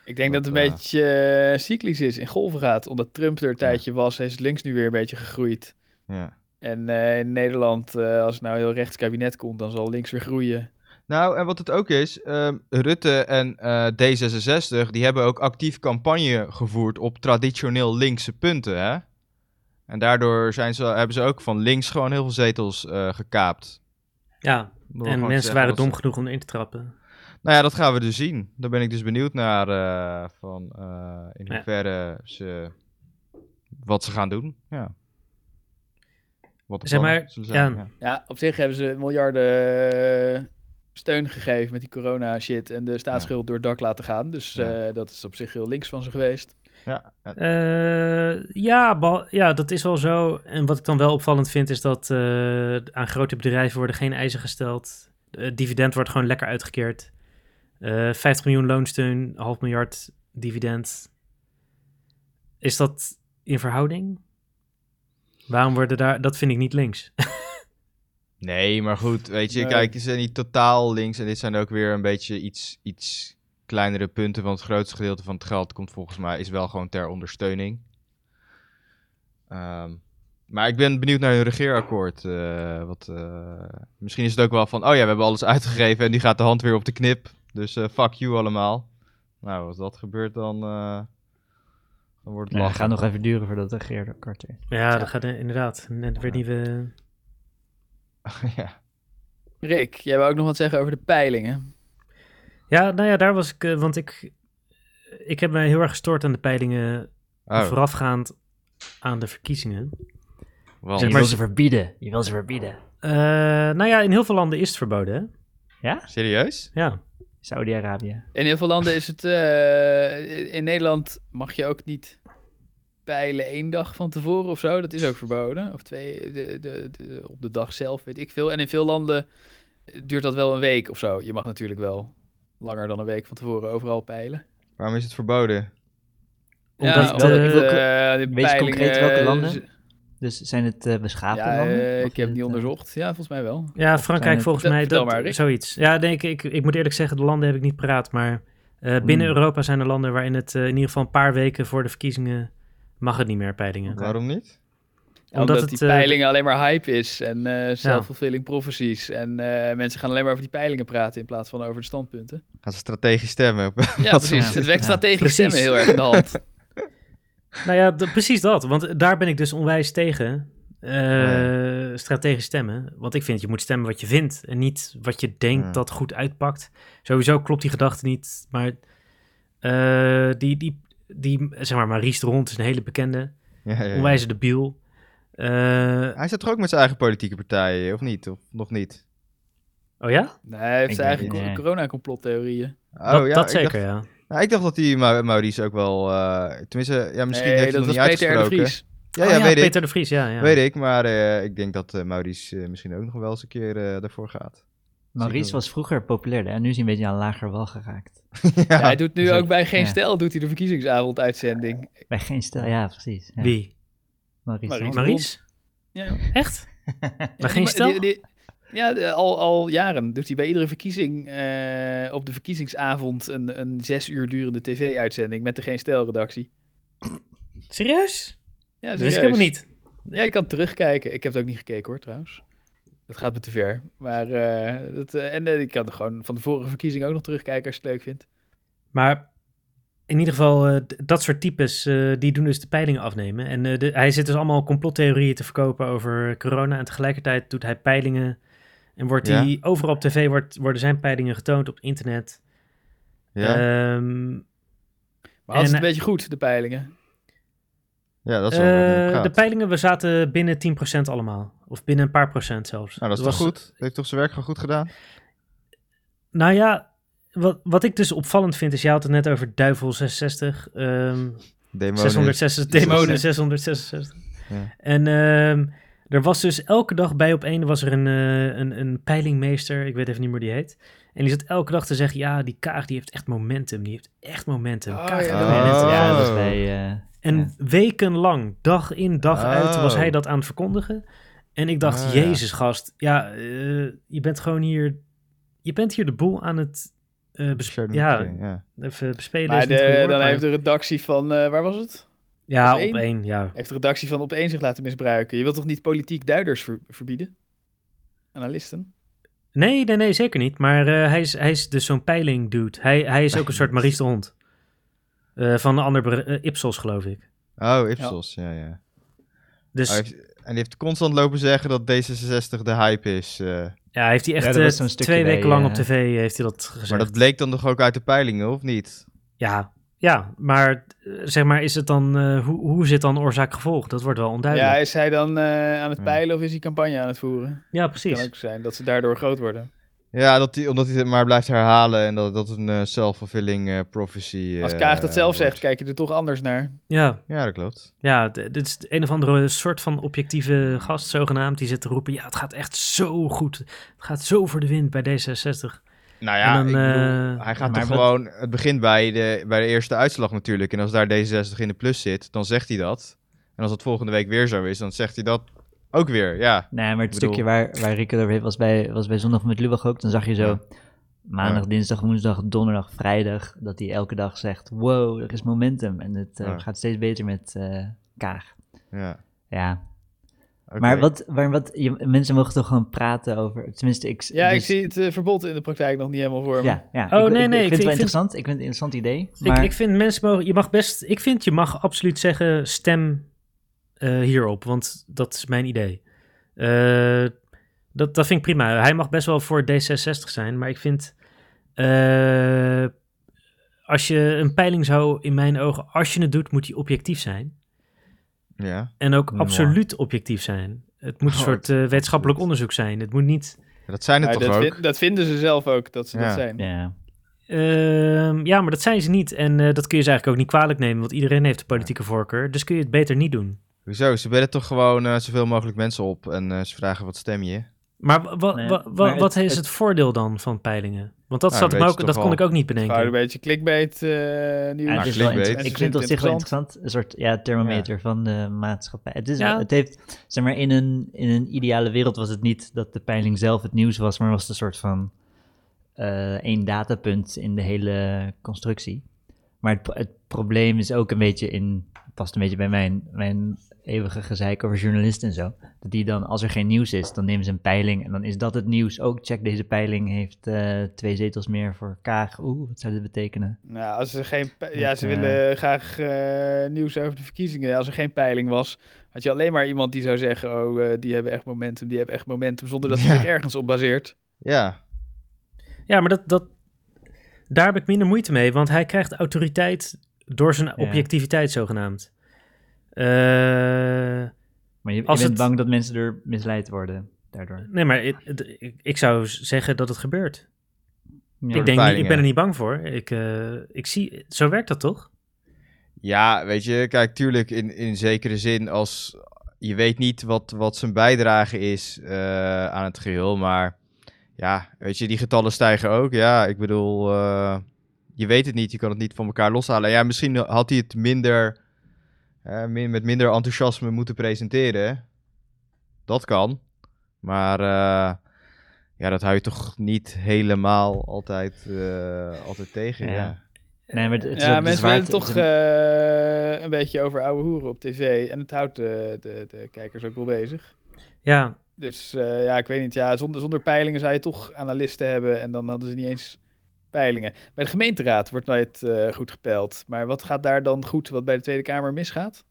S2: Ik denk dat
S5: Dat,
S2: het een
S5: eh,
S2: beetje eh, cyclisch is, in golven gaat. Omdat Trump er een tijdje was, is links nu weer een beetje gegroeid.
S5: Ja.
S2: En eh, in Nederland, eh, als er nou een heel rechts kabinet komt, dan zal links weer groeien.
S5: Nou, en wat het ook is, ehm, Rutte en eh, D66, die hebben ook actief campagne gevoerd op traditioneel linkse punten, hè? En daardoor zijn ze, hebben ze ook van links gewoon heel veel zetels eh, gekaapt.
S1: Ja,
S5: Door
S1: en
S5: gewoon te
S1: mensen
S5: zeggen
S1: waren
S5: dat ze-
S1: dom genoeg om in te trappen.
S5: Nou ja, dat gaan we dus zien. Daar ben ik dus benieuwd naar eh, van eh, in
S1: Ja.
S5: hoeverre ze wat ze gaan doen. Ja. Wat de
S1: Zeg
S5: plannen
S1: maar,
S5: zullen zijn,
S1: ja.
S2: Ja, op zich hebben ze miljarden eh, steun gegeven met die corona shit en de staatsschuld door het dak laten gaan. Dus
S5: Ja.
S2: eh, dat is op zich heel links van ze geweest.
S5: Ja, eh,
S1: Eh, ja, bal- ja, dat is wel zo. En wat ik dan wel opvallend vind, is dat eh, aan grote bedrijven worden geen eisen gesteld. Het dividend wordt gewoon lekker uitgekeerd. Eh 50 miljoen loonsteun, een half miljard dividend. Is dat in verhouding? Waarom worden daar... Dat vind ik niet links.
S5: Nee, maar goed, weet je,
S2: Nee.
S5: kijk, die zijn niet totaal links en dit zijn ook weer een beetje iets, iets kleinere punten, want het grootste gedeelte van het geld komt volgens mij, is wel gewoon ter ondersteuning. Ehm, maar ik ben benieuwd naar hun regeerakkoord. eh, wat, eh, misschien is het ook wel van, oh ja, we hebben alles uitgegeven en die gaat de hand weer op de knip, dus eh, fuck you allemaal. Nou, als dat gebeurt, dan, eh, dan wordt het
S4: Nou, dat
S5: lachen.
S4: gaat nog even duren voordat de Geert er kort is.
S1: Ja, dat gaat eh, inderdaad. Net weer nieuwe...
S5: ja.
S2: Rick, jij wou ook nog wat zeggen over de peilingen.
S1: Ja, nou ja, daar was ik... eh, want ik, ik heb mij heel erg gestoord aan de peilingen...
S5: Oh,
S1: voorafgaand aan de verkiezingen.
S5: wel.
S1: Zeg
S4: je
S1: maar-
S4: wil ze verbieden. Je wil ze verbieden.
S1: Eh, nou ja, in heel veel landen is het verboden, hè?
S4: Ja?
S5: Serieus?
S1: Ja.
S4: Saudi-Arabië.
S2: In heel veel landen is het... eh, in Nederland mag je ook niet peilen één dag van tevoren of zo. Dat is ook verboden. Of twee, de, de, de- op de dag zelf, weet ik veel. En in veel landen duurt dat wel een week of zo. Je mag natuurlijk wel langer dan een week van tevoren overal peilen.
S5: Waarom is het verboden?
S1: Omdat,
S2: omdat,
S1: eh,
S2: eh,
S4: welke-
S2: de
S4: weet je concreet
S2: peilingen-
S4: welke landen? Dus zijn het eh beschaafde
S2: Ja,
S4: landen?
S2: eh,
S4: Of
S2: ik heb het
S4: is
S2: niet
S4: het, eh,
S2: onderzocht. Ja, volgens mij wel.
S1: Ja,
S4: zijn
S1: Frankrijk
S4: het-
S1: volgens
S2: Dat-
S1: mij,
S2: vertel
S1: dat,
S2: maar, Rick.
S1: zoiets. Ja, denk ik, ik, ik moet eerlijk zeggen, de landen heb ik niet paraat, maar eh, binnen
S4: Hmm.
S1: Europa zijn er landen waarin het eh, in ieder geval een paar weken voor de verkiezingen mag het niet meer, peilingen.
S5: Waarom niet?
S2: Omdat,
S1: Omdat het,
S2: die
S1: eh,
S2: peilingen alleen maar hype is en eh self-fulfilling prophecies. En eh, mensen gaan alleen maar over die peilingen praten in plaats van over de standpunten.
S5: Gaan ze strategisch stemmen? op-
S2: Ja, precies.
S4: ja.
S2: Het werkt strategisch
S1: Precies.
S2: stemmen heel erg in de hand.
S1: Nou ja, d- precies dat, want daar ben ik dus onwijs tegen. eh, Strategisch stemmen. Want ik vind, je moet stemmen wat je vindt en niet wat je denkt
S5: Ja.
S1: dat goed uitpakt. Sowieso klopt die gedachte niet, maar eh, die, die, die, zeg maar, Maries de Hond is een hele bekende.
S5: Ja, ja, ja.
S1: onwijs debiel. Eh,
S5: Hij zat toch ook met zijn eigen politieke partij, of niet? Of nog niet?
S1: oh ja?
S2: Nee, hij heeft
S4: Ik
S2: zijn
S4: denk
S2: eigen
S4: het
S2: co-
S4: niet.
S2: corona-complottheorieën.
S5: Oh,
S1: dat
S5: ja,
S1: dat
S5: ik
S1: zeker,
S5: Dacht,
S1: ja.
S5: nou, ik dacht dat hij Ma- Maurice ook wel... eh, tenminste, ja, misschien
S2: Nee,
S5: heeft hij
S2: dat
S5: nog
S2: was
S5: niet
S2: Peter R. de
S5: uitgesproken.
S2: Vries.
S5: Ja,
S1: Oh
S5: ja, weet,
S1: Peter
S5: ik,
S1: de Vries, ja. ja.
S5: weet ik. Maar eh, ik denk dat eh, Maurice eh, misschien ook nog wel eens een keer eh, daarvoor gaat.
S4: Maurice was vroeger populairder en nu is hij een beetje aan lager wal geraakt.
S2: Ja, hij doet nu
S5: dus
S2: ook bij Geen
S4: ja.
S2: Stijl doet hij de verkiezingsavonduitzending.
S4: Bij geen stel, ja precies. Ja.
S1: Wie?
S4: Maurice.
S2: Maurice.
S4: Hond.
S1: Maries?
S2: Ja.
S1: Echt? Maar
S2: Die-
S1: geen stel?
S2: die- die- ja, de- al, al jaren doet hij bij iedere verkiezing eh, op de verkiezingsavond een, een zes uur durende tv-uitzending met de Geen Stijl-redactie.
S1: Serieus?
S2: Ja,
S1: Dat is
S2: serieus.
S1: helemaal niet.
S2: Ja, je kan terugkijken. Ik heb het ook niet gekeken hoor, trouwens. Dat gaat me te ver. Maar, eh, dat, eh, en eh, ik kan er gewoon van de vorige verkiezing ook nog terugkijken als je het leuk vindt.
S1: Maar in ieder geval, eh, d- dat soort types, eh, die doen dus de peilingen afnemen. En eh, de, hij zit dus allemaal complottheorieën te verkopen over corona. En tegelijkertijd doet hij peilingen. En wordt
S5: Ja.
S1: die, overal op tv wordt, worden zijn peilingen getoond op internet.
S5: Ja,
S1: Ehm,
S2: Maar had
S1: En,
S2: het een
S1: eh,
S2: beetje goed, de peilingen?
S5: ja dat is wel waar het om
S1: eh,
S5: gaat.
S1: de peilingen, we zaten binnen 10% allemaal. Of binnen een paar procent zelfs.
S5: Nou, dat is
S1: Het
S5: toch
S1: was-
S5: goed? Hij heeft toch zijn werk gewoon goed gedaan?
S1: Nou ja, wat, wat ik dus opvallend vind is, je had het net over duivel 66, ehm
S5: Demonen.
S1: 666, demonen 666.
S5: Ja.
S1: En ehm, er was dus elke dag bij op één was er een, eh, een, een peilingmeester, ik weet even niet meer hoe die heet. En die zat elke dag te zeggen, ja, die Kaag die heeft echt momentum, die heeft echt momentum.
S2: Oh,
S1: Kaag heeft
S2: ja.
S1: echt momentum.
S5: Oh.
S4: Ja, dat is bij... eh,
S1: En
S4: Ja.
S1: wekenlang, dag in, dag uit, was
S5: Oh.
S1: hij dat aan het verkondigen. En ik dacht,
S5: Ah, ja.
S1: jezus gast, ja, eh, je bent gewoon hier, je bent hier de boel aan het eh, bes-
S5: Shared
S1: ja,
S5: monitoring, ja.
S1: even bespelen
S2: Maar
S1: is niet het
S2: de-
S1: goede woord,
S2: dan
S1: maar-
S2: heeft de redactie van, eh, waar was het?
S1: Ja,
S2: dus
S1: op
S2: één.
S1: één, ja.
S2: Heeft de redactie van Opeen zich laten misbruiken? Je wilt toch niet politiek duiders ver- verbieden? Analisten?
S1: Nee, nee, nee, zeker niet. Maar eh, hij, is, hij is dus zo'n peiling dude. Hij, hij is ook een soort Maries de Hond. Eh, van een ander ber- eh, Ipsos, geloof ik.
S5: Oh, Ipsos, ja, ja.
S1: Dus
S5: Oh, hij heeft- en die heeft constant lopen zeggen dat D66 de hype is. eh.
S1: ja, hij heeft hij
S4: Ja,
S1: echt
S4: er was
S1: eh,
S4: zo'n stukje
S1: twee
S4: bij,
S1: weken lang
S4: eh,
S1: op tv heeft hij dat gezegd.
S5: maar dat bleek dan toch ook uit de peilingen, of niet?
S1: Ja, ja maar eh, zeg maar, is het dan, eh, hoe, hoe zit dan oorzaak-gevolg? Dat wordt wel onduidelijk.
S2: Ja,
S1: Ja,
S2: is hij dan eh, aan het
S5: Ja.
S2: peilen of is hij campagne aan het voeren?
S1: precies.
S2: Kan ook zijn dat ze daardoor groot worden.
S5: Ja, dat die, omdat hij het maar blijft herhalen en dat dat een eh self-fulfilling eh, prophecy
S2: Als
S5: eh,
S2: Kaag dat zelf
S5: wordt.
S2: zegt, kijk je er toch anders naar.
S1: Ja,
S5: Ja, dat klopt.
S1: ja, d- dit is een of andere soort van objectieve gast, zogenaamd, die zit te roepen, ja, het gaat echt zo goed. Het gaat zo voor de wind bij D66. En
S5: Nou ja,
S1: dan,
S5: ik bedoel,
S1: eh,
S5: hij gaat
S4: maar
S5: toch
S4: wat-
S5: gewoon... Het begint bij de, bij de eerste uitslag natuurlijk. En als daar D66 in de plus zit, dan zegt hij dat. En als dat volgende week weer zo is, dan zegt hij dat ook weer. Ja,
S4: Nee, maar het
S5: Ik bedoel-
S4: stukje waar, waar Rico er was bij, was bij Zondag met Lubach ook. Dan zag je zo
S5: Ja.
S4: maandag,
S5: Ja.
S4: dinsdag, woensdag, donderdag, vrijdag. Dat hij elke dag zegt, wow, er is momentum. En het eh,
S5: Ja.
S4: gaat steeds beter met eh, Kaag.
S5: ja.
S4: Ja,
S5: oké.
S4: maar wat, maar wat je, mensen mogen toch gewoon praten over, tenminste ik...
S2: Ja, ik
S4: dus-
S2: zie het eh, verbod in de praktijk nog niet helemaal voor me.
S4: Ja, ja.
S1: Oh,
S4: ik,
S1: nee,
S4: ik-
S1: nee,
S4: Ik,
S1: ik
S4: vind het wel
S1: vind-
S4: interessant, ik vind het een interessant idee.
S1: Ik,
S4: maar-
S1: ik vind mensen mogen, je mag best, ik vind je mag absoluut zeggen stem eh, hierop, want dat is mijn idee. Eh, dat, dat vind ik prima. Hij mag best wel voor D66 zijn, maar ik vind eh, als je een peiling zou in mijn ogen, als je het doet, moet die objectief zijn
S5: Ja,
S1: en ook
S4: Ja.
S1: absoluut objectief zijn. Het moet een
S5: Oh,
S1: soort eh, wetenschappelijk onderzoek zijn. Het moet niet.
S5: dat zijn het
S2: Maar
S5: toch
S2: dat,
S5: ook?
S2: vin- dat vinden ze zelf ook, dat ze
S5: Ja.
S2: dat zijn.
S4: Ja,
S1: Ehm, ja, maar dat zijn ze niet. En eh, dat kun je ze eigenlijk ook niet kwalijk nemen, want iedereen heeft de politieke voorkeur. Dus kun je het beter niet doen.
S5: Hoezo? Ze bellen toch gewoon eh, zoveel mogelijk mensen op en eh, ze vragen wat stem je?
S1: Maar wa- wa-
S4: Nee,
S1: wa- wa-
S4: maar
S1: wat
S4: het-
S1: is
S4: het-
S1: het voordeel dan van peilingen? Want dat,
S5: Nou,
S1: zat
S5: dat
S1: me
S5: weet
S1: ook,
S5: je
S1: dat
S5: toch
S1: kon ik
S5: wel.
S1: ook niet
S2: Gewoon
S1: bedenken.
S2: een beetje clickbait eh nieuws.
S4: Ja, het is wel
S5: clickbait.
S4: inter-
S5: Mensen
S4: ik
S2: vinden
S4: vind het op zich wel
S2: het
S4: interessant. Een soort ja, thermometer van de maatschappij. Het, is
S1: Ja.
S4: wel- het heeft, zeg maar, in een, in een ideale wereld was het niet dat de peiling zelf het nieuws was, maar was het een soort van eh één datapunt in de hele constructie. Maar het, pro- het probleem is ook een beetje in, het past een beetje bij mijn, mijn eeuwige gezeik over journalisten en zo. Dat die dan, als er geen nieuws is, dan nemen ze een peiling en dan is dat het nieuws. Ook check deze peiling, heeft eh, twee zetels meer voor Kaag. Oeh, wat zou dit betekenen?
S2: Nou, als er geen pe- ja,
S4: Dat,
S2: ze
S4: eh,
S2: willen graag eh, nieuws over de verkiezingen. Als er geen peiling was, had je alleen maar iemand die zou zeggen: Oh, eh, die hebben echt momentum, die hebben echt momentum, zonder dat hij
S5: Ja.
S2: zich ergens op baseert.
S5: Ja,
S1: Ja, maar dat, dat, daar heb ik minder moeite mee, want hij krijgt autoriteit door zijn objectiviteit zogenaamd. Eh,
S4: Maar je, je
S1: Als
S4: bent
S1: het-
S4: bang dat mensen er misleid worden daardoor.
S1: nee, maar ik, ik- ik zou zeggen dat het gebeurt.
S5: de
S1: ik, denk niet, ik
S5: peilingen.
S1: ben er niet bang voor. Ik, eh, ik zie, zo werkt dat toch?
S5: Ja, weet je, kijk, tuurlijk, in, in zekere zin, als je weet niet wat, wat zijn bijdrage is eh, aan het geheel, maar ja, weet je, die getallen stijgen ook. Ja, ik bedoel, eh, je weet het niet, je kan het niet van elkaar loshalen. Ja, misschien had hij het minder, eh, min- met minder enthousiasme moeten presenteren. Dat kan, maar eh, ja, dat hou je toch niet helemaal altijd, eh, altijd tegen.
S4: Ja.
S5: ja.
S4: Nee, maar het, het is ook
S2: ja,
S4: de
S2: mensen
S4: zwaarte-
S2: willen toch
S4: het-
S2: eh, een beetje over oude hoeren op tv. En het houdt de, de, de kijkers ook wel bezig.
S1: Ja,
S2: Dus eh, ja, ik weet niet. Ja, zonder, zonder peilingen zou je toch analisten hebben. En dan hadden ze niet eens peilingen. Bij de gemeenteraad wordt nooit eh, goed gepeild. Maar wat gaat daar dan goed wat bij de Tweede Kamer misgaat?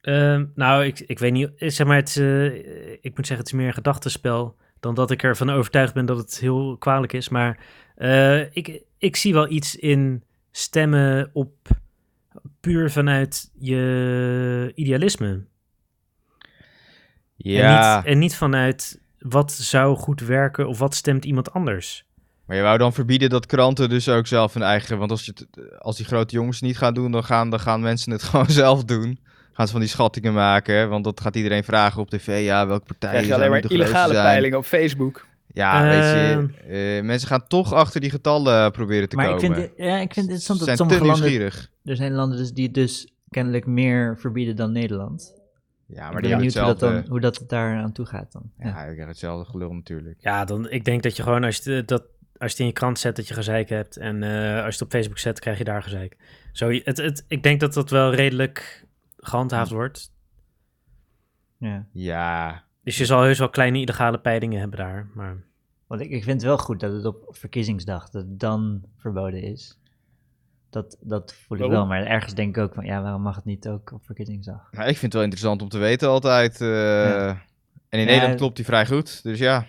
S1: Ehm, nou, ik, ik weet niet. eh, Zeg maar, het, is, eh, ik moet zeggen, het is meer een gedachtenspel dan dat ik ervan overtuigd ben dat het heel kwalijk is. Maar eh, ik, ik zie wel iets in stemmen op puur vanuit je idealisme. En, niet, en niet vanuit wat zou goed werken of wat stemt iemand anders.
S5: Maar je wou dan verbieden dat kranten dus ook zelf hun eigen... Want als, je het- als die grote jongens het niet gaan doen, dan gaan, dan gaan mensen het gewoon zelf doen. Gaan ze van die schattingen maken, want dat gaat iedereen vragen op tv. Ja, welke partijen
S2: krijg je
S5: zijn
S2: alleen maar
S5: nu de grootste
S2: illegale
S5: zijn?
S2: peilingen op Facebook.
S5: Ja,
S1: Eh.
S5: weet je, eh, mensen gaan toch achter die getallen proberen te
S4: Ehm. Maar ik
S5: komen.
S4: vind, het- ja, ik vind het
S5: Ze
S4: interessant dat
S5: zijn te
S4: sommige landen...
S5: nieuwsgierig.
S4: Er zijn landen dus die het dus kennelijk meer verbieden dan Nederland.
S5: Ja,
S4: Ik
S5: maar
S4: ben
S5: die hebben
S4: benieuwd hoe dat,
S5: hetzelfde...
S4: dan, hoe dat daar aan toe gaat dan. Ja.
S5: Ja, ik heb hetzelfde gelul natuurlijk.
S1: Ja, dan, ik denk dat je gewoon als je de- dat als je het in je krant zet dat je gezeik hebt. En eh, als je het op Facebook zet, krijg je daar gezeik. Zo, het, het, ik denk dat dat wel redelijk gehandhaafd wordt.
S4: Ja.
S5: Ja,
S1: Dus je zal heus wel kleine illegale peilingen hebben daar. Maar
S4: Want ik, ik vind het wel goed dat het op verkiezingsdag dat het dan verboden is. Dat, dat voel ik wel,
S2: Waarom?
S4: maar ergens denk ik ook van ja, waarom mag het niet ook op verkiezingsdag?
S5: nou, ik vind het wel interessant om te weten altijd. eh, En in
S4: Ja,
S5: Nederland
S4: het-
S5: klopt die vrij goed, dus ja.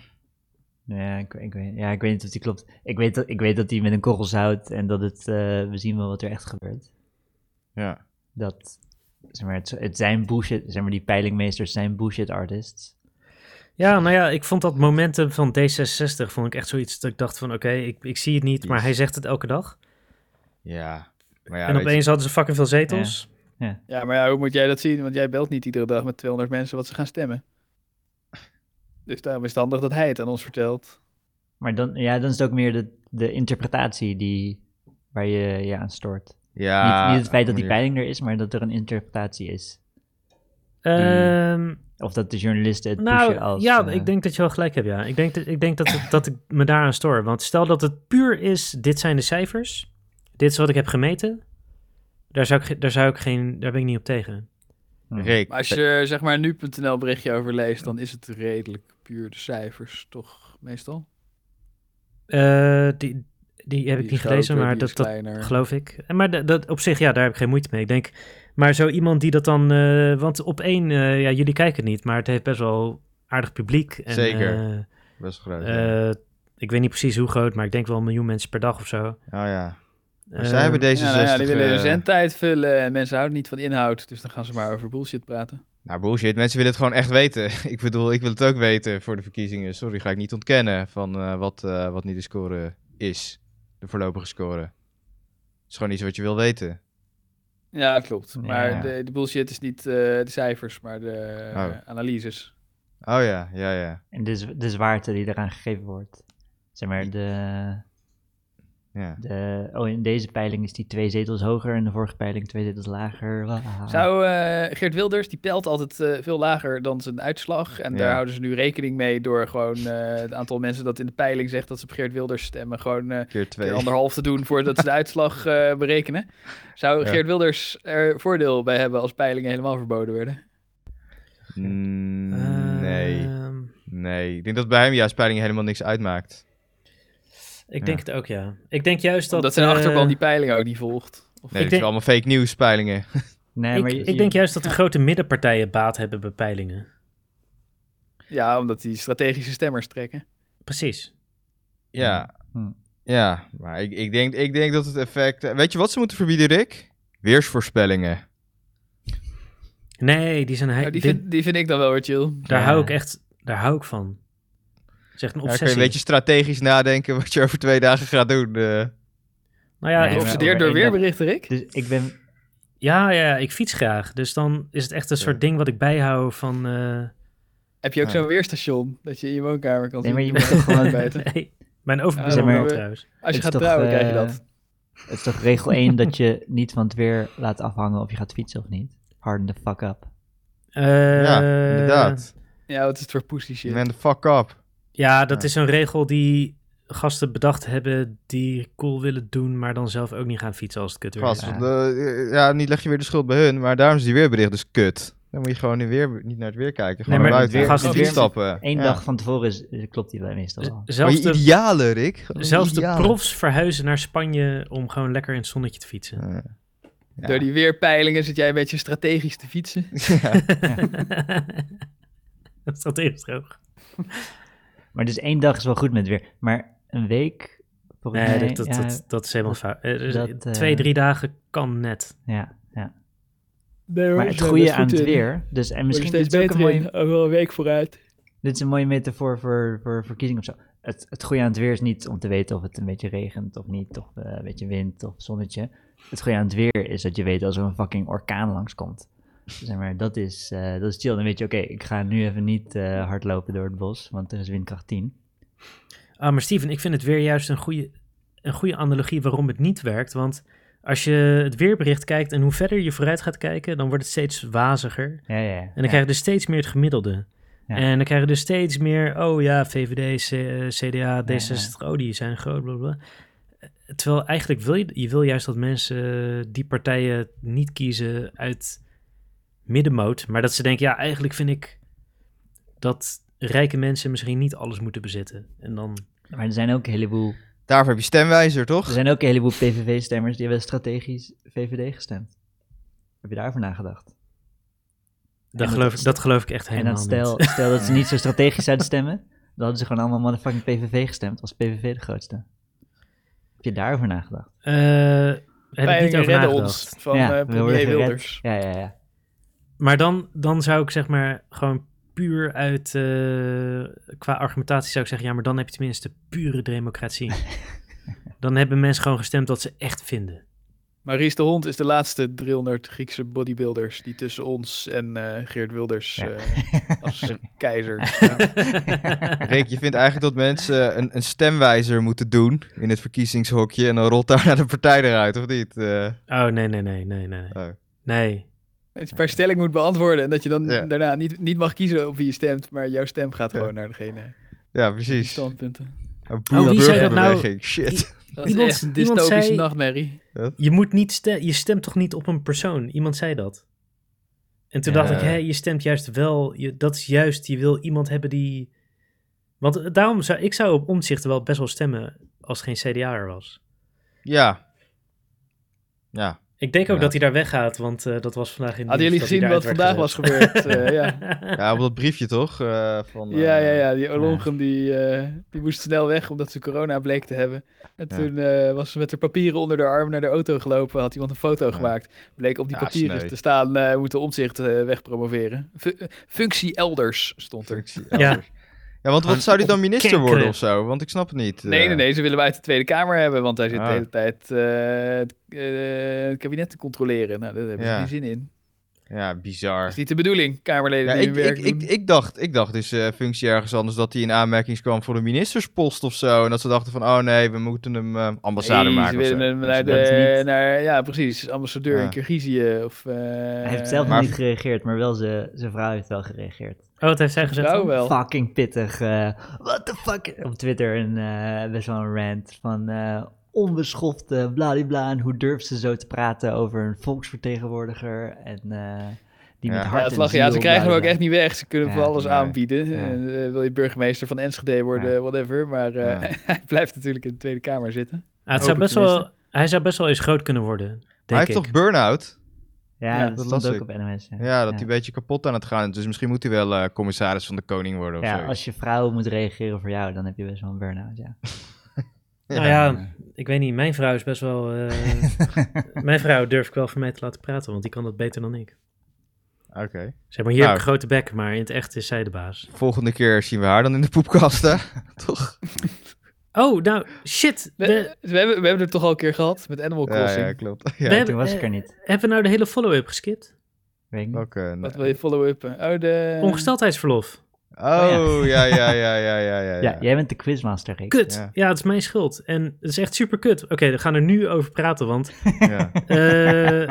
S4: Ja ik, ik, weet- ja, ik weet niet of die klopt. Ik weet dat, ik weet dat die met een korrels houdt en dat het, eh, we zien wel wat er echt gebeurt.
S5: Ja,
S4: Dat, zeg maar, het, het zijn bullshit, zeg maar, die peilingmeesters zijn bullshit artists.
S1: Ja, nou ja, ik vond dat momentum van D66 vond ik echt zoiets dat ik dacht van oké, ik, ik zie het niet, maar
S5: Yes.
S1: hij zegt het elke dag.
S5: ja. Maar ja,
S1: en
S5: weet je-
S1: opeens hadden ze fucking veel zetels.
S2: Ja, maar ja, hoe moet jij dat zien? Want jij belt niet iedere dag met 200 mensen wat ze gaan stemmen. Dus daarom is het handig dat hij het aan ons vertelt.
S4: Maar dan, ja, dan is het ook meer de, de interpretatie die, waar je je aan stoort.
S5: ja,
S4: niet, niet het feit dat
S5: op
S4: die
S5: manier-
S4: peiling er is, maar dat er een interpretatie is.
S1: Ehm,
S4: Of dat de journalisten het
S1: nou
S4: pushen als...
S1: ja,
S4: eh,
S1: ik denk dat je wel gelijk hebt, ja. Ik denk, dat- ik denk dat, het- dat ik me daaraan stoor. Want stel dat het puur is, dit zijn de cijfers, dit is wat ik heb gemeten. Daar, zou ik, ge- daar, zou ik geen, daar ben ik niet op tegen.
S4: hmm.
S5: Rick,
S2: Maar als je er, zeg maar nu.nl berichtje over leest, dan is het redelijk puur de cijfers, toch meestal?
S1: Eh, die, die heb ik
S2: Die
S1: niet
S2: is
S1: gelezen,
S2: groter,
S1: maar
S2: die
S1: dat,
S2: is
S1: dat,
S2: kleiner.
S1: Geloof ik. En Maar dat, dat op zich, ja, daar heb ik geen moeite mee. Ik denk, maar zo iemand die dat dan... eh, want op één, eh, ja, jullie kijken het niet, maar het heeft best wel aardig publiek. En,
S5: Zeker.
S1: eh,
S5: best groot. ja.
S1: eh, ik weet niet precies hoe groot, maar ik denk wel een miljoen mensen per dag of zo.
S5: Oh ja. Maar
S1: Eh,
S5: zij hebben
S2: Ja,
S5: deze
S2: nou ja, die willen hun
S5: eh,
S2: zendtijd vullen en mensen houden niet van inhoud, dus dan gaan ze maar over bullshit praten.
S5: Nou, bullshit. Mensen willen het gewoon echt weten. ik bedoel, ik wil het ook weten voor de verkiezingen. Sorry, ga ik niet ontkennen van eh, wat, eh, wat niet de score is. De voorlopige score. Het is gewoon iets wat je wil weten.
S2: Ja, klopt. Maar
S4: Ja.
S2: de, de bullshit is niet eh, de cijfers, maar de
S5: Oh.
S2: eh, analyses.
S5: Oh ja, ja, ja.
S4: En de, z- de zwaarte die eraan gegeven wordt. Zeg maar, de,
S5: ja.
S4: de, oh, in deze peiling is die twee zetels hoger en de vorige peiling twee zetels lager. Wahaha.
S2: Zou eh, Geert Wilders, die pelt altijd eh, veel lager dan zijn uitslag. En daar
S5: Ja.
S2: houden ze nu rekening mee door gewoon eh, het aantal mensen dat in de peiling zegt dat ze op Geert Wilders stemmen. Gewoon eh,
S5: Keer
S2: keer
S5: twee.
S2: anderhalf te doen voordat ze de uitslag eh, berekenen. Zou
S5: Ja.
S2: Geert Wilders er voordeel bij hebben als peilingen helemaal verboden werden?
S5: Mm,
S2: Eh.
S1: ehm,
S5: nee, nee. Ik denk dat bij hem juist peiling helemaal niks uitmaakt.
S1: ik denk het ook, ja. Ik denk juist dat...
S2: Dat, zijn
S1: eh,
S2: achterban die peilingen ook niet volgt. Of
S1: Ik
S5: Nee, dat
S1: denk-
S5: zijn allemaal fake news peilingen.
S4: nee,
S1: Ik,
S4: maar je-
S1: ik
S4: je-
S1: denk juist dat de grote middenpartijen baat hebben bij peilingen.
S2: Ja, omdat die strategische stemmers trekken.
S1: Precies.
S5: Ja.
S4: Hm.
S5: Ja, maar ik, ik, denk, ik denk dat het effect... Weet je wat ze moeten verbieden, Rick? Weersvoorspellingen.
S1: Nee, die zijn... hij-
S2: Nou, die,
S1: dit-
S2: vind, die vind ik dan wel weer chill.
S1: Daar
S4: Ja.
S1: hou ik echt... Daar hou ik van. Dat is echt een
S5: Ja, dan
S1: obsessie.
S5: kun je een beetje strategisch nadenken wat je over twee dagen gaat doen. eh.
S1: Nou ja,
S4: Nee,
S1: ik-
S4: maar-
S2: Geobsedeerd door
S4: ik ben-
S2: weerberichten, Rick.
S4: Dus ik ben...
S1: Ja, ja, ik fiets graag. Dus dan is het echt een soort ding wat ik bijhoud van... eh,
S2: Heb je ook
S5: Ja.
S2: zo'n weerstation dat je in je woonkamer kan
S4: Nee,
S2: zien
S4: maar je
S2: hoe
S4: moet
S2: het
S4: toch gewoon-
S2: aanbijten?
S1: nee, mijn overbuurman
S4: Ja, maar-
S1: wel trouwens.
S2: Als je
S4: Het
S2: gaat
S4: is toch,
S2: trouwen, krijg je
S4: eh,
S2: dat.
S4: Het is toch regel 1 dat je niet van het weer laat afhangen of je gaat fietsen of niet? Harden the fuck up.
S1: Eh,
S5: ja, inderdaad.
S2: Ja, wat is het voor pussy shit?
S5: Man the fuck up.
S1: Ja, dat
S5: Ja.
S1: is een regel die gasten bedacht hebben die cool willen doen, maar dan zelf ook niet gaan fietsen als het kut weer is.
S5: Gast, want, eh, ja, niet leg je weer de schuld bij hun, maar daarom is die weerbericht dus kut. Dan moet je gewoon in weer, niet naar het weer kijken, gewoon
S1: maar
S5: naar buiten.
S1: weer-
S5: Gewoon
S1: gast,
S5: op de
S1: weer-
S5: fiets stappen.
S4: Eén
S5: Ja.
S4: dag van tevoren is, eh, klopt die bij meestal wel.
S1: Z-
S5: Maar
S1: Zelfs
S5: je
S1: de,
S5: idealen, Rick. Gewoon
S1: zelfs de
S5: idealen.
S1: profs verhuizen naar Spanje om gewoon lekker in het zonnetje te fietsen.
S5: Ja.
S2: Door die weerpeilingen zit jij een beetje strategisch te fietsen.
S1: dat staat eerst droog.
S4: Maar dus één dag is wel goed met weer. Maar een week... volgens
S1: Nee,
S4: mij,
S1: dat, dat,
S4: ja,
S1: dat, dat is helemaal
S4: dat-
S1: fout. Eh, dus
S4: dat, eh,
S1: twee, drie dagen kan net.
S4: ja, ja. Maar het goede aan het weer... Dus, en misschien
S2: eh, steeds
S4: dit is ook
S2: beter
S4: een mooie,
S2: Wel een week vooruit.
S4: Dit is een mooie metafoor voor, voor verkiezingen of zo. Het, het goede aan het weer is niet om te weten of het een beetje regent of niet, of eh, een beetje wind of zonnetje. Het goede aan het weer is dat je weet als er een fucking orkaan langskomt. Zeg maar, dat is, eh, dat is chill. Dan weet je, oké, ik ga nu even niet eh, hardlopen door het bos, want er is windkracht 10.
S1: Ah, maar Steven, ik vind het weer juist een goede, een goede analogie waarom het niet werkt. Want als je het weerbericht kijkt en hoe verder je vooruit gaat kijken, dan wordt het steeds waziger.
S4: Ja, ja.
S1: En dan krijg je dus steeds meer het gemiddelde.
S4: Ja.
S1: En dan krijg je dus steeds meer, oh ja, VVD, C- eh, CDA, D66, oh die zijn groot, bla bla. Eh, Terwijl eigenlijk wil je, je wil juist dat mensen eh, die partijen niet kiezen uit middenmoot. Maar dat ze denken, ja, eigenlijk vind ik dat rijke mensen misschien niet alles moeten bezitten. En dan,
S4: Maar er zijn ook een heleboel,
S5: Daarvoor heb je stemwijzer,
S4: er
S5: toch?
S4: zijn ook een heleboel PVV-stemmers die hebben strategisch VVD gestemd. Heb je daarover nagedacht?
S1: dat,
S4: dat-
S1: geloof, ik- dat geloof ik echt
S4: En
S1: helemaal
S4: dan stel,
S1: niet.
S4: stel dat ze niet zo strategisch zouden stemmen, dan hadden ze gewoon allemaal motherfucking PVV gestemd, als PVV de grootste. Heb je daarover nagedacht?
S1: Eh, heb ik niet
S2: Peilingen
S1: over
S2: redden
S1: nagedacht.
S2: ons van
S4: ja,
S2: eh,
S4: we worden
S2: premier
S4: gered.
S2: Wilders.
S4: Ja, ja, ja.
S1: Maar dan, dan zou ik zeg maar gewoon puur uit, eh, qua argumentatie zou ik zeggen, ja, maar dan heb je tenminste pure democratie. dan hebben mensen gewoon gestemd wat ze echt vinden.
S2: Maries de Hond is de laatste drillnerd Griekse bodybuilders die tussen ons en eh, Geert Wilders
S4: Ja.
S2: eh, als keizer staan.
S5: Rick, je vindt eigenlijk dat mensen een, een stemwijzer moeten doen in het verkiezingshokje en dan rolt daar naar de partij eruit, of niet? Eh,
S1: oh, nee, nee, nee, nee, nee.
S5: Oh.
S1: Nee.
S2: Dat je per stelling moet beantwoorden en dat je dan
S5: Ja.
S2: daarna niet, niet mag kiezen op wie je stemt, maar jouw stem gaat
S5: Ja.
S2: gewoon naar degene
S5: ja,
S2: die
S5: precies.
S2: standpunten.
S5: Een
S1: Oh, wie zei dat nou?
S5: burgerbeweging. Shit.
S2: Dat
S1: Iemand-
S2: is echt een
S1: iemand
S2: dystopische
S1: zei-
S2: nachtmerrie.
S1: Je moet niet stemmen, je stemt toch niet op een persoon? Iemand zei dat. En toen dacht
S5: Ja.
S1: ik, hé, je stemt juist wel, je, dat is juist, je wil iemand hebben die... Want eh, daarom zou ik zou op omzicht wel best wel stemmen als geen CDA er was.
S5: Ja. Ja.
S1: Ik denk ook
S5: Ja.
S1: dat hij daar weggaat, want eh, dat was vandaag in de
S2: Hadden jullie gezien wat vandaag was gebeurd? Eh, ja.
S5: Ja, op dat briefje toch? eh, van,
S2: Ja, ja,
S5: eh,
S2: ja. Die Olongren die, eh, die moest snel weg omdat ze corona bleek te hebben. En
S5: Ja.
S2: toen eh, was ze met haar papieren onder de arm naar de auto gelopen. Had iemand een foto gemaakt. Bleek op die
S5: Ja,
S2: papieren
S5: sneu.
S2: te staan, eh moeten omzicht eh, wegpromoveren. Fu- eh, functie elders stond er.
S5: functie
S1: Ja.
S5: elders. ja, want wat
S1: Gewoon
S5: zou die dan minister
S1: opkenkeren.
S5: worden of zo? Want ik snap het niet.
S2: Nee,
S5: eh.
S2: nee, nee. Ze willen hem uit de Tweede Kamer hebben, want hij zit
S5: Ah.
S2: de hele tijd eh, het, eh, het kabinet te controleren. Nou, daar hebben ze
S5: Ja.
S2: geen zin in.
S5: Ja, bizar.
S2: Dat is niet de bedoeling, Kamerleden
S5: Ja,
S2: die
S5: ik,
S2: hun werk
S5: ik,
S2: doen.
S5: ik, ik, dacht, ik dacht dus eh, functie ergens anders dat hij in aanmerking kwam voor de ministerspost of zo. En dat ze dachten van, oh nee, we moeten hem eh, ambassade
S2: Nee,
S5: maken.
S2: Ze
S5: of zo.
S2: willen hem
S5: Dus
S2: naar
S5: dat-
S4: is
S2: de,
S4: niet-
S2: naar, ja, precies, ambassadeur
S5: Ja.
S2: in Kirgizië of... eh,
S4: Hij heeft zelf nog
S5: maar-
S4: niet gereageerd, maar wel zijn zijn vrouw heeft wel gereageerd.
S1: Oh, wat heeft zij gezegd?
S2: vrouw
S1: dan?
S2: wel.
S4: Fucking pittig. eh what the fuck? Op Twitter een, eh, best wel een rant van eh onbeschofte bladibla. En hoe durft ze zo te praten over een volksvertegenwoordiger? En eh, die
S5: Ja.
S4: met hart
S2: Ja, het
S4: en
S2: lag, ja, ze
S4: ziel,
S2: krijgen hem ook
S4: bladibla.
S2: echt niet weg. Ze kunnen
S4: Ja,
S2: voor alles
S5: nee.
S2: aanbieden.
S4: Ja.
S2: Eh, eh, wil je burgemeester van Enschede worden,
S4: Ja.
S2: whatever. Maar eh,
S5: Ja.
S2: hij blijft natuurlijk in de Tweede Kamer zitten.
S1: Ah, het zou
S2: Hopelijk
S1: best wel, hij zou best wel eens groot kunnen worden, denk
S5: Maar hij
S1: ik.
S5: heeft toch burn-out?
S4: Ja,
S2: Ja,
S4: dat
S5: dat
S4: stond
S5: las
S4: ook
S5: ik.
S4: op NMS.
S5: Ja, dat hij een beetje kapot aan het gaan is. Dus misschien moet hij wel eh, commissaris van de koning worden of
S4: Ja,
S5: zo.
S4: als je vrouw moet reageren voor jou, dan heb je best wel een burn-out,
S2: Eh,
S4: ja.
S1: Nou ja, ik weet niet, mijn vrouw is best wel... eh, mijn vrouw durf ik wel voor mij te laten praten, want die kan dat beter dan ik.
S5: Oké.
S1: Zeg maar, hier
S5: Nou.
S1: heb ik grote bek, maar in het echt is zij de baas.
S5: Volgende keer zien we haar dan in de poepkast, hè? Toch?
S1: Oh, nou, shit.
S2: We,
S1: de-
S2: we, hebben, we hebben het toch al een keer gehad met Animal Crossing.
S5: Ja, ja, klopt. Ja,
S1: we hebben-
S4: Toen was ik er
S1: eh,
S4: niet.
S1: Hebben we nou de hele follow-up geskipt?
S4: Weet ik niet.
S5: ook een-
S2: Wat wil je follow-uppen? Oh, de...
S1: Eh. Ongesteldheidsverlof.
S5: Oh, ja, ja, ja, ja, ja, ja.
S4: Ja, jij bent de quizmaster, Rick.
S1: Kut.
S5: Ja.
S1: Ja. het is mijn schuld. En het is echt super kut. Oké, we gaan er nu over praten, want...
S5: ja,
S1: eh,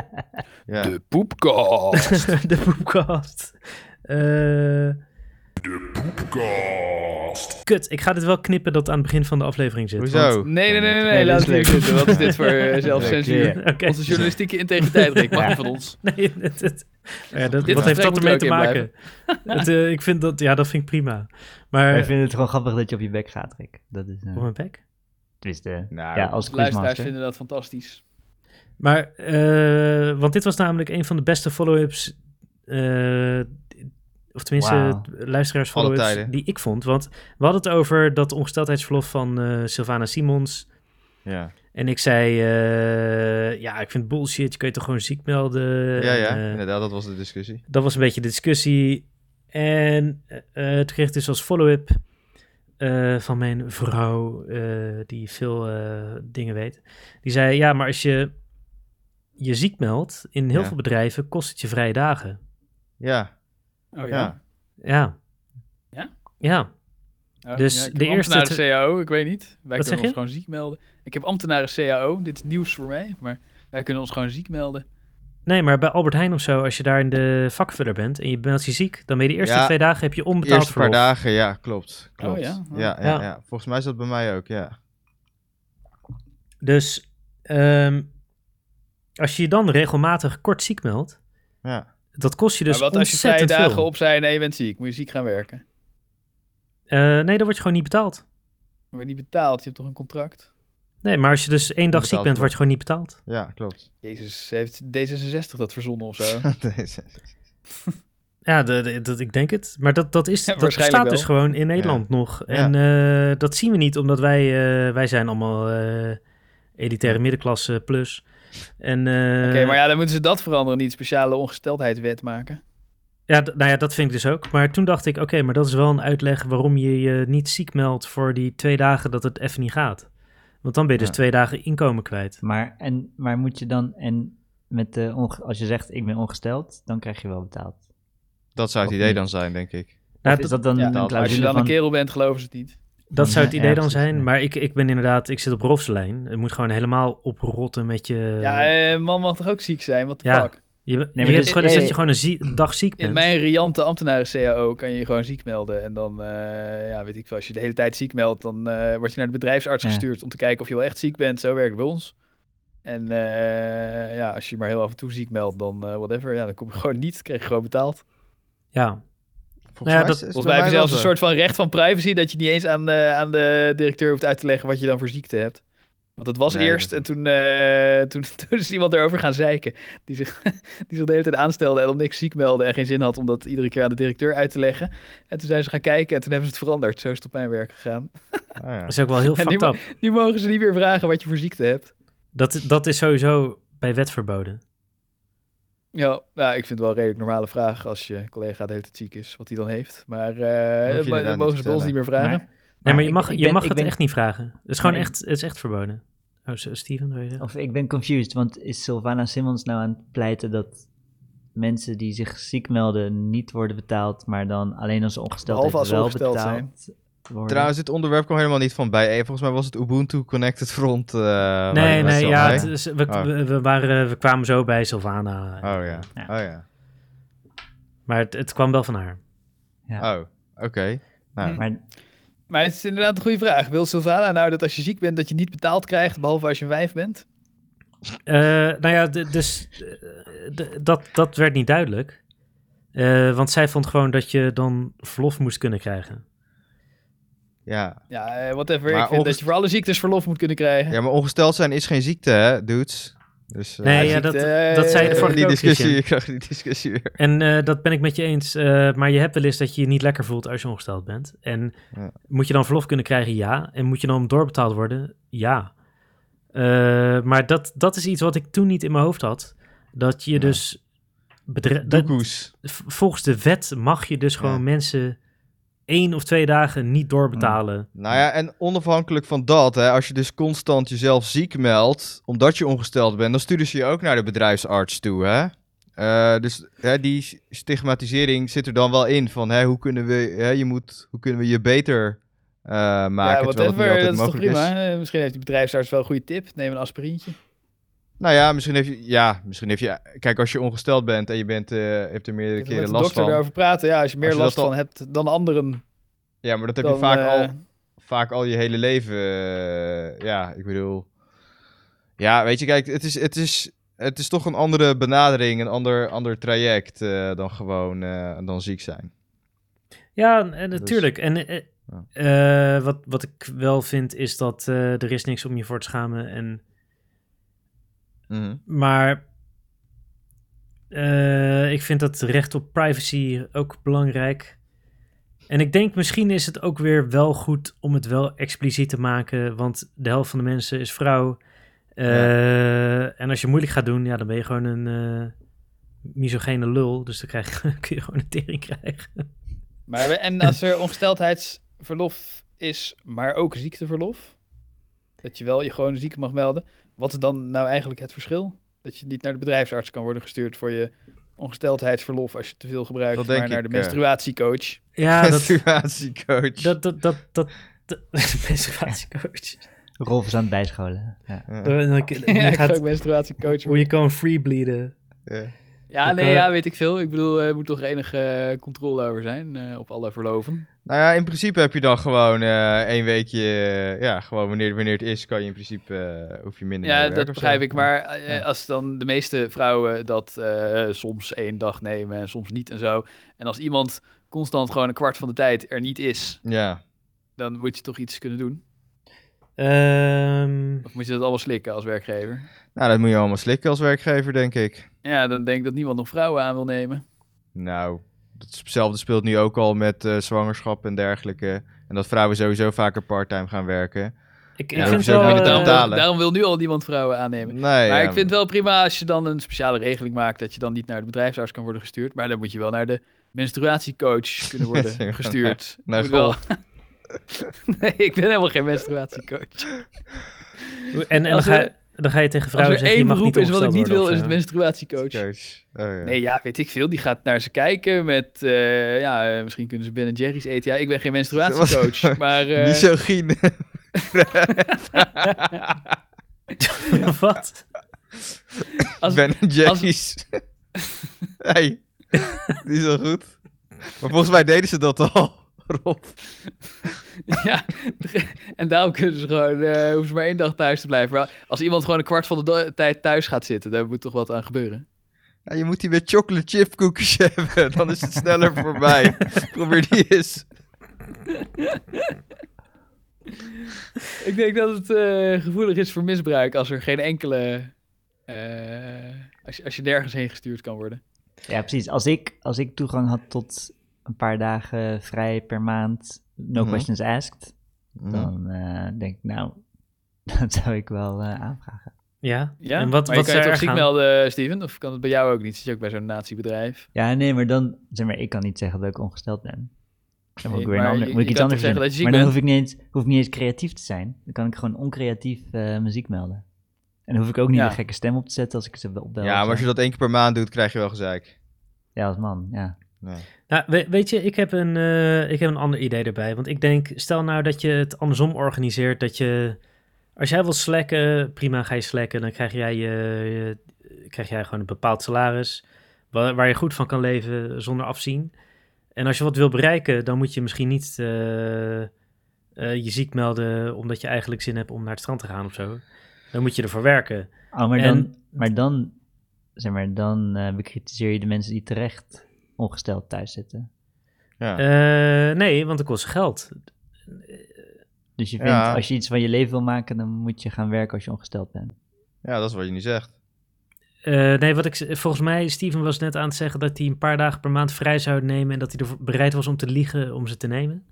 S5: ja.
S2: De poepkast.
S1: de eh, poepkast. de poepkast. Kut, ik ga dit wel knippen dat aan het begin van de aflevering zit. want-
S5: Hoezo?
S2: Nee, nee, nee, nee,
S4: Nee,
S2: nee.
S4: dat
S2: Laat
S4: is
S2: het hier
S4: leuk.
S2: zitten. Wat is dit voor eh, zelfcensuur?
S1: Oké.
S2: Onze journalistieke integriteit, Rick. Mag niet van ons.
S1: Nee, dit- dit- ja, dat,
S2: Dit
S1: wat heeft
S2: gesprek
S1: dat
S2: moet
S1: ermee
S2: er
S1: te
S2: ook in
S1: maken? Het, eh, ik vind dat, ja, dat vind ik prima. Maar,
S4: Ik vind het gewoon grappig dat je op je bek gaat, Rick. Dat is... eh,
S1: op mijn bek?
S4: tenminste, eh,
S5: Nou,
S4: ja, als
S2: Luisteraars
S4: quizmaster.
S2: vinden dat fantastisch.
S1: Maar, eh, want dit was namelijk een van de beste follow-ups, eh, of tenminste
S4: Wauw.
S1: luisteraars
S5: Alle
S1: follow-ups
S5: tijden.
S1: die ik vond. Want we hadden het over dat ongesteldheidsverlof van eh, Sylvana Simons.
S5: Ja.
S1: En ik zei, eh, ja, ik vind bullshit, je kan je toch gewoon ziek melden.
S5: Ja, ja,
S1: En, eh,
S5: inderdaad, dat was de discussie.
S1: dat was een beetje de discussie. En eh, eh, toen kreeg ik dus als follow-up eh, van mijn vrouw, eh, die veel eh, dingen weet. Die zei, ja, maar als je je ziek meldt, in heel
S5: Ja.
S1: veel bedrijven kost het je vrije dagen.
S5: Ja,
S2: Oh
S5: ja.
S1: Ja.
S2: Ja?
S1: Ja. Dus de eerste
S2: ambtenaren CAO, ik weet niet. Wij
S1: Wat zeg
S2: kunnen
S1: je?
S2: ons gewoon ziek melden. Ik heb ambtenaren CAO, dit is nieuws voor mij, maar wij kunnen ons gewoon ziek melden.
S1: Nee, maar bij Albert Heijn of zo, als je daar in de vakvuller bent en je bent je ziek, dan ben je de eerste
S5: Ja.
S1: twee dagen heb je
S5: De
S1: onbetaald
S5: eerste paar
S1: verlof.
S5: dagen, ja, klopt. klopt.
S2: ja? Oh.
S5: Ja, ja,
S1: Ja.
S5: ja. Volgens mij is dat bij mij ook, ja.
S1: Dus ehm, als je je dan regelmatig kort ziek meldt,
S5: ja.
S1: dat kost je dus
S2: maar wat als je vrije
S1: ontzettend
S2: dagen
S1: veel.
S2: op zijn en je bent ziek? Moet je ziek gaan werken?
S1: Eh, nee, dan word je gewoon niet betaald.
S2: Dan word je niet betaald, je hebt toch een contract?
S1: Nee, maar als je dus één dag ziek
S5: Betaald
S1: bent, word
S5: wordt.
S1: je gewoon niet betaald.
S5: Ja, klopt.
S2: Jezus, heeft D66 dat verzonnen of
S1: Eh.
S2: zo?
S5: Deze.
S1: Ja, de, de- dat, ik denk het. Maar dat, dat, is,
S2: Ja,
S1: dat
S2: waarschijnlijk
S1: bestaat
S2: wel.
S1: dus gewoon in Nederland nog. En eh, dat zien we niet, omdat wij, eh, wij zijn allemaal eh, elitaire middenklasse plus. En, eh,
S2: Oké, maar ja, dan moeten ze dat veranderen, niet speciale ongesteldheidswet maken.
S1: Ja, d- nou ja, dat vind ik dus ook. Maar toen dacht ik, oké, maar dat is wel een uitleg waarom je je niet ziek meldt voor die twee dagen dat het even niet gaat. Want dan ben je dus
S5: Ja.
S1: twee dagen inkomen kwijt.
S4: Maar, en, maar moet je dan, en met de onge- als je zegt ik ben ongesteld, dan krijg je wel betaald.
S5: Dat zou het
S4: Of
S5: idee
S4: niet?
S5: dan zijn, denk ik.
S1: Nou,
S4: Of is dat dan
S2: ja,
S4: een
S5: als je
S2: Als je
S4: clausule
S2: dan een
S4: van-
S2: kerel bent, geloven ze het niet.
S1: Dat zou het
S4: Ja,
S1: idee dan
S4: precies,
S1: zijn.
S4: ja.
S1: Maar ik, ik ben inderdaad, ik zit op Rolfslijn. Het moet gewoon helemaal oprotten met je...
S2: ja, eh, man mag toch ook ziek zijn? Wat de
S1: Ja.
S2: fuck?
S1: je, nee,
S4: maar
S1: je
S4: dit-
S1: hebt gewoon, dan zit
S4: nee.
S1: je gewoon een zie- een dag ziek
S2: In
S1: bent.
S2: mijn riante ambtenaren-CAO kan je je gewoon ziek melden. En dan, eh, ja, weet ik veel, als je de hele tijd ziek meldt, dan eh, word je naar de bedrijfsarts
S4: Ja.
S2: gestuurd om te kijken of je wel echt ziek bent. Zo werkt het bij ons. En eh, ja, als je maar heel af en toe ziek meldt, dan eh, whatever. Ja, dan kom je gewoon niet, krijg je gewoon betaald.
S1: Ja,
S5: Volgens
S1: Nou ja, dat-
S5: is het
S2: Volgens
S5: bij
S2: mij heb je
S5: wel
S2: zelfs een
S5: zo.
S2: soort van recht van privacy dat je niet eens aan, eh, aan de directeur hoeft uit te leggen wat je dan voor ziekte hebt. Want dat was
S5: Nee,
S2: eerst
S5: dat-
S2: en toen, eh, toen, toen is iemand erover gaan zeiken. Die zich, die zich de hele tijd aanstelde en om niks ziek meldde en geen zin had om dat iedere keer aan de directeur uit te leggen. En toen zijn ze gaan kijken en toen hebben ze het veranderd. Zo is het op mijn werk gegaan.
S5: Ah, ja.
S1: dat is ook wel heel
S2: En die
S1: fucked up.
S2: Nu mogen ze niet meer vragen wat je voor ziekte hebt.
S1: Dat, dat is sowieso bij wet verboden.
S2: Ja, nou, ik vind het wel een redelijk normale vraag als je collega de hele tijd ziek is, wat hij dan heeft. Maar
S5: je
S2: eh maar
S5: inderdaad
S2: dan
S5: niet
S2: mogen ze bij ons
S5: vertellen.
S2: niet meer vragen.
S1: Nee, maar
S4: ik-
S1: je mag,
S4: ik
S1: je
S4: ben-
S1: mag
S4: ik
S1: het
S4: ben-
S1: echt niet vragen. Het is gewoon
S4: Nee, ik-
S1: echt, het is echt verboden. Oh, S- Steven, wil je zeggen?
S4: Of ik ben confused, want is Sylvana Simmons nou aan het pleiten dat mensen die zich ziek melden niet worden betaald, maar dan alleen als ze ongesteld
S2: Behalve als ze
S4: wel
S2: ongesteld
S4: betaald worden?
S5: Trouwens, dit onderwerp kwam helemaal niet van bij. Eh, Volgens mij was het Ubuntu Connected Front. eh, waar
S1: Nee,
S5: het was
S1: nee,
S5: dan,
S1: ja,
S5: hè?
S1: het eh, is- we,
S5: Oh.
S1: we, we waren, we kwamen zo bij Sylvana.
S5: Oh ja.
S4: Ja.
S5: Oh ja.
S1: Maar het, het kwam wel van haar.
S4: Ja.
S5: Oh, oké. Nou,
S4: Maar
S2: Maar het is inderdaad een goede vraag. Wil Sylvana nou dat als je ziek bent, dat je niet betaald krijgt, behalve als je een wijf bent?
S1: Eh, nou ja, d- dus eh, d- dat, dat werd niet duidelijk. Eh, want zij vond gewoon dat je dan verlof moest kunnen krijgen.
S5: ja.
S2: Ja, eh, whatever.
S5: Maar
S2: ik vind dat
S5: ongest-
S2: je voor alle ziektes verlof moet kunnen krijgen.
S5: ja, maar ongesteld zijn is geen ziekte, hè, dudes? Dus, eh,
S1: Nee,
S5: ik
S1: ja,
S2: ziet,
S1: dat,
S2: eh,
S1: dat zei je
S5: kreeg
S1: de
S2: eh,
S1: vorige keer
S5: die
S1: ook,
S5: discussie,
S1: Christian.
S5: ik krijg die discussie weer.
S1: En eh, dat ben ik met je eens. eh, maar je hebt wel eens dat je je niet lekker voelt als je ongesteld bent. En
S5: Ja.
S1: moet je dan verlof kunnen krijgen? Ja. En moet je dan doorbetaald worden? Ja. Eh, maar dat, dat is iets wat ik toen niet in mijn hoofd had. Dat je
S5: Ja.
S1: dus... bedre- dat-
S5: Doekoes.
S1: v- volgens de wet mag je dus gewoon
S5: Ja.
S1: mensen één of twee dagen niet doorbetalen.
S5: Nou ja, en onafhankelijk van dat, hè, als je dus constant jezelf ziek meldt, omdat je ongesteld bent, dan sturen ze je ook naar de bedrijfsarts toe, hè? Eh, dus hè, die stigmatisering zit er dan wel in van, hè, hoe kunnen we, hè, je moet, hoe kunnen we je beter eh, maken,
S2: ja,
S5: terwijl het niet
S2: whatever.
S5: altijd
S2: Dat is toch
S5: mogelijk
S2: prima.
S5: is.
S2: Eh, misschien heeft die bedrijfsarts wel een goede tip. Neem een aspirintje.
S5: Nou ja, misschien heeft je, ja, misschien heeft je, kijk, als je ongesteld bent en je bent, eh, hebt er meerdere
S2: Ik wil
S5: keren
S2: met de
S5: last
S2: dokter
S5: van,
S2: daarover praten. Ja, als je meer
S5: Als je
S2: last
S5: dat
S2: van
S5: al-
S2: hebt dan anderen.
S5: ja, maar dat heb
S2: Dan,
S5: je vaak
S2: eh,
S5: al vaak al je hele leven. eh, ja, ik bedoel. Ja, weet je, kijk, het is, het is, het is toch een andere benadering, een ander, ander traject eh, dan gewoon eh, dan ziek zijn.
S1: Ja, en- en
S5: Dus-
S1: natuurlijk. En eh,
S5: Ja.
S1: eh, wat, wat ik wel vind is dat eh, er is niks om je voor te schamen. En,
S2: Mhm.
S1: maar eh, ik vind dat recht op privacy ook belangrijk. En ik denk misschien is het ook weer wel goed om het wel expliciet te maken. Want de helft van de mensen is vrouw. Eh, En als je moeilijk gaat doen, ja, dan ben je gewoon een eh misogene lul. Dus dan krijg, je- kun je gewoon een tering krijgen.
S2: Maar, we- en als er ongesteldheidsverlof is, maar ook ziekteverlof. Dat je wel je gewoon ziek mag melden. Wat is dan nou eigenlijk het verschil? Dat je niet naar de bedrijfsarts kan worden gestuurd voor je ongesteldheidsverlof als je te veel gebruikt,
S5: Dat denk
S2: maar naar de
S5: ik, eh.
S2: menstruatiecoach.
S1: Ja, dat,
S5: Menstruatiecoach.
S1: Dat, dat, dat, dat, dat menstruatiecoach.
S4: Rolf is aan het bijscholen. Ja.
S5: Ja.
S1: Dan- dan- dan
S2: Ja, ik ga
S1: gaat-
S2: ook menstruatiecoach.
S1: Hoe je kan free bleeden.
S5: Ja.
S2: Ja,
S1: Ik,
S2: nee,
S1: eh,
S2: ja, weet ik veel. Ik bedoel, er moet toch enige eh, controle over zijn eh, op alle verloven.
S5: Nou ja, in principe heb je dan gewoon eh één weekje, eh, ja, gewoon wanneer, wanneer het is, kan je in principe, eh, hoef je minder
S2: Ja,
S5: naar werk
S2: dat
S5: of zo.
S2: begrijp ik. Maar eh,
S5: Ja.
S2: als dan de meeste vrouwen dat eh, soms één dag nemen en soms niet en zo. En als iemand constant gewoon een kwart van de tijd er niet is,
S5: Ja,
S2: dan moet je toch iets kunnen doen?
S1: Ehm,
S2: Of moet je dat allemaal slikken als werkgever?
S5: nou dat moet je allemaal slikken als werkgever, denk ik.
S2: Ja, dan denk ik dat niemand nog vrouwen aan wil nemen.
S5: Nou, hetzelfde speelt nu ook al met eh, zwangerschap en dergelijke. En dat vrouwen sowieso vaker parttime gaan werken.
S1: ik, ik
S5: Ja,
S1: vind
S5: hoef Nou, je ook
S1: wel...
S5: niet te
S1: eh,
S5: betalen.
S2: daarom, daarom wil nu al niemand vrouwen aannemen.
S5: Nee,
S2: maar
S5: ja,
S2: ik vind het wel prima als je dan een speciale regeling maakt dat je dan niet naar de bedrijfsarts kan worden gestuurd. Maar dan moet je wel naar de menstruatiecoach kunnen worden gestuurd.
S5: Naar
S2: Moet wel- nee, ik ben helemaal geen menstruatiecoach.
S1: En, en dan,
S2: Als
S1: ga,
S2: er-
S1: dan ga je tegen
S2: Als
S1: vrouwen
S2: er
S1: zeggen, je
S2: één
S1: mag
S2: beroep
S1: niet
S2: is wat ik niet wil, is
S1: mensen.
S2: het menstruatiecoach.
S5: Coach. Oh, ja.
S2: Nee, ja, weet ik veel. Die gaat naar ze kijken met, eh, ja, eh, misschien kunnen ze Ben Jerry's eten. Ja, ik ben geen menstruatiecoach, maar... eh,
S5: Misogyne.
S1: Wat?
S2: eh, Als-
S5: ben en Jerry's. hey, die is wel goed. Maar volgens mij deden ze dat al, Rob.
S2: Ja, en daarom kunnen ze gewoon, eh, hoeven ze maar één dag thuis te blijven. Maar als iemand gewoon een kwart van de do- tijd thuis gaat zitten, daar moet toch wat aan gebeuren.
S5: Ja, je moet die met chocolate chip koekjes hebben, dan is het sneller voorbij. Probeer die eens.
S2: Ik denk dat het eh, gevoelig is voor misbruik als er geen enkele. eh, als, je, als je nergens heen gestuurd kan worden.
S4: Ja, precies. Als ik, als ik toegang had tot een paar dagen vrij per maand, no
S5: Mhm.
S4: questions asked,
S5: Nou,
S4: dan eh, denk ik, nou, dat zou ik wel eh, aanvragen.
S1: Ja?
S2: Ja,
S1: En wat,
S2: maar
S1: wat
S2: je kan
S1: zou
S2: je
S1: er
S2: toch ziek
S1: gaan?
S2: melden, Steven? Of kan het bij jou ook niet? Zit je ook bij zo'n natiebedrijf?
S4: Ja, nee, maar dan, zeg maar, ik kan niet zeggen dat ik ongesteld ben. Dan moet ik
S2: Nee,
S4: weer een
S2: maar
S4: ander-
S2: je-
S4: moet ik
S2: je
S4: iets
S2: kan
S4: anders
S2: toch
S4: verzinnen.
S2: zeggen dat je ziek
S4: Maar dan
S2: bent?
S4: hoef ik, niet eens, hoef ik niet eens creatief te zijn. Dan kan ik gewoon oncreatief eh, muziek melden. En dan hoef ik ook niet
S2: Ja.
S4: een gekke stem op te zetten als ik ze opbel.
S5: ja,
S4: of
S5: maar
S4: zo.
S5: als je dat één keer per maand doet, krijg je wel gezeik.
S4: Ja, als man, ja.
S5: Nee.
S1: Nou, we- weet je, ik heb, een, eh, ik heb een ander idee erbij. Want ik denk, stel nou dat je het andersom organiseert. Dat je, als jij wil slacken, prima ga je slacken. Dan krijg jij, je, je- krijg jij gewoon een bepaald salaris. Waar, waar je goed van kan leven zonder afzien. En als je wat wil bereiken, dan moet je misschien niet eh, eh, je ziek melden. omdat je eigenlijk zin hebt om naar het strand te gaan of zo. Dan moet je ervoor werken.
S4: Oh, maar,
S1: En-
S4: dan, maar dan, zeg maar, dan eh, bekritiseer je de mensen die terecht ongesteld thuis zitten.
S5: Ja.
S1: Eh, nee, want het kost geld.
S4: Dus je
S5: Ja.
S4: vindt, als je iets van je leven wil maken, dan moet je gaan werken als je ongesteld bent.
S5: ja, dat is wat je nu zegt.
S1: Eh, nee, wat ik z- volgens mij, Steven was net aan het zeggen dat hij een paar dagen per maand vrij zou nemen en dat hij er bereid was om te liegen om ze te nemen.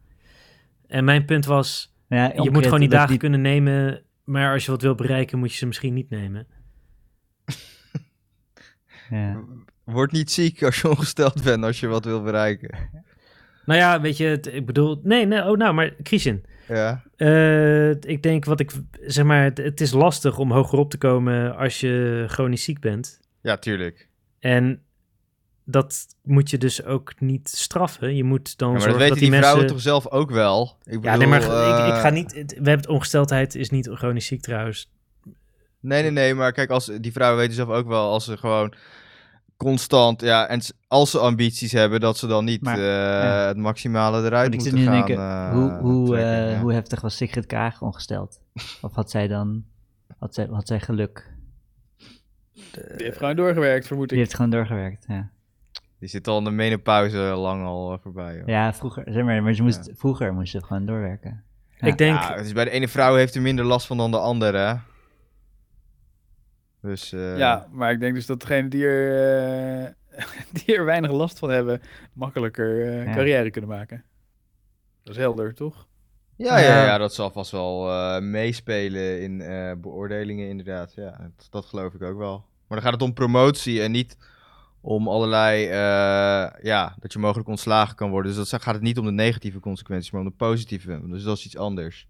S1: En mijn punt was,
S4: Nou ja,
S1: je moet
S4: oncreatief-
S1: gewoon die
S4: dat is
S1: dagen kunnen nemen, maar als je wat wil bereiken, moet je ze misschien niet nemen.
S4: Ja.
S5: Word niet ziek als je ongesteld bent, als je wat wil bereiken.
S1: Nou ja, weet je, het- ik bedoel, nee, nee, oh nou, maar Christian,
S5: Ja,
S1: eh, ik denk wat ik, zeg maar, het, het is lastig om hogerop te komen als je chronisch ziek bent.
S5: ja tuurlijk.
S1: En dat moet je dus ook niet straffen. Je moet dan
S5: Ja, maar dat
S1: zorgen
S5: weten
S1: dat die
S5: die,
S1: mensen...
S5: vrouwen toch zelf ook wel? Ik bedoel,
S1: Ja, nee, maar
S5: eh,
S1: ik, ik ga niet. het- We hebben het ongesteldheid is niet chronisch ziek trouwens.
S5: Nee, nee, nee, maar kijk, als, die vrouwen weten zelf ook wel als ze gewoon constant, ja, en s- als ze ambities hebben, dat ze dan niet
S4: Maar,
S5: eh,
S4: ja.
S5: het maximale eruit
S4: Want ik zit
S5: moeten
S4: nu te
S5: gaan.
S4: denken,
S5: eh,
S4: hoe, hoe, eh,
S5: trekken, ja.
S4: hoe heftig was Sigrid Kaag ongesteld? Of had zij dan, had zij, had zij geluk?
S2: Je hebt Eh, gewoon doorgewerkt, vermoed
S4: Die
S2: ik.
S4: heeft gewoon doorgewerkt, ja.
S5: Die zit al in de menopauze lang al eh, voorbij. Hoor.
S4: Ja, vroeger, zeg maar, maar ze moest, vroeger moest ze gewoon doorwerken. Ja.
S1: Ik denk.
S5: Ja, dus bij de ene vrouw heeft er minder last van dan de andere. hè. Dus eh,
S2: Ja, maar ik denk dus dat degenen die er, eh, die er weinig last van hebben, makkelijker eh,
S4: Ja.
S2: carrière kunnen maken. Dat is helder, toch?
S5: Ja, ja,
S1: Ja.
S5: ja, dat zal vast wel eh, meespelen in eh, beoordelingen, inderdaad. Ja, dat, dat geloof ik ook wel. Maar dan gaat het om promotie en niet om allerlei, eh, ja, dat je mogelijk ontslagen kan worden. Dus dat gaat het niet om de negatieve consequenties, maar om de positieve. Dus dat is iets anders.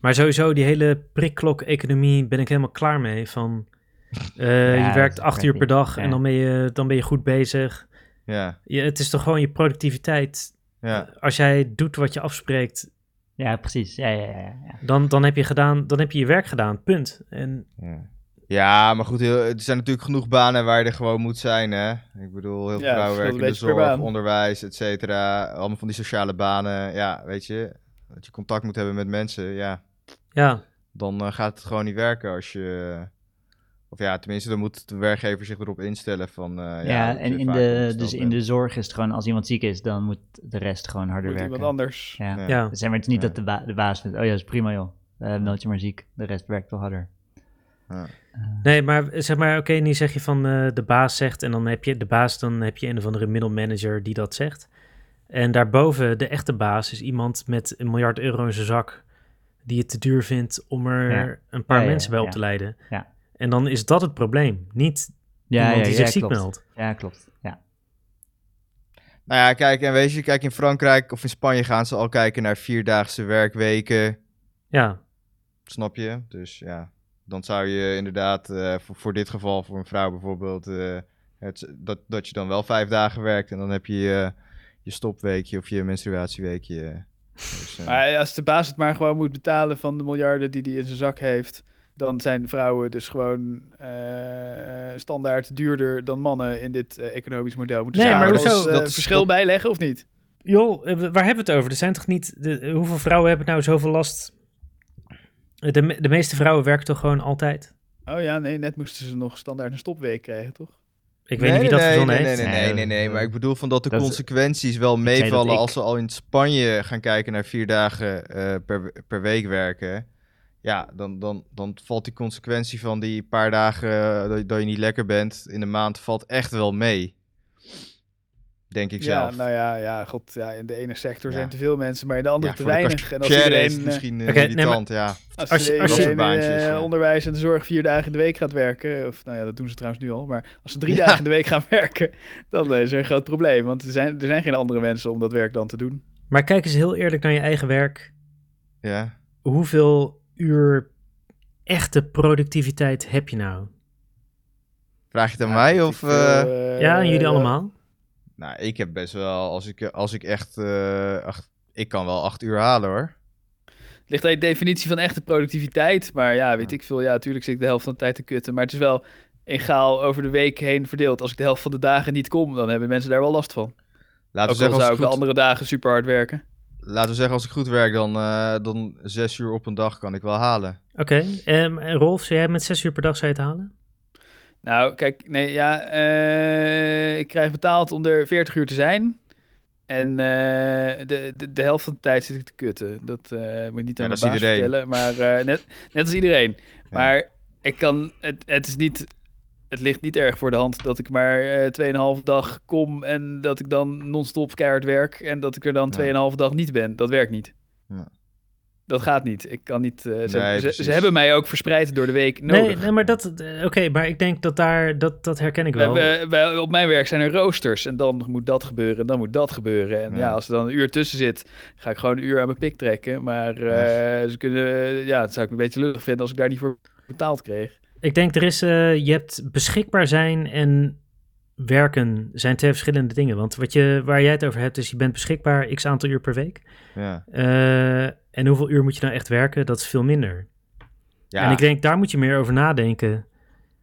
S1: Maar sowieso, die hele prikklok-economie ben ik helemaal klaar mee. Van, eh,
S4: Ja,
S1: je werkt
S4: dat
S1: acht uur per
S4: weet ik,
S1: dag
S4: ja.
S1: en dan ben, je, dan ben je goed bezig.
S5: Ja,
S1: Je, het is toch gewoon je productiviteit.
S5: ja.
S1: Als jij doet wat je afspreekt,
S4: Ja, precies. Ja, ja, ja, ja.
S1: dan, dan, heb je gedaan, dan heb je je werk gedaan. Punt. En
S5: ja. Ja, maar goed, heel- er zijn natuurlijk genoeg banen waar je er gewoon moet zijn, hè? Ik bedoel, heel veel
S2: Ja, verschilt
S5: vrouwen werken
S2: een
S5: in de
S2: beetje per
S5: zorg,
S2: baan.
S5: onderwijs, et cetera. Allemaal van die sociale banen. Ja, weet je, dat je contact moet hebben met mensen, ja.
S1: Ja,
S5: Dan eh, gaat het gewoon niet werken als je... Of ja, tenminste, dan moet de werkgever zich erop instellen van... eh,
S4: Ja,
S5: ja, dat
S4: en
S5: je
S4: in
S5: vaak
S4: de,
S5: ongesteld
S4: dus in
S5: bent.
S4: de zorg is het gewoon, als iemand ziek is, dan moet de rest gewoon harder
S2: Moet iemand
S4: werken.
S2: anders.
S4: Ja.
S5: Ja.
S1: ja.
S4: Dus zeg maar, het is niet
S5: Ja.
S4: dat de, ba- de baas vindt, oh ja, dat is prima joh, Eh meld je maar ziek, de rest werkt wel harder.
S1: Nee, maar eh, zeg maar, oké, nu zeg je van eh, de baas zegt en dan heb je de baas, dan heb je een of andere middelmanager die dat zegt. En daarboven, de echte baas is iemand met een miljard euro in zijn zak die het te duur vindt om er
S4: Ja.
S1: een paar
S4: Ja, ja,
S1: mensen bij
S4: ja.
S1: op te leiden.
S4: Ja.
S1: En dan is dat het probleem, niet
S4: Ja,
S1: iemand
S4: ja,
S1: die
S4: ja,
S1: zich ziek
S4: klopt.
S1: meldt.
S4: Ja, klopt. Ja.
S5: Nou ja, kijk, en weet je, kijk, in Frankrijk of in Spanje gaan ze al kijken naar vierdaagse werkweken.
S1: Ja,
S5: Snap je? Dus ja, dan zou je inderdaad eh, voor, voor dit geval, voor een vrouw bijvoorbeeld, eh, het, dat, dat je dan wel vijf dagen werkt en dan heb je je- je stopweekje of je menstruatieweekje. Dus, eh,
S2: Maar als de baas het maar gewoon moet betalen van de miljarden die hij in zijn zak heeft, dan zijn vrouwen dus gewoon eh, standaard duurder dan mannen in dit eh, economisch model. Moeten
S1: Nee,
S2: ze
S1: maar
S2: daar
S1: hoezo?
S2: als, eh,
S5: Dat is-
S2: verschil
S5: dat-
S2: bijleggen of niet?
S1: Joh, eh, waar hebben we het over? Er zijn toch niet. De, eh, hoeveel vrouwen hebben nou zoveel last? De, me- de meeste vrouwen werken toch gewoon altijd?
S2: Oh ja, nee, net moesten ze nog standaard een stopweek krijgen, toch?
S1: Ik weet niet wie dat
S5: nee,
S1: verzonnen
S5: nee, nee,
S1: heeft.
S5: nee,
S4: heeft.
S5: nee, nee,
S4: Nee,
S5: nee,
S4: dat-
S5: Maar ik bedoel van dat de
S4: dat is-
S5: consequenties wel
S1: dat
S5: meevallen
S1: ik-
S5: als ze al in Spanje gaan kijken naar vier dagen eh, per, per week werken. Ja, dan, dan, dan valt die consequentie van die paar dagen eh, dat, dat je niet lekker bent in de maand valt echt wel mee. Denk ik
S2: Ja,
S5: zelf.
S2: nou ja, ja, god, ja, in de ene sector
S5: Ja.
S2: zijn te veel mensen, maar in de andere
S5: Ja,
S2: te
S5: voor de
S2: weinig. En als
S5: Share is
S2: iedereen,
S5: het
S2: eh,
S5: misschien eh,
S1: Oké, nee,
S5: irritant, ja.
S2: als,
S1: als je-
S2: iedereen
S1: als je-
S2: in, eh,
S5: baantjes, ja.
S2: onderwijs en de zorg vier dagen in de week gaat werken, of nou ja, dat doen ze trouwens nu al, maar als ze drie
S5: Ja.
S2: dagen in de week gaan werken, dan eh, is er een groot probleem, want er zijn, er zijn geen andere mensen om dat werk dan te doen.
S1: Maar kijk eens heel eerlijk naar je eigen werk.
S5: ja.
S1: Hoeveel uur echte productiviteit heb je nou?
S5: Vraag je het aan
S2: Ja,
S5: mij
S2: goed,
S5: of...
S2: ik,
S5: eh,
S2: eh,
S1: ja, en jullie
S2: eh,
S1: allemaal?
S5: Nou, ik heb best wel, als ik, als ik echt... eh, acht, ik kan wel acht uur halen hoor.
S2: eh, Ligt aan je definitie van echte productiviteit. Maar ja, weet
S5: Ja.
S2: ik veel. Ja, natuurlijk zit ik de helft van de tijd te kutten. Maar het is wel egaal over de week heen verdeeld. Als ik de helft van de dagen niet kom, dan hebben mensen daar wel last van.
S5: Laten we,
S2: Ook al
S5: zeggen, als
S2: zou
S5: ik
S2: ik de
S5: goed,
S2: andere dagen super hard werken.
S5: laten we zeggen, als ik goed werk, dan, eh, dan zes uur op een dag kan ik wel halen.
S1: Oké. ehm, en Rolf, zou jij met zes uur per dag zou je het halen?
S2: Nou, kijk, nee, ja, eh, ik krijg betaald om er 40 uur te zijn. En eh, de, de, de helft van de tijd zit ik te kutten. Dat eh, moet ik niet aan mijn
S5: Ja, dat is
S2: baas
S5: iedereen.
S2: vertellen, maar eh, net, net als iedereen. Maar ik kan, het, het is niet, het ligt niet erg voor de hand dat ik maar eh 2,5 dag kom en dat ik dan non-stop keihard werk en dat ik er dan
S5: Ja.
S2: 2,5 dag niet ben. Dat werkt niet.
S5: Ja.
S2: Dat gaat niet. Ik kan niet. eh,
S5: Nee,
S2: ze, ze- ze,
S5: precies.
S2: hebben mij ook verspreid door de week nodig.
S1: Nee, nee, maar dat. eh, Oké, maar ik denk dat daar. Dat, dat herken ik
S2: We
S1: wel.
S2: hebben- wij- op mijn werk zijn er roosters. En dan moet dat gebeuren, en dan moet dat gebeuren. En ja.
S5: Ja.
S2: als er dan een uur tussen zit, ga ik gewoon een uur aan mijn pik trekken. Maar eh, ze kunnen, ja, het zou ik een beetje lullig vinden als ik daar niet voor betaald kreeg.
S1: Ik denk er is. eh, je hebt beschikbaar zijn en werken zijn twee verschillende dingen. Want wat je, waar jij het over hebt, is je bent beschikbaar x aantal uur per week.
S5: Ja.
S1: Eh, en hoeveel uur moet je nou echt werken? Dat is veel minder.
S5: Ja,
S1: En ik denk, daar moet je meer over nadenken.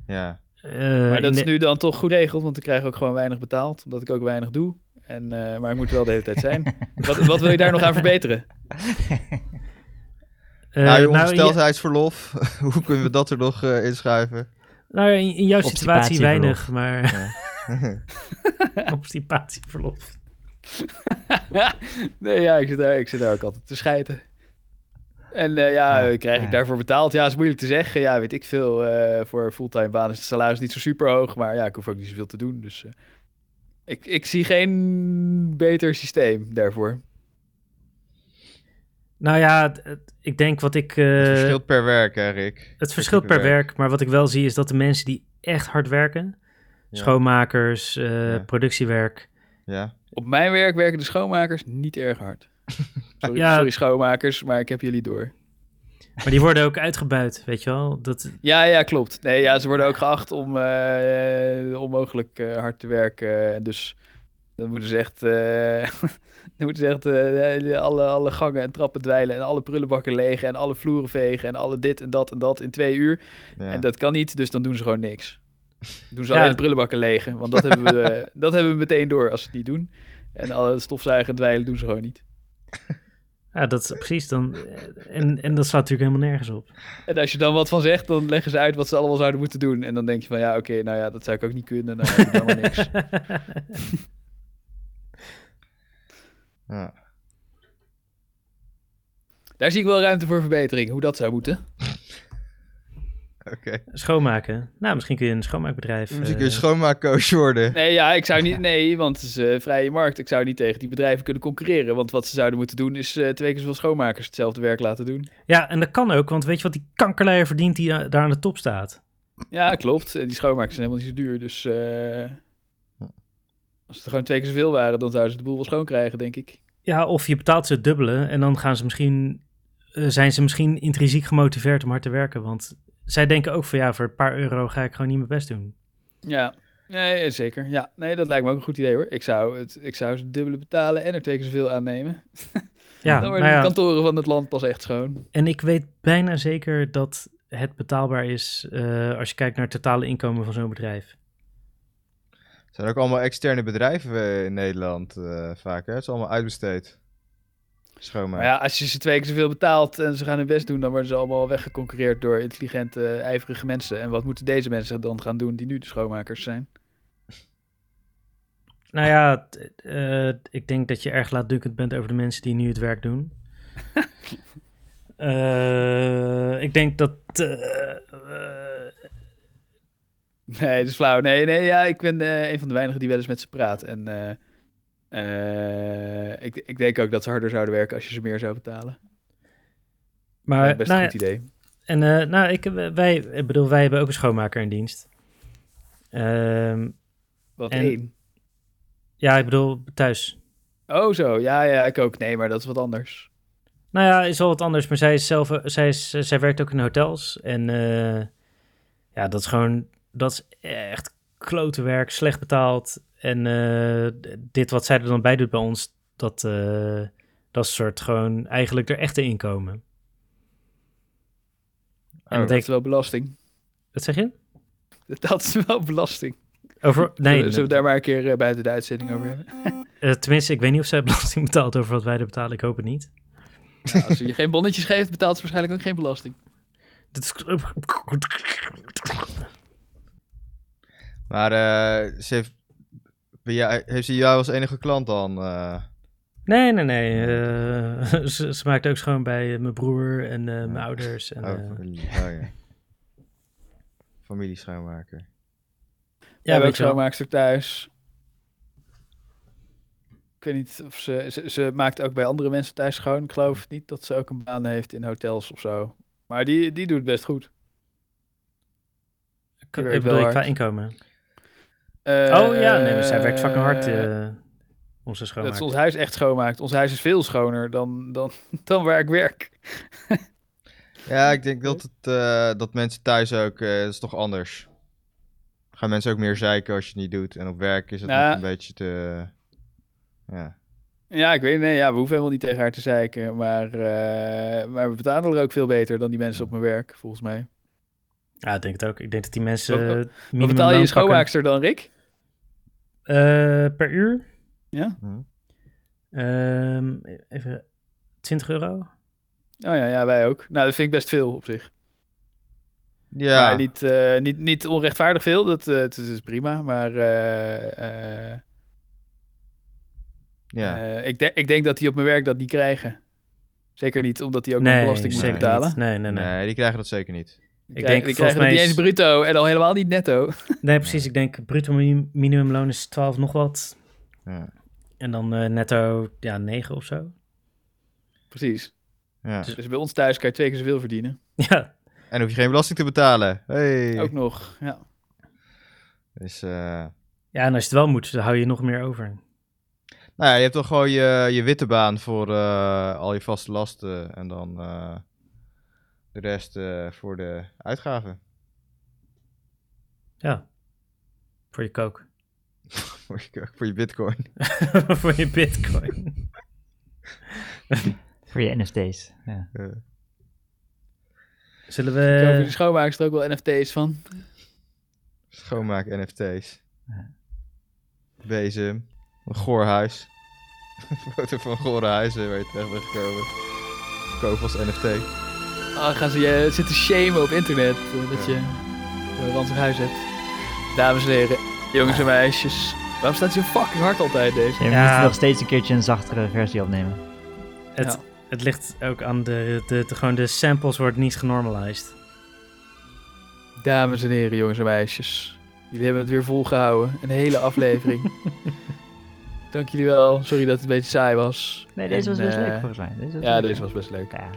S5: ja.
S1: Eh,
S2: maar dat
S1: in
S2: is
S1: de-
S2: nu dan toch goed geregeld, want ik krijg ook gewoon weinig betaald. Omdat ik ook weinig doe. En, eh, maar ik moet wel de hele tijd zijn. wat, wat wil je daar nog aan verbeteren?
S1: eh,
S5: nou,
S1: nou,
S5: je
S1: in je-
S5: ongesteldheidsverlof, hoe kunnen we dat er nog eh, inschuiven?
S1: nou, in, in jouw situatie
S4: Obstipatieverlof.
S1: weinig, maar... Obstipatieverlof.
S2: nee, ja, ik zit, daar, ik zit daar ook altijd te schijten. En eh, ja,
S4: Ja,
S2: krijg ik
S4: ja.
S2: daarvoor betaald? Ja, is moeilijk te zeggen. Ja, weet ik veel. eh, voor een fulltime baan is het salaris niet zo super hoog. Maar ja, ik hoef ook niet zoveel te doen. Dus eh, ik, ik zie geen beter systeem daarvoor.
S1: Nou ja, d- het- ik denk wat ik... eh,
S5: Het verschilt per werk, hè Rick?
S1: het verschilt per werk, maar wat ik wel zie is dat de mensen die echt hard werken...
S5: Ja.
S1: Schoonmakers, eh,
S5: Ja.
S1: productiewerk...
S5: Ja.
S2: Op mijn werk werken de schoonmakers niet erg hard. Sorry,
S1: Ja.
S2: sorry schoonmakers, maar ik heb jullie door.
S1: Maar die worden ook uitgebuit, weet je wel? Dat,
S2: Ja, ja, klopt. Nee, ja, ze worden ook geacht om eh, onmogelijk eh, hard te werken. En dus Dan moeten ze echt, eh, dan moeten ze echt eh, alle, alle gangen en trappen dweilen en alle prullenbakken legen en alle vloeren vegen en alle dit en dat en dat in twee uur.
S5: Ja.
S2: En dat kan niet, dus dan doen ze gewoon niks. Doen ze
S1: Ja.
S2: alleen de prullenbakken legen, want dat hebben, we, eh, dat hebben we meteen door als ze het niet doen. En alle stofzuigen en dweilen doen ze gewoon niet.
S1: Ja, dat is precies dan. En, en dat slaat natuurlijk helemaal nergens op.
S2: En als je dan wat van zegt, dan leggen ze uit wat ze allemaal zouden moeten doen. En dan denk je van, ja, oké, nou ja, dat zou ik ook niet kunnen. Nou, ja, doe dan maar niks.
S5: Ja.
S2: Daar zie ik wel ruimte voor verbetering, hoe dat zou moeten.
S5: Oké.
S1: Eh. Schoonmaken. Nou, misschien kun je een schoonmaakbedrijf.
S5: Misschien
S1: eh,
S5: kun je schoonmaakcoach worden.
S2: Nee, ja, ik zou niet, nee, want het is eh, vrije markt. Ik zou niet tegen die bedrijven kunnen concurreren. Want wat ze zouden moeten doen, is eh, twee keer zoveel schoonmakers hetzelfde werk laten doen.
S1: Ja, en dat kan ook, want weet je wat die kankerleier verdient die eh, daar aan de top staat?
S2: Ja, klopt. En die schoonmakers zijn helemaal niet zo duur, dus... eh, als het er gewoon twee keer zoveel waren, dan zouden ze de boel wel schoon krijgen, denk ik.
S1: Ja, of je betaalt ze het dubbele en dan gaan ze misschien, eh, zijn ze misschien intrinsiek gemotiveerd om hard te werken. Want zij denken ook van ja, voor een paar euro ga ik gewoon niet mijn best doen.
S2: Ja, nee, eh, zeker. Ja, nee, dat lijkt me ook een goed idee hoor. Ik zou het, ik zou het dubbele betalen en er twee keer zoveel aannemen.
S1: Ja,
S2: Dan
S1: nou
S2: worden de
S1: ja,
S2: kantoren van het land pas echt schoon.
S1: en ik weet bijna zeker dat het betaalbaar is eh, als je kijkt naar het totale inkomen van zo'n bedrijf.
S5: zijn ook allemaal externe bedrijven eh, in Nederland eh, vaak. Hè? Het is allemaal uitbesteed. Schoonmaak.
S2: Maar ja, als je ze twee keer zoveel betaalt en ze gaan hun best doen, dan worden ze allemaal weggeconcurreerd door intelligente, ijverige mensen. En wat moeten deze mensen dan gaan doen die nu de schoonmakers zijn?
S1: Nou ja, t- eh, ik denk dat je erg laatdunkend bent over de mensen die nu het werk doen. Eh, ik denk dat. eh, eh,
S2: Nee, dat is flauw. Nee, nee, ja, ik ben eh, een van de weinigen die wel eens met ze praat. En eh, eh, ik, ik denk ook dat ze harder zouden werken als je ze meer zou betalen.
S1: maar,
S2: best
S1: nou
S2: een
S1: ja,
S2: goed idee.
S1: En eh, nou, ik, wij, ik bedoel, wij hebben ook een schoonmaker in dienst. Ehm,
S2: Wat
S1: en-
S2: één.
S1: ja, ik bedoel, thuis.
S2: Oh, zo. Ja, ja, ik ook. Nee, maar dat is wat anders.
S1: Nou ja, is wel wat anders, maar zij, is zelf, eh, zij, is, zij werkt ook in hotels. En eh, ja, dat is gewoon, dat is echt klote werk, slecht betaald. En eh, d- dit wat zij er dan bij doet bij ons, dat, eh, dat is soort gewoon eigenlijk er echte inkomen. En Oh, dat
S2: dat
S1: denk
S2: is wel belasting.
S1: Wat zeg je?
S2: Dat is wel belasting.
S1: Over, nee,
S2: Zullen we het daar maar een keer eh, buiten de uitzending over hebben?
S1: eh, tenminste, ik weet niet of zij belasting betaalt over wat wij er betalen. Ik hoop het niet.
S2: Nou, als ze je geen bonnetjes geeft, betaalt ze waarschijnlijk ook geen belasting.
S1: Dit is-
S5: Maar eh, ze heeft, ben jij- heeft ze jou als enige klant dan? eh?
S1: Nee, nee, nee. eh, ze, ze maakt ook schoon bij eh, mijn broer en eh, mijn ouders. En,
S5: oh,
S1: eh,
S5: familie. Oh, ja. familie schoonmaker.
S2: Ja,
S1: weet
S2: ook
S1: je wel.
S2: schoonmaakster thuis. Ik weet niet of ze, ze... ze maakt ook bij andere mensen thuis schoon. Ik geloof niet dat ze ook een baan heeft in hotels of zo. Maar die, die doet best goed.
S1: K-
S2: werkt
S1: Ik bedoel,
S2: wel
S1: qua
S2: hard.
S1: inkomen.
S2: Eh,
S1: Oh ja, nee, maar zij werkt fucking hard,
S2: eh,
S1: eh, onze
S2: dat ze ons
S1: schoonmaak.
S2: huis echt schoonmaakt. Ons huis is veel schoner dan, dan, dan waar ik werk.
S5: Ja, ik denk dat, het, eh, dat mensen thuis ook, eh, dat is toch anders. Gaan mensen ook meer zeiken als je het niet doet. En op werk is het
S2: Nou,
S5: nog een beetje te... ja.
S2: Ja, ik weet nee, ja, we hoeven helemaal niet tegen haar te zeiken. Maar, eh, maar we betalen er ook veel beter dan die mensen op mijn werk, volgens mij.
S1: Ja, ik denk het ook. Ik denk dat die mensen...
S2: Wat- wat-
S1: eh,
S2: Wat
S1: minimumloon
S2: betaal je een
S1: pakken.
S2: schoonmaakster dan, Rick?
S1: Eh, per uur?
S5: Hm.
S1: Ehm, even 20 euro?
S2: Oh ja, ja, wij ook. Nou, dat vind ik best veel op zich.
S5: Ja,
S2: Maar niet, eh, niet, niet onrechtvaardig veel, dat, eh, het is, is prima. Maar eh, eh,
S5: ja.
S2: eh, ik, denk- ik denk dat die op mijn werk dat niet krijgen. Zeker niet omdat die ook nog
S1: nee,
S2: belasting moeten
S1: zeker
S2: betalen.
S1: niet. Nee, nee,
S5: nee,
S1: nee.
S5: die krijgen dat zeker niet.
S2: Die
S1: Ik
S2: krijgen-
S1: denk, volgens
S2: die krijgen
S1: mij
S2: dat niet
S1: is-
S2: eens bruto en al helemaal niet netto.
S1: Nee, precies. Ik denk bruto minim- minimumloon is 12 nog wat.
S5: Ja.
S1: En dan eh, netto ja, 9 of zo.
S2: Precies.
S5: Ja.
S2: Dus bij ons thuis kan je twee keer zoveel verdienen.
S1: Ja,
S5: En hoef je geen belasting te betalen. Hey.
S2: Ook nog, ja.
S5: Dus, eh,
S1: Ja, en als je het wel moet, dan hou je nog meer over.
S5: Nou ja, je hebt toch gewoon je, je witte baan voor eh, al je vaste lasten en dan eh, de rest eh, voor de uitgaven.
S1: Ja. Voor je kook.
S5: Voor je, voor je bitcoin.
S1: voor je bitcoin.
S4: Voor je NFT's. Ja.
S5: Eh,
S1: Zullen
S2: Over de
S1: we...
S2: schoonmaakster ook wel NFT's van.
S5: schoonmaak NFT's. Bezem. Een goorhuis. Een foto van gore huizen waar je terecht bent gekomen. Koop als NFT.
S2: Ah, gaan ze je zitten shamen op internet eh, dat je een ranzig huis hebt. Dames en heren, jongens en meisjes. Waarom staat ze zo fucking hard altijd deze?
S4: Ja, we
S1: Ja.
S4: moeten nog steeds een keertje een zachtere versie opnemen.
S1: Het,
S2: Ja.
S1: het ligt ook aan de, de, de... Gewoon de samples worden niet genormalized.
S2: Dames en heren, jongens en meisjes. Jullie hebben het weer volgehouden. Een hele aflevering. Dank jullie wel. Sorry dat het een beetje saai was.
S4: Nee, deze was
S2: En,
S4: best
S2: eh,
S4: leuk volgens mij. Deze was
S2: Ja,
S4: leuk.
S2: deze was best leuk.
S4: Ja.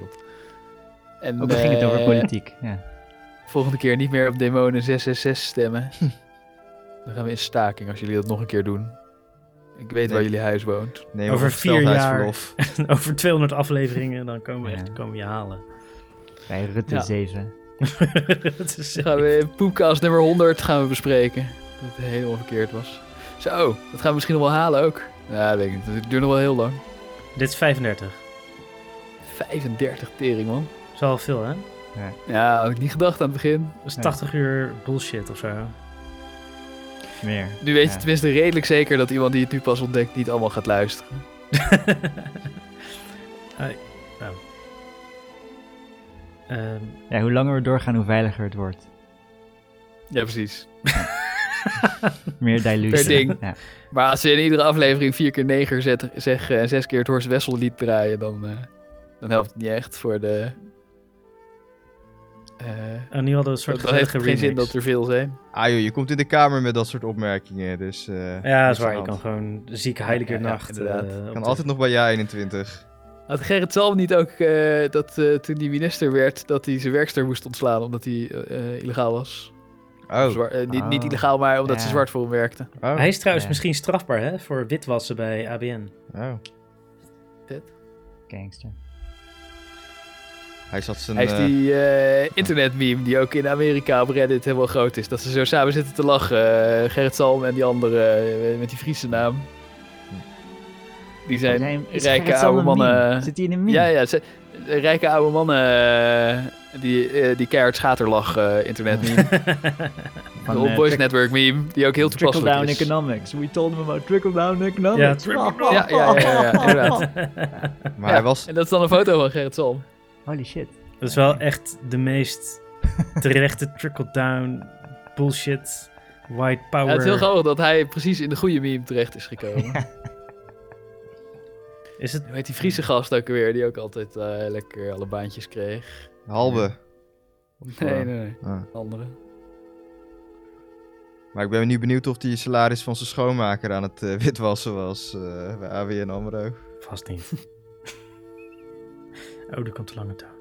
S2: En
S4: Ook al ging het over
S2: eh,
S4: politiek. Ja.
S2: Volgende keer niet meer op demonen 666 stemmen. Dan gaan we in staking als jullie dat nog een keer doen. Ik weet
S5: Nee.
S2: waar jullie huis woont.
S5: Neem
S1: Over vier jaar.
S5: ongesteldheidsverlof.
S1: En over 200 afleveringen, dan komen we echt
S4: Ja.
S1: komen we je halen.
S4: Bij Rutte
S2: Ja.
S4: 7.
S1: Het is
S2: Dan gaan we Poepkast nummer 100 gaan we bespreken. Dat het helemaal verkeerd was. Zo, dat gaan we misschien nog wel halen ook. Ja, dat weet ik niet. Dat duurt nog wel heel lang.
S1: Dit is 35.
S2: 35 tering, man.
S1: Dat is wel veel, hè?
S2: Ja, had ik niet gedacht aan het begin.
S1: Dat is
S4: Ja.
S1: 80 uur bullshit of zo.
S4: Meer.
S2: Nu weet
S4: Ja.
S2: je tenminste redelijk zeker dat iemand die het nu pas ontdekt niet allemaal gaat luisteren.
S1: nou. Ehm,
S4: Ja, hoe langer we doorgaan, hoe veiliger het wordt.
S2: Ja, precies.
S4: Meer dilutie.
S2: Per ding.
S4: Ja.
S2: Maar als ze in iedere aflevering vier keer neger zet- zeggen en zes keer het Horst Wessel lied draaien, dan, eh, dan helpt het niet echt voor de... eh,
S1: en oh, nu hadden we een soort
S2: dan heeft
S1: gezellige
S2: het geen zin
S1: remix.
S2: dat er veel zijn.
S5: Ah joh, je komt in de kamer met dat soort opmerkingen, dus... eh,
S1: Ja, dat is
S5: niks
S1: waar.
S5: aan
S1: Je kan
S5: de hand.
S1: gewoon ziek heilige
S2: Ja, ja,
S1: nacht.
S2: inderdaad.
S1: eh, op
S5: Kan
S1: de-
S5: altijd nog bij jaar 21.
S2: Had Gerrit Zalm niet ook eh, dat eh, toen hij minister werd, dat hij zijn werkster moest ontslaan omdat hij eh, eh, illegaal was?
S5: Oh,
S2: Zwaar- eh, niet, niet
S4: Oh.
S2: illegaal, maar omdat ze
S4: Ja.
S2: zwart voor hem werkte.
S5: oh,
S1: Hij is trouwens
S4: Ja.
S1: misschien strafbaar hè, voor witwassen bij ABN.
S5: oh.
S4: Gangster.
S5: Hij zat zijn...
S2: Hij is
S5: eh,
S2: die eh, internetmeme die ook in Amerika op Reddit helemaal groot is. Dat ze zo samen zitten te lachen. eh, Gerrit Salm en die andere eh, met die Friese naam. Die zijn
S4: is
S2: rijke
S4: Gerrit Zalm
S2: oude
S4: een
S2: mannen-
S4: meme? Zit hij in een meme?
S2: Ja, ja, ze- eh, rijke oude mannen eh, die, eh, die keihard schaterlach eh internet meme.
S4: Van,
S2: de Old
S4: eh,
S2: Boys
S4: trick-
S2: Network meme, die ook heel toepasselijk
S4: Trickle-down
S2: is.
S4: economics. We told him about trickle-down economics.
S1: trickle-down.
S2: Ja, ja, ja, ja, ja, inderdaad. Ja,
S5: Maar hij was...
S2: En dat is dan een foto van Gerrit Salm.
S4: Holy shit.
S1: Dat is wel echt de meest terechte trickle-down bullshit, white power.
S2: Ja, het is heel grappig dat hij precies in de goede meme terecht is gekomen.
S1: Is het
S2: Hoe heet die Friese gast ook weer, die ook altijd eh, lekker alle baantjes kreeg.
S5: Halbe.
S2: Nee, nee, nee.
S5: Ah.
S2: Andere.
S5: Maar ik ben nu benieuwd of die salaris van zijn schoonmaker aan het eh, witwassen was eh, bij ABN AMRO.
S1: vast niet? oh, er komt een lange touw.